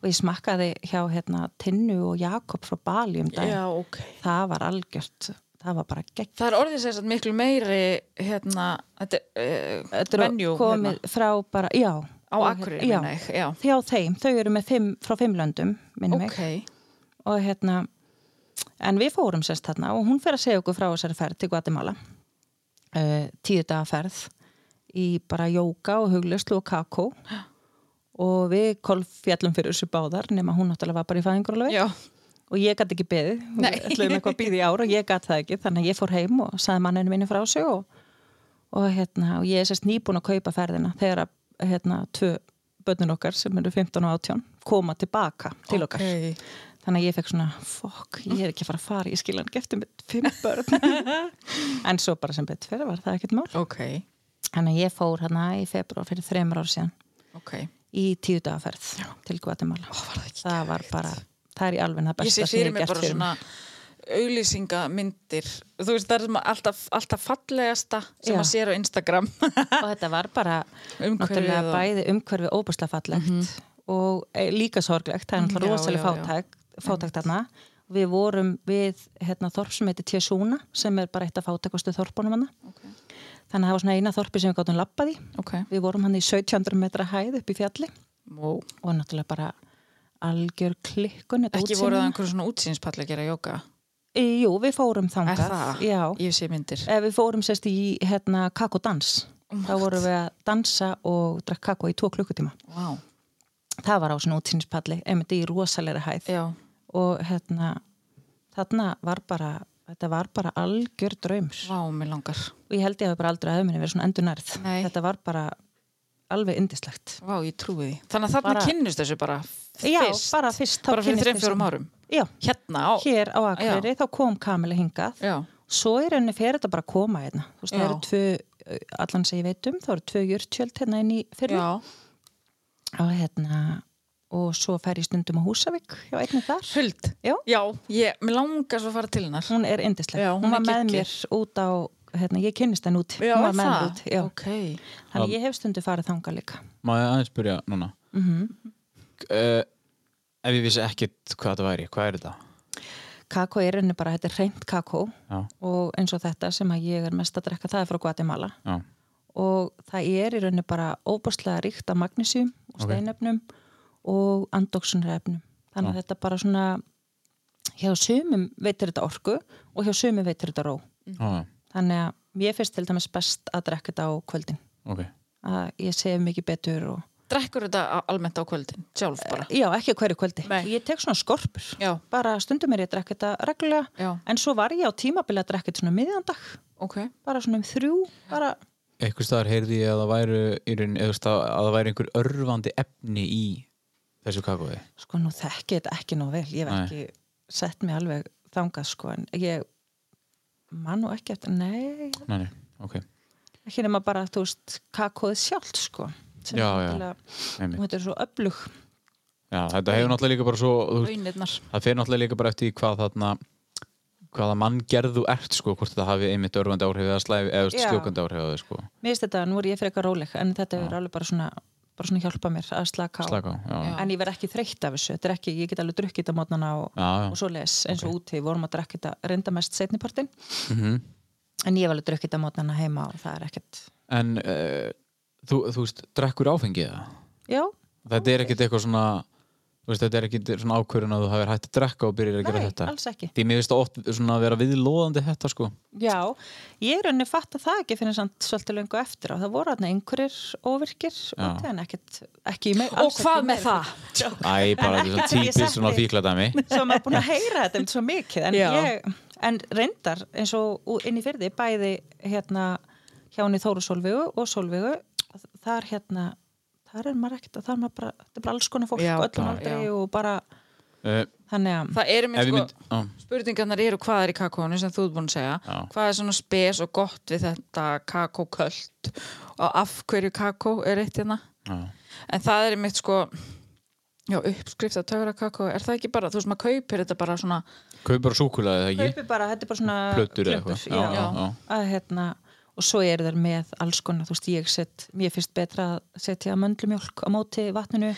D: og ég smakkaði hjá hérna Tinnu og Jakob frá Bali um dag
B: Já, ok.
D: það var algjört, það var bara gegn
B: Það er orðið sem sagt miklu meiri, hérna, þetta er,
D: Þetta
B: uh,
D: er
B: venjú,
D: komið
B: hérna,
D: frá bara, já
B: á
D: Og-
B: Akureyri,
D: já,
B: minna ég, já.
D: hjá þeim, þau eru með fimm, frá fimm löndum minnum
B: Ok,
D: mig og hérna en við fórum sérst þarna og hún fer að segja okkur frá þessari ferð til Guatemala uh, tíu daga ferð í bara jóka og hugluslu og kakó og við kolfjallum fyrir þessu báðar nema hún náttúrulega var bara í fæðingur
B: já,
D: og ég gæti ekki beðið
B: Nei.
D: við ætluðum eitthvað að beðið í ár og ég gæti það ekki þannig að ég fór heim og saði manninu mínu frá sig og, og, hérna, og ég er sérst nýbúin að kaupa ferðina þegar að hérna, tvö börnin okkar sem eru 15 og 18 koma tilbaka til okkar
B: Ok.
D: þannig að ég fekk svona fokk, ég er ekki að fara að fara ég skilja hann geftum með fimm börn en svo bara sem betur fyrir var það ekkert mál
B: ok,
D: þannig að ég fór hérna í februar fyrir þremur ár síðan
B: ok.
D: í tíu dagaferð til Guatemala Ó, var það, það var bara, það er í alveg það
B: Ég
D: besta
B: sé
D: sem ég
B: fyrir
D: hef
B: mig
D: gert
B: bara
D: fyrir mig.
B: svona auglýsingamyndir. Þú veist, það er sem að alltaf, alltaf fallegasta sem
D: Já.
B: að sér á Instagram.
D: og þetta var bara
B: Umhverfið
D: náttúrulega
B: og- Mhm.
D: bæði umhverfi óbúslega fallegt og e, líka sorglegt, það er náttúrulega
B: Já,
D: rosalega
B: já, já.
D: fátæk, fátækt þarna við vorum við hérna, þorp sem heitir Tjesúna sem er bara eitt af fátækustu þorpunum hann
B: Ok.
D: þannig að það var svona eina þorpi sem við gáttum lappað í
B: Ok.
D: við vorum hann í 1700 metra hæð upp í fjalli
B: Wow.
D: og náttúrulega bara algjör klikkun þetta
B: Ekki
D: útsýni.
B: voru það einhverjum svona útsýnspall að gera jóka?
D: Í- Jú, við fórum
B: Er
D: þangað
B: það?
D: Já, Eh.
B: Ég sé myndir.
D: Ef við fórum sérst í hérna, kakodans
B: Oh
D: þá vorum við að dansa og drakk kakó í tvo klukkutíma
B: Vá. Wow.
D: það var á svona útsýnispalli einmitt í rosalegri hæð
B: Já.
D: og hérna þarna var bara þetta var bara algjör draumur
B: Vá, mér langar.
D: og ég held ég að bara aldrei aðeins minni verið svona endur nærð
B: Nei.
D: þetta var bara alveg indislegt
B: Vá, ég trúi því. Þannig að þarna
D: Bara-
B: kynnust þessu bara fyrst.
D: Já, bara fyrst, þá
B: Bara fyrir
D: kynnist
B: þreim,
D: þessu.
B: fjórum árum.
D: Já,
B: Hérna á.
D: hér á Akureyri þá kom Kamila hingað
B: Já.
D: svo er henni fyrir þetta bara að koma hérna þú veist, það
B: Já.
D: eru tvö, eh, allan sem ég veit um þá eru tvö jörtjöld hérna inn í fyrir
B: Já.
D: og hérna og svo fer ég stundum á Húsavík hjá einni þar
B: Huld.
D: Já.
B: Já, ég, mér langar svo að fara til hennar.
D: hún er indisleg,
B: Já,
D: hún,
B: hún
D: var
B: er
D: með
B: geggjuð.
D: mér út á hérna, ég kynnist henn út, hún var með mér út já.
B: Ok.
D: þannig ég hef stundu farið þangað líka
A: Má ég aðeins spyrja núna mm Ef ég vissi ekkit hvað þetta væri, hvað er þetta?
D: kakó er henni bara, þetta er reynd kakó
A: Já,
D: og eins og þetta sem að ég er mest að drekka það er frá Guatemala
A: já,
D: og það er í rauninni bara óbúrslega ríkt af magnísjum og
A: Ok.
D: steinöfnum og andóksunarefnum þannig að þetta bara svona hjá sumum veitir þetta orku og hjá sumum veitir þetta ró
A: já, já,
D: þannig að mér finnst til dæmis best að drekka þetta á kvöldin
A: ok
D: að ég sef mikið betur og
B: Drekkur þetta á- almennt á kvöldin? Sjálf bara.
D: Já, ekki á hverju kvöldi.
B: Nei.
D: Ég tek svona skorpur.
B: Já.
D: Bara stundum er ég að drekka þetta reglulega.
B: Já.
D: En svo var ég á tímabili að drekka þetta svona miðjandag.
B: Ok.
D: Bara svona um þrjú. Bara,
A: Einhvers staðar heyrði ég að það væri í raun, eða þú veist, að að það væri einhver örfandi efni í þessu kakói
D: sko, nú þekki ég þetta ekki nóg vel. Ég hef
A: Nei.
D: ekki sett mig alveg þangað, sko. En ég man nú ekki eftir, nei,
A: Nei, nei, ok,
D: ekki nema bara, þú veist, kakóið sjálft, sko. Sem
A: Já,
D: er
A: já.
D: náttúrulega-
A: einmitt
D: Og þetta er svo öflug.
A: Já, þetta hefur náttúrulega líka bara svo þú veist,
B: Bönirnar.
A: það fer náttúrulega líka bara eftir því hvað þarna hvaða mann gerðu ert sko hvort þetta hafi einmitt örfandi áhrif eða slæfi eða þú veist,
D: Já.
A: sljókandi áhrif á þau sko
D: Mér finnst þetta, nú er ég fyrir eitthvað róleg, en þetta er alveg bara svona, bara svona hjálpa mér að slaka á.
A: slaka á, já, já.
D: en ég verð ekki þreytt af þessu þetta er ekki, ég get alveg drukkið þetta á mótnana og,
A: Já, já.
D: og svo les, eins og úti vorum að drekka þetta reynda mest setnipartin mm en ég hef alveg drukkið þetta á mótnana heima og það er ekkert,
A: En uh, þú, þú veist, drekkur áfengið það?
D: já,
A: Þetta er ekkit eitthvað svona þú veist, þetta er ekkit svona ákvörun að þú hafir hægt að drekka og byrjar að gera
D: nei,
A: þetta
D: alls ekki
A: Því mér finnst það oft svona að vera viðlóðandi þetta sko
D: já, ég er unni fatt að það ekki finnir samt svolítið löngu eftir á það voru hann einhverjir óvirkir
A: Já.
D: úti en ekkert, ekki í meir
B: Og hvað með það?
A: Æ, bara þetta er
D: ekkert sem
A: svona típist svona
D: ég setti.
A: fíkladæmi
D: svo maður er búin að heyra þetta um svo mikið en,
B: Já.
D: ég, en reyndar eins og ú- inn í fyrði bæði hérna hjá henni Þóru Solveigu og Solveigu þar hérna, þar er maður ekkert þar er maður bara, þetta er bara alls konar fólk
B: Já,
D: já, öllum
B: bara,
D: aldrei
B: já.
D: og bara
C: uh,
A: Eh,
D: þannig að
B: Það eru mér
C: Ef
B: sko,
C: ég mynd á,
B: spurningarnar eru hvað er í kakónu sem þú ert búin að segja
C: Já.
B: hvað er svona spes og gott við þetta kakóköld og af hverju kakó er eitt hérna
C: á.
B: en það er mitt sko já, uppskrift að töfra kakó er það ekki bara, þú veist maður kaupir þetta bara svona
C: Kaup bara súkulaði eða ekki
D: kaupi bara, þetta er bara svona
C: Plötur eða
D: klumpur,
C: eitthvað.
D: já,
C: Já, já, já.
D: Að, hérna, og svo eru þær með alls konar, þú veist, ég set mér finnst betra að setja möndlumjólk á móti vatninu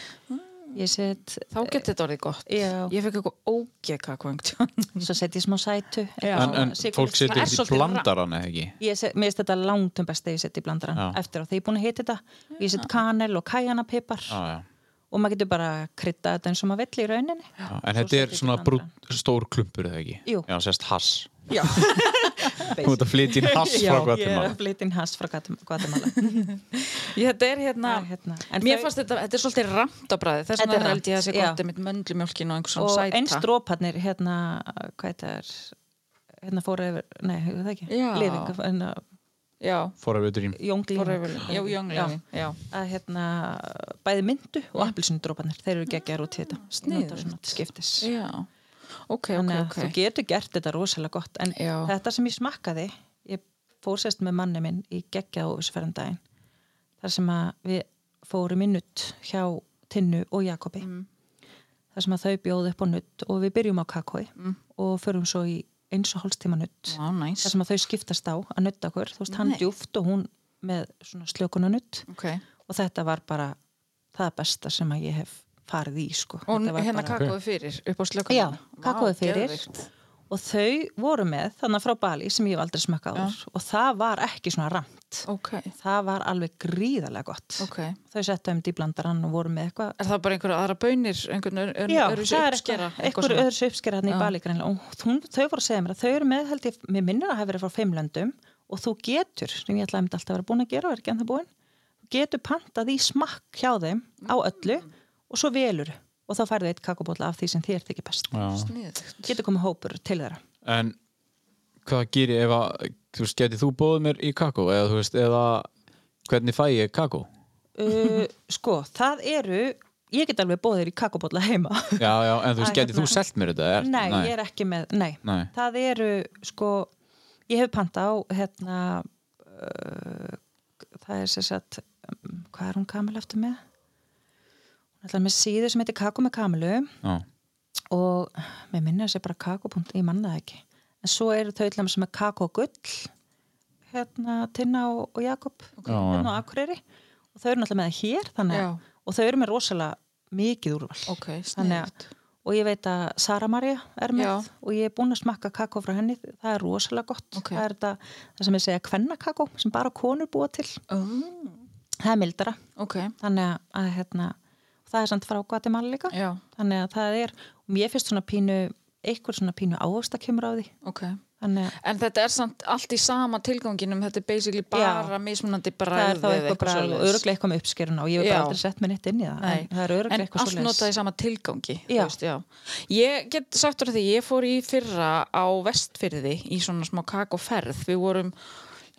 C: Mm.
D: ég set,
B: þá getur þetta orðið gott
D: Já.
B: ég fekk eitthvað ógeð kakó einhvern tímann.
D: svo set ég smá sætu
C: En, en
D: Sykur-
C: fólk
B: það
C: setur
B: er
C: ekki
B: svolítið
C: blandaran eða ekki
D: Ég set, mér finnst þetta langt um best ef ég seti í blandarann
C: Já.
D: eftir á því ég er búin að hita þetta ég set kanel og kæjanapipar
C: Já, já.
D: og maður getur bara að krydda þetta eins og maður vill í rauninni
C: Já, En
D: Svo
C: þetta er
D: setur
C: svona
D: ekki
C: brú, stór klumpur eða ekki
D: Jú.
C: Já, sérst hass
D: Já,
C: Þú ert að flytja inn hass frá
D: ég er
C: Guatemala
D: að flytja inn hans frá Guatem- Guatemala
B: Ég, þetta er hérna,
D: Það er hérna. En
B: mér
D: þau-
B: fannst þetta, þetta er svolítið ramt á bræði þess
D: Þetta
B: vegna
D: er
B: held ég að
D: rammt,
B: það sé gott
D: já.
B: einmitt möndlumjólkin og einhver svona
D: og
B: sæta
D: eins dróparnir hérna, hvað þetta er hérna fóra yfir, nei, hefur það ekki
B: Já.
D: living, hérna,
B: já,
C: Forever Dream
D: jónglín
B: forever, já, jönglefin já.
D: að hérna, bæði myndu og appilsinu dróparnir, þeir eru geggjar út í þetta
B: Sniðugt.
D: Notar svona til skiptis
B: já, ok, ok,
D: þannig að
B: ok
D: þú getur gert þetta rosalega gott en
B: Já.
D: þetta sem ég smakkaði ég fór sérst með manni minn í geggja á þessu ferðandaginn þar sem að við fórum í nutt hjá Tinnu og Jakobi
B: Mm.
D: þar sem að þau bjóðu upp á nutt og við byrjum á kakói
B: Mm.
D: og förum svo í eins og hálstíma nutt
B: Vá, næs.
D: þar sem að þau skiptast á að nutta okkur þú veist hann
B: Nei.
D: djúft og hún með svona slökuna nutt
B: ok,
D: og þetta var bara það besta sem að ég hef farið í sko
B: og
D: Þetta var
B: hérna
D: bara-
B: kakóðu fyrir upp á slökunum
D: Já, kakóið fyrir og þau voru með þannig frá Bali sem ég hef aldrei smakkað úr og það var ekki svona ramt
B: ok,
D: það var alveg gríðarlega gott
B: ok
D: þau settu um dýblandarann og voru með eitthvað
B: Er það bara einhverja aðra bönir, einhvern ör- ör-
D: Já,
B: öðruvísi
D: það er
B: uppskera,
D: eitthvað, eitthvað
B: svona?
D: öðru uppskera hann í Bali greinlega og hún, þau voru að segja mér að þau eru með held ég, mér minnir að hafa verið frá fimmlöndum og þú getur, sem ég ætlaði einmitt alltaf að vera búin að gera og er ekki ennþá búin, þú getur pantað í smakk hjá þeim á öllu
B: Mm.
D: og svo velur og þá færðu eitt kakobóla af því sem þér þykir best
C: Já.
B: Sniðugt.
D: getur komið hópur til þeirra
C: En hvað gerir ef að Þú veist, getið þú bóðið mér í kakó eða þú veist, eða hvernig fæ ég kakó
D: Uh, sko, það eru ég get alveg bóðið þér í kakobólla heima
C: Já, já, en þú veist,
D: Æ,
C: getið þú
D: hérna.
C: selt mér þetta er,
D: nei, ég er ekki með, nei.
C: Nei.
D: það eru, sko ég hef panta á, hérna uh, það er sér satt um, hvað er hún kamil aftur með? hún er alltaf með síðu sem heitir kakó með kamilu
C: Já,
D: og mér minna þessi bara kakó.punkt, ég manna það ekki en svo eru þau allavega sem er kakógull hérna Tinna og, og Jakob
C: Já, já.
D: hérna á Akureyri og þau eru náttúrulega með það hér þannig,
B: Já.
D: að- og þau eru með rosalega mikið úrval
B: Ok,
D: Þannig að-
B: sniðugt.
D: og ég veit að Sara Maria er með
B: Já.
D: og ég er búin að smakka kakó frá henni það er rosalega gott
B: Ok.
D: það er þetta, það sem ég segja kvenna kakó sem bara konur búa til
B: Oh,
D: það er mildara
B: Ok,
D: þannig að, að hérna, það er samt frá Guatemala líka
B: já,
D: þannig að það er, og mér finnst svona pínu eitthvað svona pínu ávöxta kemur á því
B: ok
D: þannig að
B: En þetta er samt allt í sama tilganginum, þetta er basically bara mismunandi
D: það
B: bræðið
D: er þá eitthvað bara öruglega eitthvað með uppskeruna og ég hef
B: Já.
D: bara aldrei sett mér neitt inn í það
B: Nei,
D: en það er
B: en
D: öruglega eitthvað
B: allt
D: svoleiðis.
B: notað í sama tilgangi þú
D: Já.
B: Veist, já. Ég get sagt úr því, ég fór í fyrra á vestfyrði í svona smá kakoferð Við vorum,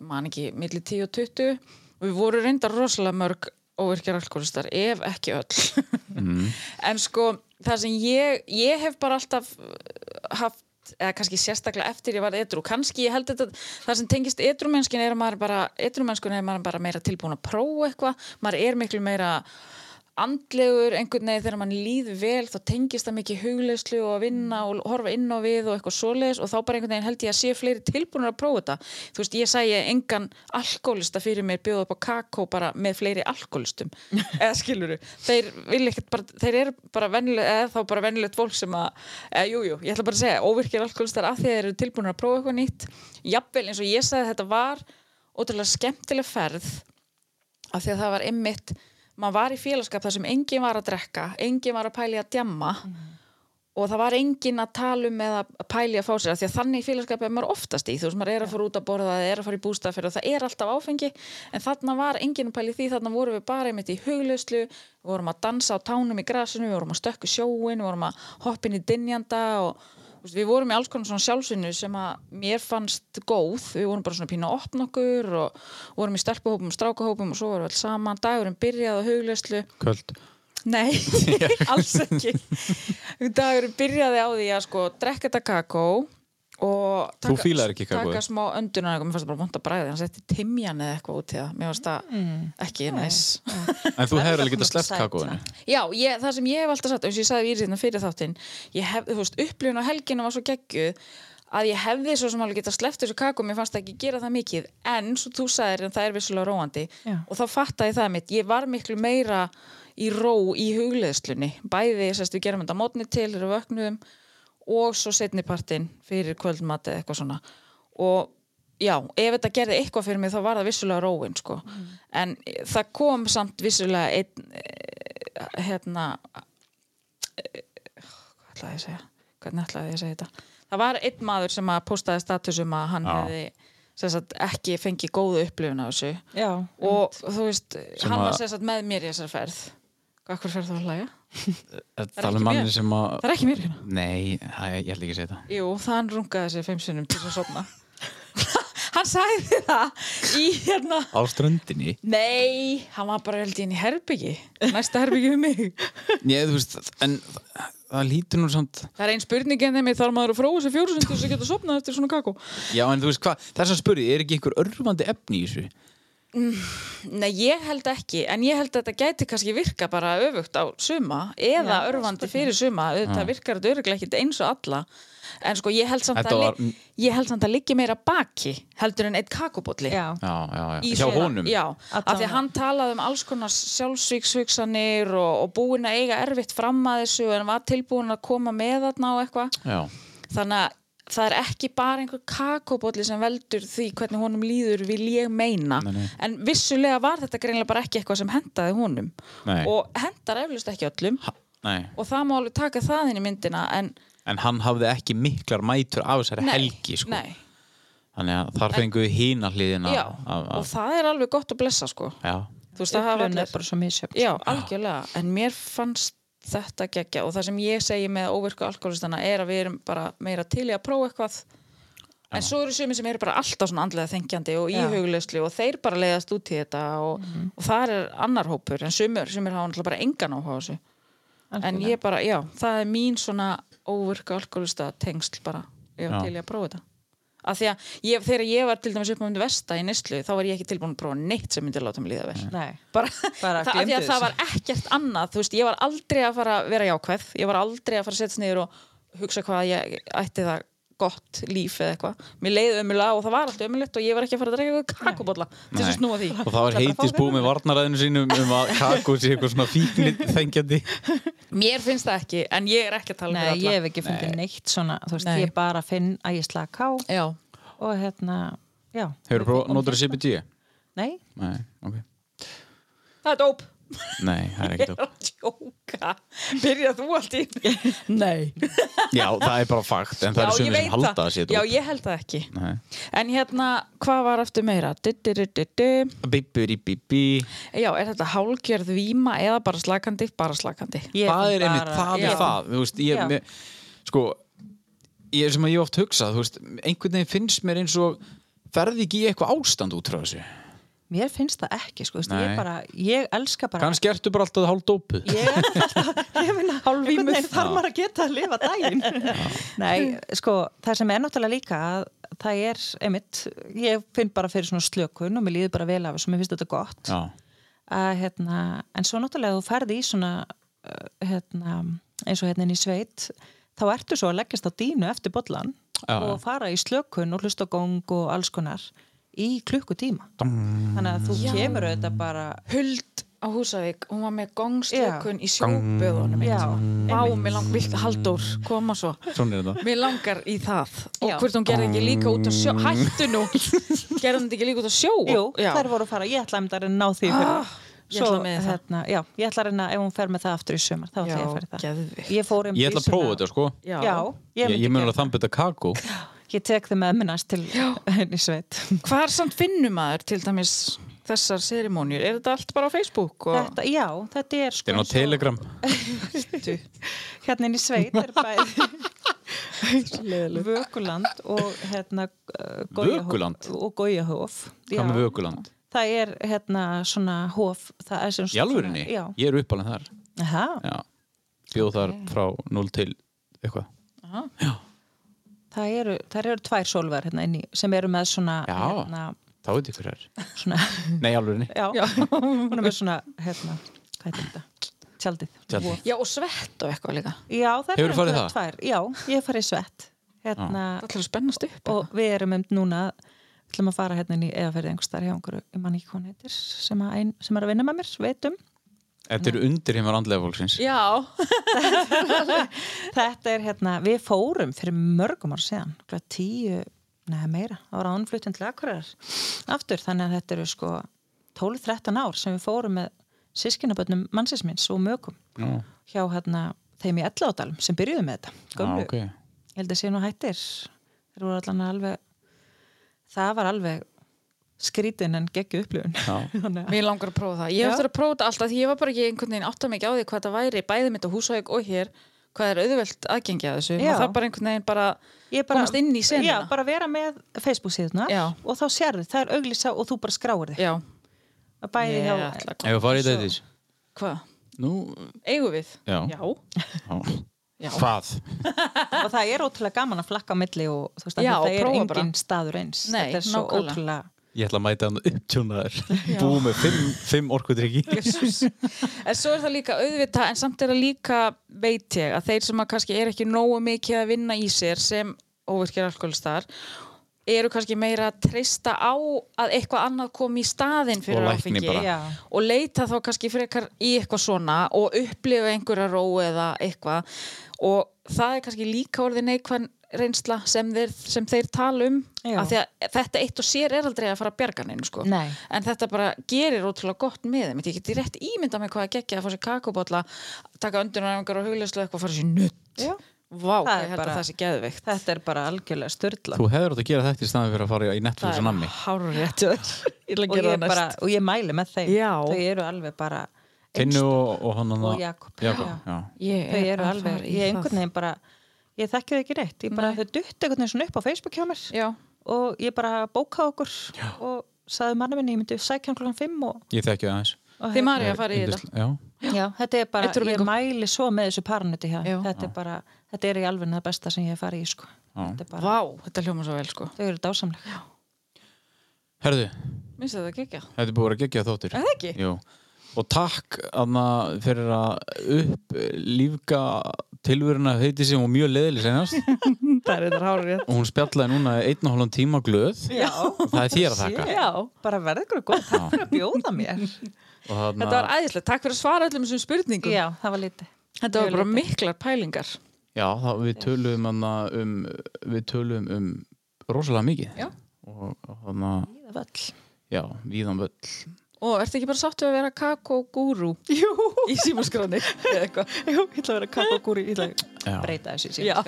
B: ég man ekki, milli 10 og 20 og Við vorum reyndar rosalega mörg óvirkjar alkoholistar, ef ekki öll En sko, það sem ég, ég hef bara alltaf uh, haft eða kannski sérstaklega eftir ég var edru kannski ég held þetta, það sem tengist edrumennskin er að maður bara, edrumennskun er maður bara meira tilbúin að prófa eitthvað maður er miklu meira andlegur einhvern veginn þegar mann líð vel þá tengist það mikið hugleyslu og að vinna og horfa inn á við og eitthvað svoleiðis og þá bara einhvern veginn held ég að sé fleiri tilbúinur að prófa þetta þú veist, ég sæi engan alkoholista fyrir mér bjóða upp á kakó bara með fleiri alkoholistum eða skiluru, þeir vilja ekkert bara þeir eru bara vennilega, eða þá bara vennilegt fólk sem að, eða jújú, jú, ég ætla bara að segja óvirkir alkoholistar af því að þeir eru tilbúinur að prófa eitthvað nýtt, jafnvel eins og ég sagði þetta var ótrúlega skemmtileg ferð af því að það var einmitt maður var í félagskap þar sem enginn var að drekka enginn var að pæli að djamma og það var enginn að tala um eða að pæli að fá sér af því að þannig í félagskap er maður oftast í, þú veist maður er að fara út að borða eða er að fara í bústafir og það er alltaf áfengi en þarna var enginn að pæli því þarna vorum við bara einmitt í huglauslu við vorum að dansa á tánum í grasinu, við vorum að stökku sjóin við vorum að hoppin í dinjanda og Þú veist, við vorum í alls konar svona sjálfsvinnu sem að mér fannst góð, við vorum bara svona pínu að opna okkur og vorum í stelpuhópum og strákahópum og svo vorum við alls saman, dagurinn byrjaði á hugleyslu,
A: Kvöld
B: nei, alls ekki dagurinn byrjaði á því að sko drekka þetta kakó og
C: Þú fílaðir ekki kakóið?
B: taka smá öndunar eitthvað, mér fannst það bara vond að bræða, hann setti timjan eða eitthvað út í það, mér fannst það ekki næs
C: En þú hefur
B: hérna
C: alveg getað sleppt
D: sæt,
C: kakóinu.
B: Já, ég, það sem ég hef alltaf sagt, eins og ég sagði við Íriðna fyrir þáttinn, ég hef, þú veist, upplifun á helginu var svo geggjuð að ég hefði svo sem alveg geta sleppt þessu kaku, mér fannst það ekki gera það mikið, en svo þú sagðir en það er vissulega róandi
D: Já.
B: og þá fattaði ég það mitt, ég var miklu meira í ró í hugleðslunni, bæði, sérst, við gerum þetta að mótni til, þegar við vöknuðum og svo setni partinn fyrir kvöldmat eða eitthvað svona og já, ef þetta gerði eitthvað fyrir mig þá var það vissulega róin sko. en eh, það kom samt vissulega einn, eh, hérna eh, hvað ætlaði ég að segja hvernig ætlaði ég að segja þetta það var einn maður sem að postaði status um að hann
C: Já.
B: hefði sem sagt, ekki fengið góðu upplifun á þessu
D: Já,
B: og þú veist,
C: Sem
B: hann
C: að-
B: var sem sagt, með mér í þessar ferð hvað hver ferð þú að hlæja?
A: Það
B: er
A: er
B: ekki
A: manni
B: mér.
A: sem að
B: það er ekki mér hérna
A: Nei, það, ég ætla ekki að segja það
B: Jú, þann rungaði sér fimm sinnum til að sofna. hann sagði það í hérna...
A: Á ströndinni
B: Nei, hann var bara held ég inn í herbyggi. Næsta herbyggi um mig.
A: Ég, þú veist, en það, það lítur nú samt
B: Það er einn spurning en þeim ég þarf maður að fróa sér fjórusundur sem geta sofnað eftir svona kakó.
A: Já, en þú veist hvað, þess að spurði, er ekki einhver örfandi efni í þessu?
B: Nei, ég held ekki, en ég held að þetta gæti kannski virka bara öfugt á suma eða
D: Já,
B: örfandi fyrir suma, þetta virkar þetta öruglega ekki eins og alla en sko ég held
A: Mm.
B: samt
A: Þetta
B: að,
A: var-
B: var... ég held samt að liggi meira baki heldur en eitt kakobótli
D: já,
A: Já, já, já
B: í
A: Hjá
B: svona-
A: honum
B: já,
D: Allan
B: af því að hann talaði um alls konar sjálfsvíkshugsanir og, og búin að eiga erfitt fram að þessu en var tilbúin að koma með þarna og eitthvað
A: Já,
B: þannig að það er ekki bara einhver kakobóli sem veldur því hvernig honum líður vil ég meina
A: Nei, nei.
B: en vissulega var þetta greinlega bara ekki eitthvað sem hendaði honum
A: Nei.
B: og hendar eflust ekki öllum
A: ha, nei
B: og það má alveg taka það inn í myndina en
A: En hann hafði ekki miklar mætur af þessari
B: nei,
A: helgi, sko
B: nei,
A: Þannig að þar fengu við hína hliðina
B: já,
A: af,
B: og
A: af,
B: það er alveg gott að blessa sko
A: Já,
B: þú veist það hafa
D: upplöfun er
B: allir
D: bara svo misjöfn. sko.
B: Já, algjörlega, en mér fannst þetta geggja og það sem ég segi með óvirku alkoholistana er að við erum bara meira til í að prófa eitthvað en svo eru sumir sem eru bara alltaf svona andlega þengjandi og
D: Já.
B: íhugleyslu og þeir bara leiðast út í þetta og, og það er annar hópur en sumir, sumir hafa náttúrulega bara engan áhuga á þessu en ég bara, já, það er mín svona óvirku alkoholista tengsl bara, ég
A: Já.
B: var til í að prófa þetta að því að ég, þegar ég var til dæmis upp á myndi vesta í neslu, þá var ég ekki tilbúin að prófa neitt sem myndi láta mig líða vel
D: Nei,
B: bara,
D: Bara
B: það, af því
D: gleymdu
B: að það
D: þessu.
B: var ekkert annað þú veist, ég var aldrei að fara að vera jákvæð ég var aldrei að fara að setja niður og hugsa hvað ég ætti það gott líf eða eitthvað, mér leiði ömulega og það var alltaf ömulegt og ég var ekki að fara að drekka eitthvað kakobólla til þess
A: Nei.
B: að snúa því
A: og það var
B: hérna.
A: heitisbúið með varnaræðinu sínum um að kakó sé eitthvað svona fíknir þengjandi
B: mér finnst það ekki, en ég er ekki að tala
D: Nei,
B: fyrir
D: ég
B: alla
D: hef ekki fundið neitt svona, þú veist,
B: Nei.
D: ég bara finn að ég slaka á
B: Já,
D: og hérna, já.
A: Hefur þú prófað, notur þú CBD?
D: Nei,
A: Nei, ok
B: það er dóp
A: Nei, það er
B: Ég
A: ekkert
B: er að tjóka Byrja þú allt í Nei
A: Já, það er bara fakt, en það eru
B: Já, ég
A: sumir sem
B: veit
A: halda að sé
B: Já,
A: þetta
B: ég held það ekki
A: Nei.
B: En hérna, hvað var aftur meira? Du-du-du-du-du
A: Bibbi, bibbi
B: Já, er þetta hálgjörð víma eða bara slakandi? Bara slakandi.
D: ég
A: það er
D: bara-
A: einmitt, það
D: Já.
A: er það þú veist, ég,
D: Já.
A: mér, sko ég er sem að ég oft hugsa, þú veist einhvern veginn finnst mér eins og ferði ekki í eitthvað ástand út frá þessu
D: Mér finnst það ekki, sko, þú veist,
A: Nei.
D: ég bara, ég elska bara.
A: kannski ertu bara alltaf hálf dópuð
D: Ég er alltaf, ég minna,
B: Hálfvímuð.
D: þarf maður að geta að lifa daginn. Nei, sko, það sem er náttúrulega líka að það er, einmitt, ég finn bara fyrir svona slökun og mér líður bara vel af þessu, mér finnst þetta gott.
A: já,
D: að hérna, en svo náttúrulega þú ferði í svona uh, hérna, eins og hérna inn í sveit þá ertu svo að leggjast á dínu eftir bollan
A: Já, já.
D: og fara í slökun og hlustagóng og alls konar í klukkutíma
A: Mm.
D: þannig að þú kemur auðvitað bara
B: Huld á Húsavík, hún var með gongstökun í sjóböðunum.
D: já,
B: Vá, mér langar, vilt Halldór, koma svo.
A: svona er þetta
B: Mér langar í það. Og
D: Já.
B: hvort hún gerði ekki líka út á sjó. Hættu nú! gerði hún þetta ekki líka út á sjó?
D: jú,
B: Já.
D: þær voru að fara, ég ætla einmitt að reyna að ná því fyrir
B: ég ætla með það.
D: Ah, hérna, já, ég ætla að reyna, ef hún fer með það aftur í sumar þá ætla ég að
B: Já,
D: fer það
B: geðveikt.
D: ég, fór einmitt
A: ég ætla
D: í
A: að prófa
D: svona-
A: þetta sko
B: Já.
D: já,
A: ég, ég
D: myndi
A: mun
D: gera
A: alveg þambita kakó
D: það. ég tek þið með minnast til henni sveit
B: Hvar samt finnum maður til dæmis þessar serimónjur? Er þetta allt bara á Facebook? Og...
D: Þetta, já, þetta er
A: þetta er á
D: sko eins og-
A: Telegram
D: hérna inn í sveit er bæði Vökuland og hérna uh, Gaujahof-
A: Vökuland?
D: og Gaujahof
A: Hvað með
D: Já.
A: Vökuland?
D: það er hérna svona hof það er sem
A: Í alvörinni?
D: já,
A: Ég er uppalinn þar.
D: Aha,
A: Já. Bjóð þar frá 0 til eitthvað.
D: það eru, það eru tvær sólvar hérna inni sem eru með svona
A: Já.
D: hérna,
A: Þá veit ykkur þær.
D: svona,
A: Nei, í alvörinni.
D: já, hún er með svona hérna, hvað er þetta? Tjaldið,
A: Tjaldið.
D: Vof.
B: Já, og svett og eitthvað líka.
D: Já, það
A: Hefurðu farið
D: einhverjar
A: það?
D: tvær, já, ég hef farið í svett hérna,
B: Það ætlar að spennast upp.
D: og við erum um núna ætlum að fara hérna inn í eða fyrir einhvers þar hjá einhverju, ég man ekki hvað hún heitir sem, að ein, sem er að vinna með mér, veitum
A: Þetta eru undir heimar andlega fólksins.
B: Já,
D: Þetta er hérna, við fórum fyrir mörgum ár síðan, hvað tíu, neða meira, það var ánflutin til Akureyrar aftur, þannig að þetta eru sko 12-13 ár sem við fórum með sískinabönnum mannsins minns og mögum
A: Já,
D: hjá hérna þeim í Elláðalum sem byrjuðu með þetta, gömlu,
A: Já, Ah, ok.
D: ég held að sé nú hættir, þeir voru allan alveg, það var alveg skrítin en geggju upplifun. Þannig að-
B: mér langar að prófa það. Ég hef eftir að prófa þetta alltaf því ég var bara ekki einhvern veginn átt að mikið á því hvað það væri bæði mitt og húsauk og hér hvað er auðvelt aðgengi að þessu.
D: Já.
B: Það er bara einhvern veginn bara
D: Ég
B: komast inn í senuna.
D: Já, bara vera með Facebook síðuna
B: Já.
D: og þá sérðu, það er auglýsa og þú bara skráir þig.
B: Já,
D: Bæði
B: ég
D: hjá
B: ætla að
A: Ef við farið í
B: Svo-
A: dætis.
B: Hvað?
A: Nú,
B: Eigum við?
A: já.
B: Já.
A: Já. Hvað?
D: og það er ótrúlega gaman að flakka á milli og þú veist að
B: Já,
D: þetta er
B: prófa
D: engin
B: bara.
D: staður eins
B: Nei,
D: þetta er svo
B: nákvæmlega.
D: ótrúlega
A: Ég ætla að mæta hann upptjónaður. Búið með fimm, fimm orkudryggi.
B: Jesus. en svo er það líka auðvitað en samt er það líka veit ég að þeir sem að kannski er ekki nógu mikið að vinna í sér sem óvirkir alkoholistar eru kannski meira að treysta á að eitthvað annað kom í staðinn fyrir
A: Og lækni
B: áfengi
A: bara.
D: Já.
B: og leita þá kannski frekar í eitthvað svona og upplifa einhverja ró eða eitthvað og það er kannski líka orðið neikvæn reynsla sem þeir, sem þeir tala um
D: Já.
B: af því að þetta eitt og sér er aldrei að fara að bjarga neinu sko
D: Nei.
B: en þetta bara gerir ótrúlega gott með þeim ég geti rétt ímynda með hvað að gegja að fá sér kakobotla taka öndunaræfingar og hugleyslu eitthvað fara sér nutt
D: Já.
B: vá,
D: Það er
B: ég held
D: bara-
B: að það sé geðveikt
D: þetta er bara algjörlega styrla
A: Þú hefur átt að gera þetta í staðin fyrir að fara í
B: það
A: Netflix og nammi.
B: er hárrétt hjá þér. ég ætla
D: og
B: að gera
D: ég,
B: það
D: bara,
B: næst
D: og ég mæli með þeim
B: Já.
D: þau eru alveg bara
A: Tinnu og, og hann hann
D: Og Jakob.
A: Jakob,
D: Já.
A: já.
B: ég
D: þau eru
B: að
D: alveg,
B: fara í
D: ég
B: það.
D: einhvern veginn bara ég þekki þau ekki rétt, ég bara
B: Nei.
D: þau dutt einhvern veginn svona upp á Facebook hjá mér
B: já,
D: og ég bara bóka okkur Já. og sagði manna minni, ég myndi sækja hann klokkan 5 og,
A: Ég þekki það eins.
D: og hérna-
B: þið Marja að fara í þetta
A: Yndisl- Já.
D: Já, þetta er bara,
B: Þetta eru
D: ég
B: bingo.
D: mæli svo með þessu parnuti hjá
B: Já.
D: þeim. þetta er bara, þetta er í alveg það besta sem ég hef farið í sko. Þetta er bara,
B: vá, þetta hljóma svo vel sko
D: þau eru dásamlega
A: Herðu,
B: minnst þetta að gegja
A: þetta er búið að gegja þóttir.
B: Er það ekki?
A: Jú. Og takk Anna fyrir að upp lífga tilveruna heiti sem hún mjög leðileg senast.
B: það er þetta hárrétt
A: og hún spjallaði núna einn og hálfum tíma glöð.
D: Já.
A: Það er þér að þakka.
B: já,
D: bara verða ykkur góð takk fyrir að bjóða mér
A: Og þarna-
B: þetta var æðislegt, takk fyrir að svara öllum þessum spurningum
D: já, það var lítið
B: þetta var
D: Mjög
B: bara
D: lítið.
B: miklar pælingar
A: Já, þá, við töluðum hana um, við töluðum um rosalega mikið.
B: Já.
A: Og hann að,
D: Það var öll.
A: já, víðan völl.
B: og ertu ekki bara sáttu að vera kakogúrú í símaskráni eða eitthvað
D: Jú, ég ætla að vera kakogúri, ég ætla
A: Já.
D: að breyta þessu
B: Já.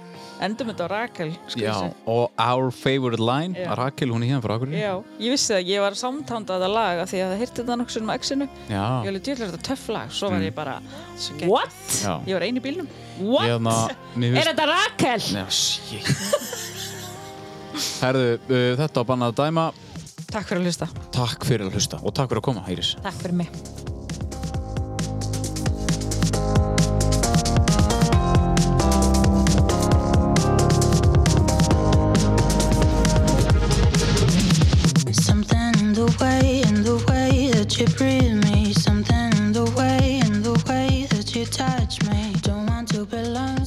B: Endum þetta á Rakel skrýsi.
A: Já, og Our Favorite Line,
B: Já.
A: Rakel, hún er hérna frá Akureyri.
B: Já, ég vissi það, ég var samtánda að það lag af því að það hirti þetta nokkuð um exinu
A: Já.
B: Ég var djúlega þetta töff lag, svo var ég bara
D: geggjað.
B: What?
A: Já.
B: Mm. Ég var einu í bílnum
A: What? Hérna, mér
B: Er þetta Rakel?
A: Nei, shit. Herðu, uh, þetta var bannað að dæma.
B: Takk fyrir að hlusta
A: Takk fyrir að hlusta og takk fyrir að koma, Hæris.
D: takk fyrir mig
C: Something in the way, in the way that you breathe me. Something in the way, in the way that you touch me. Don't want to belong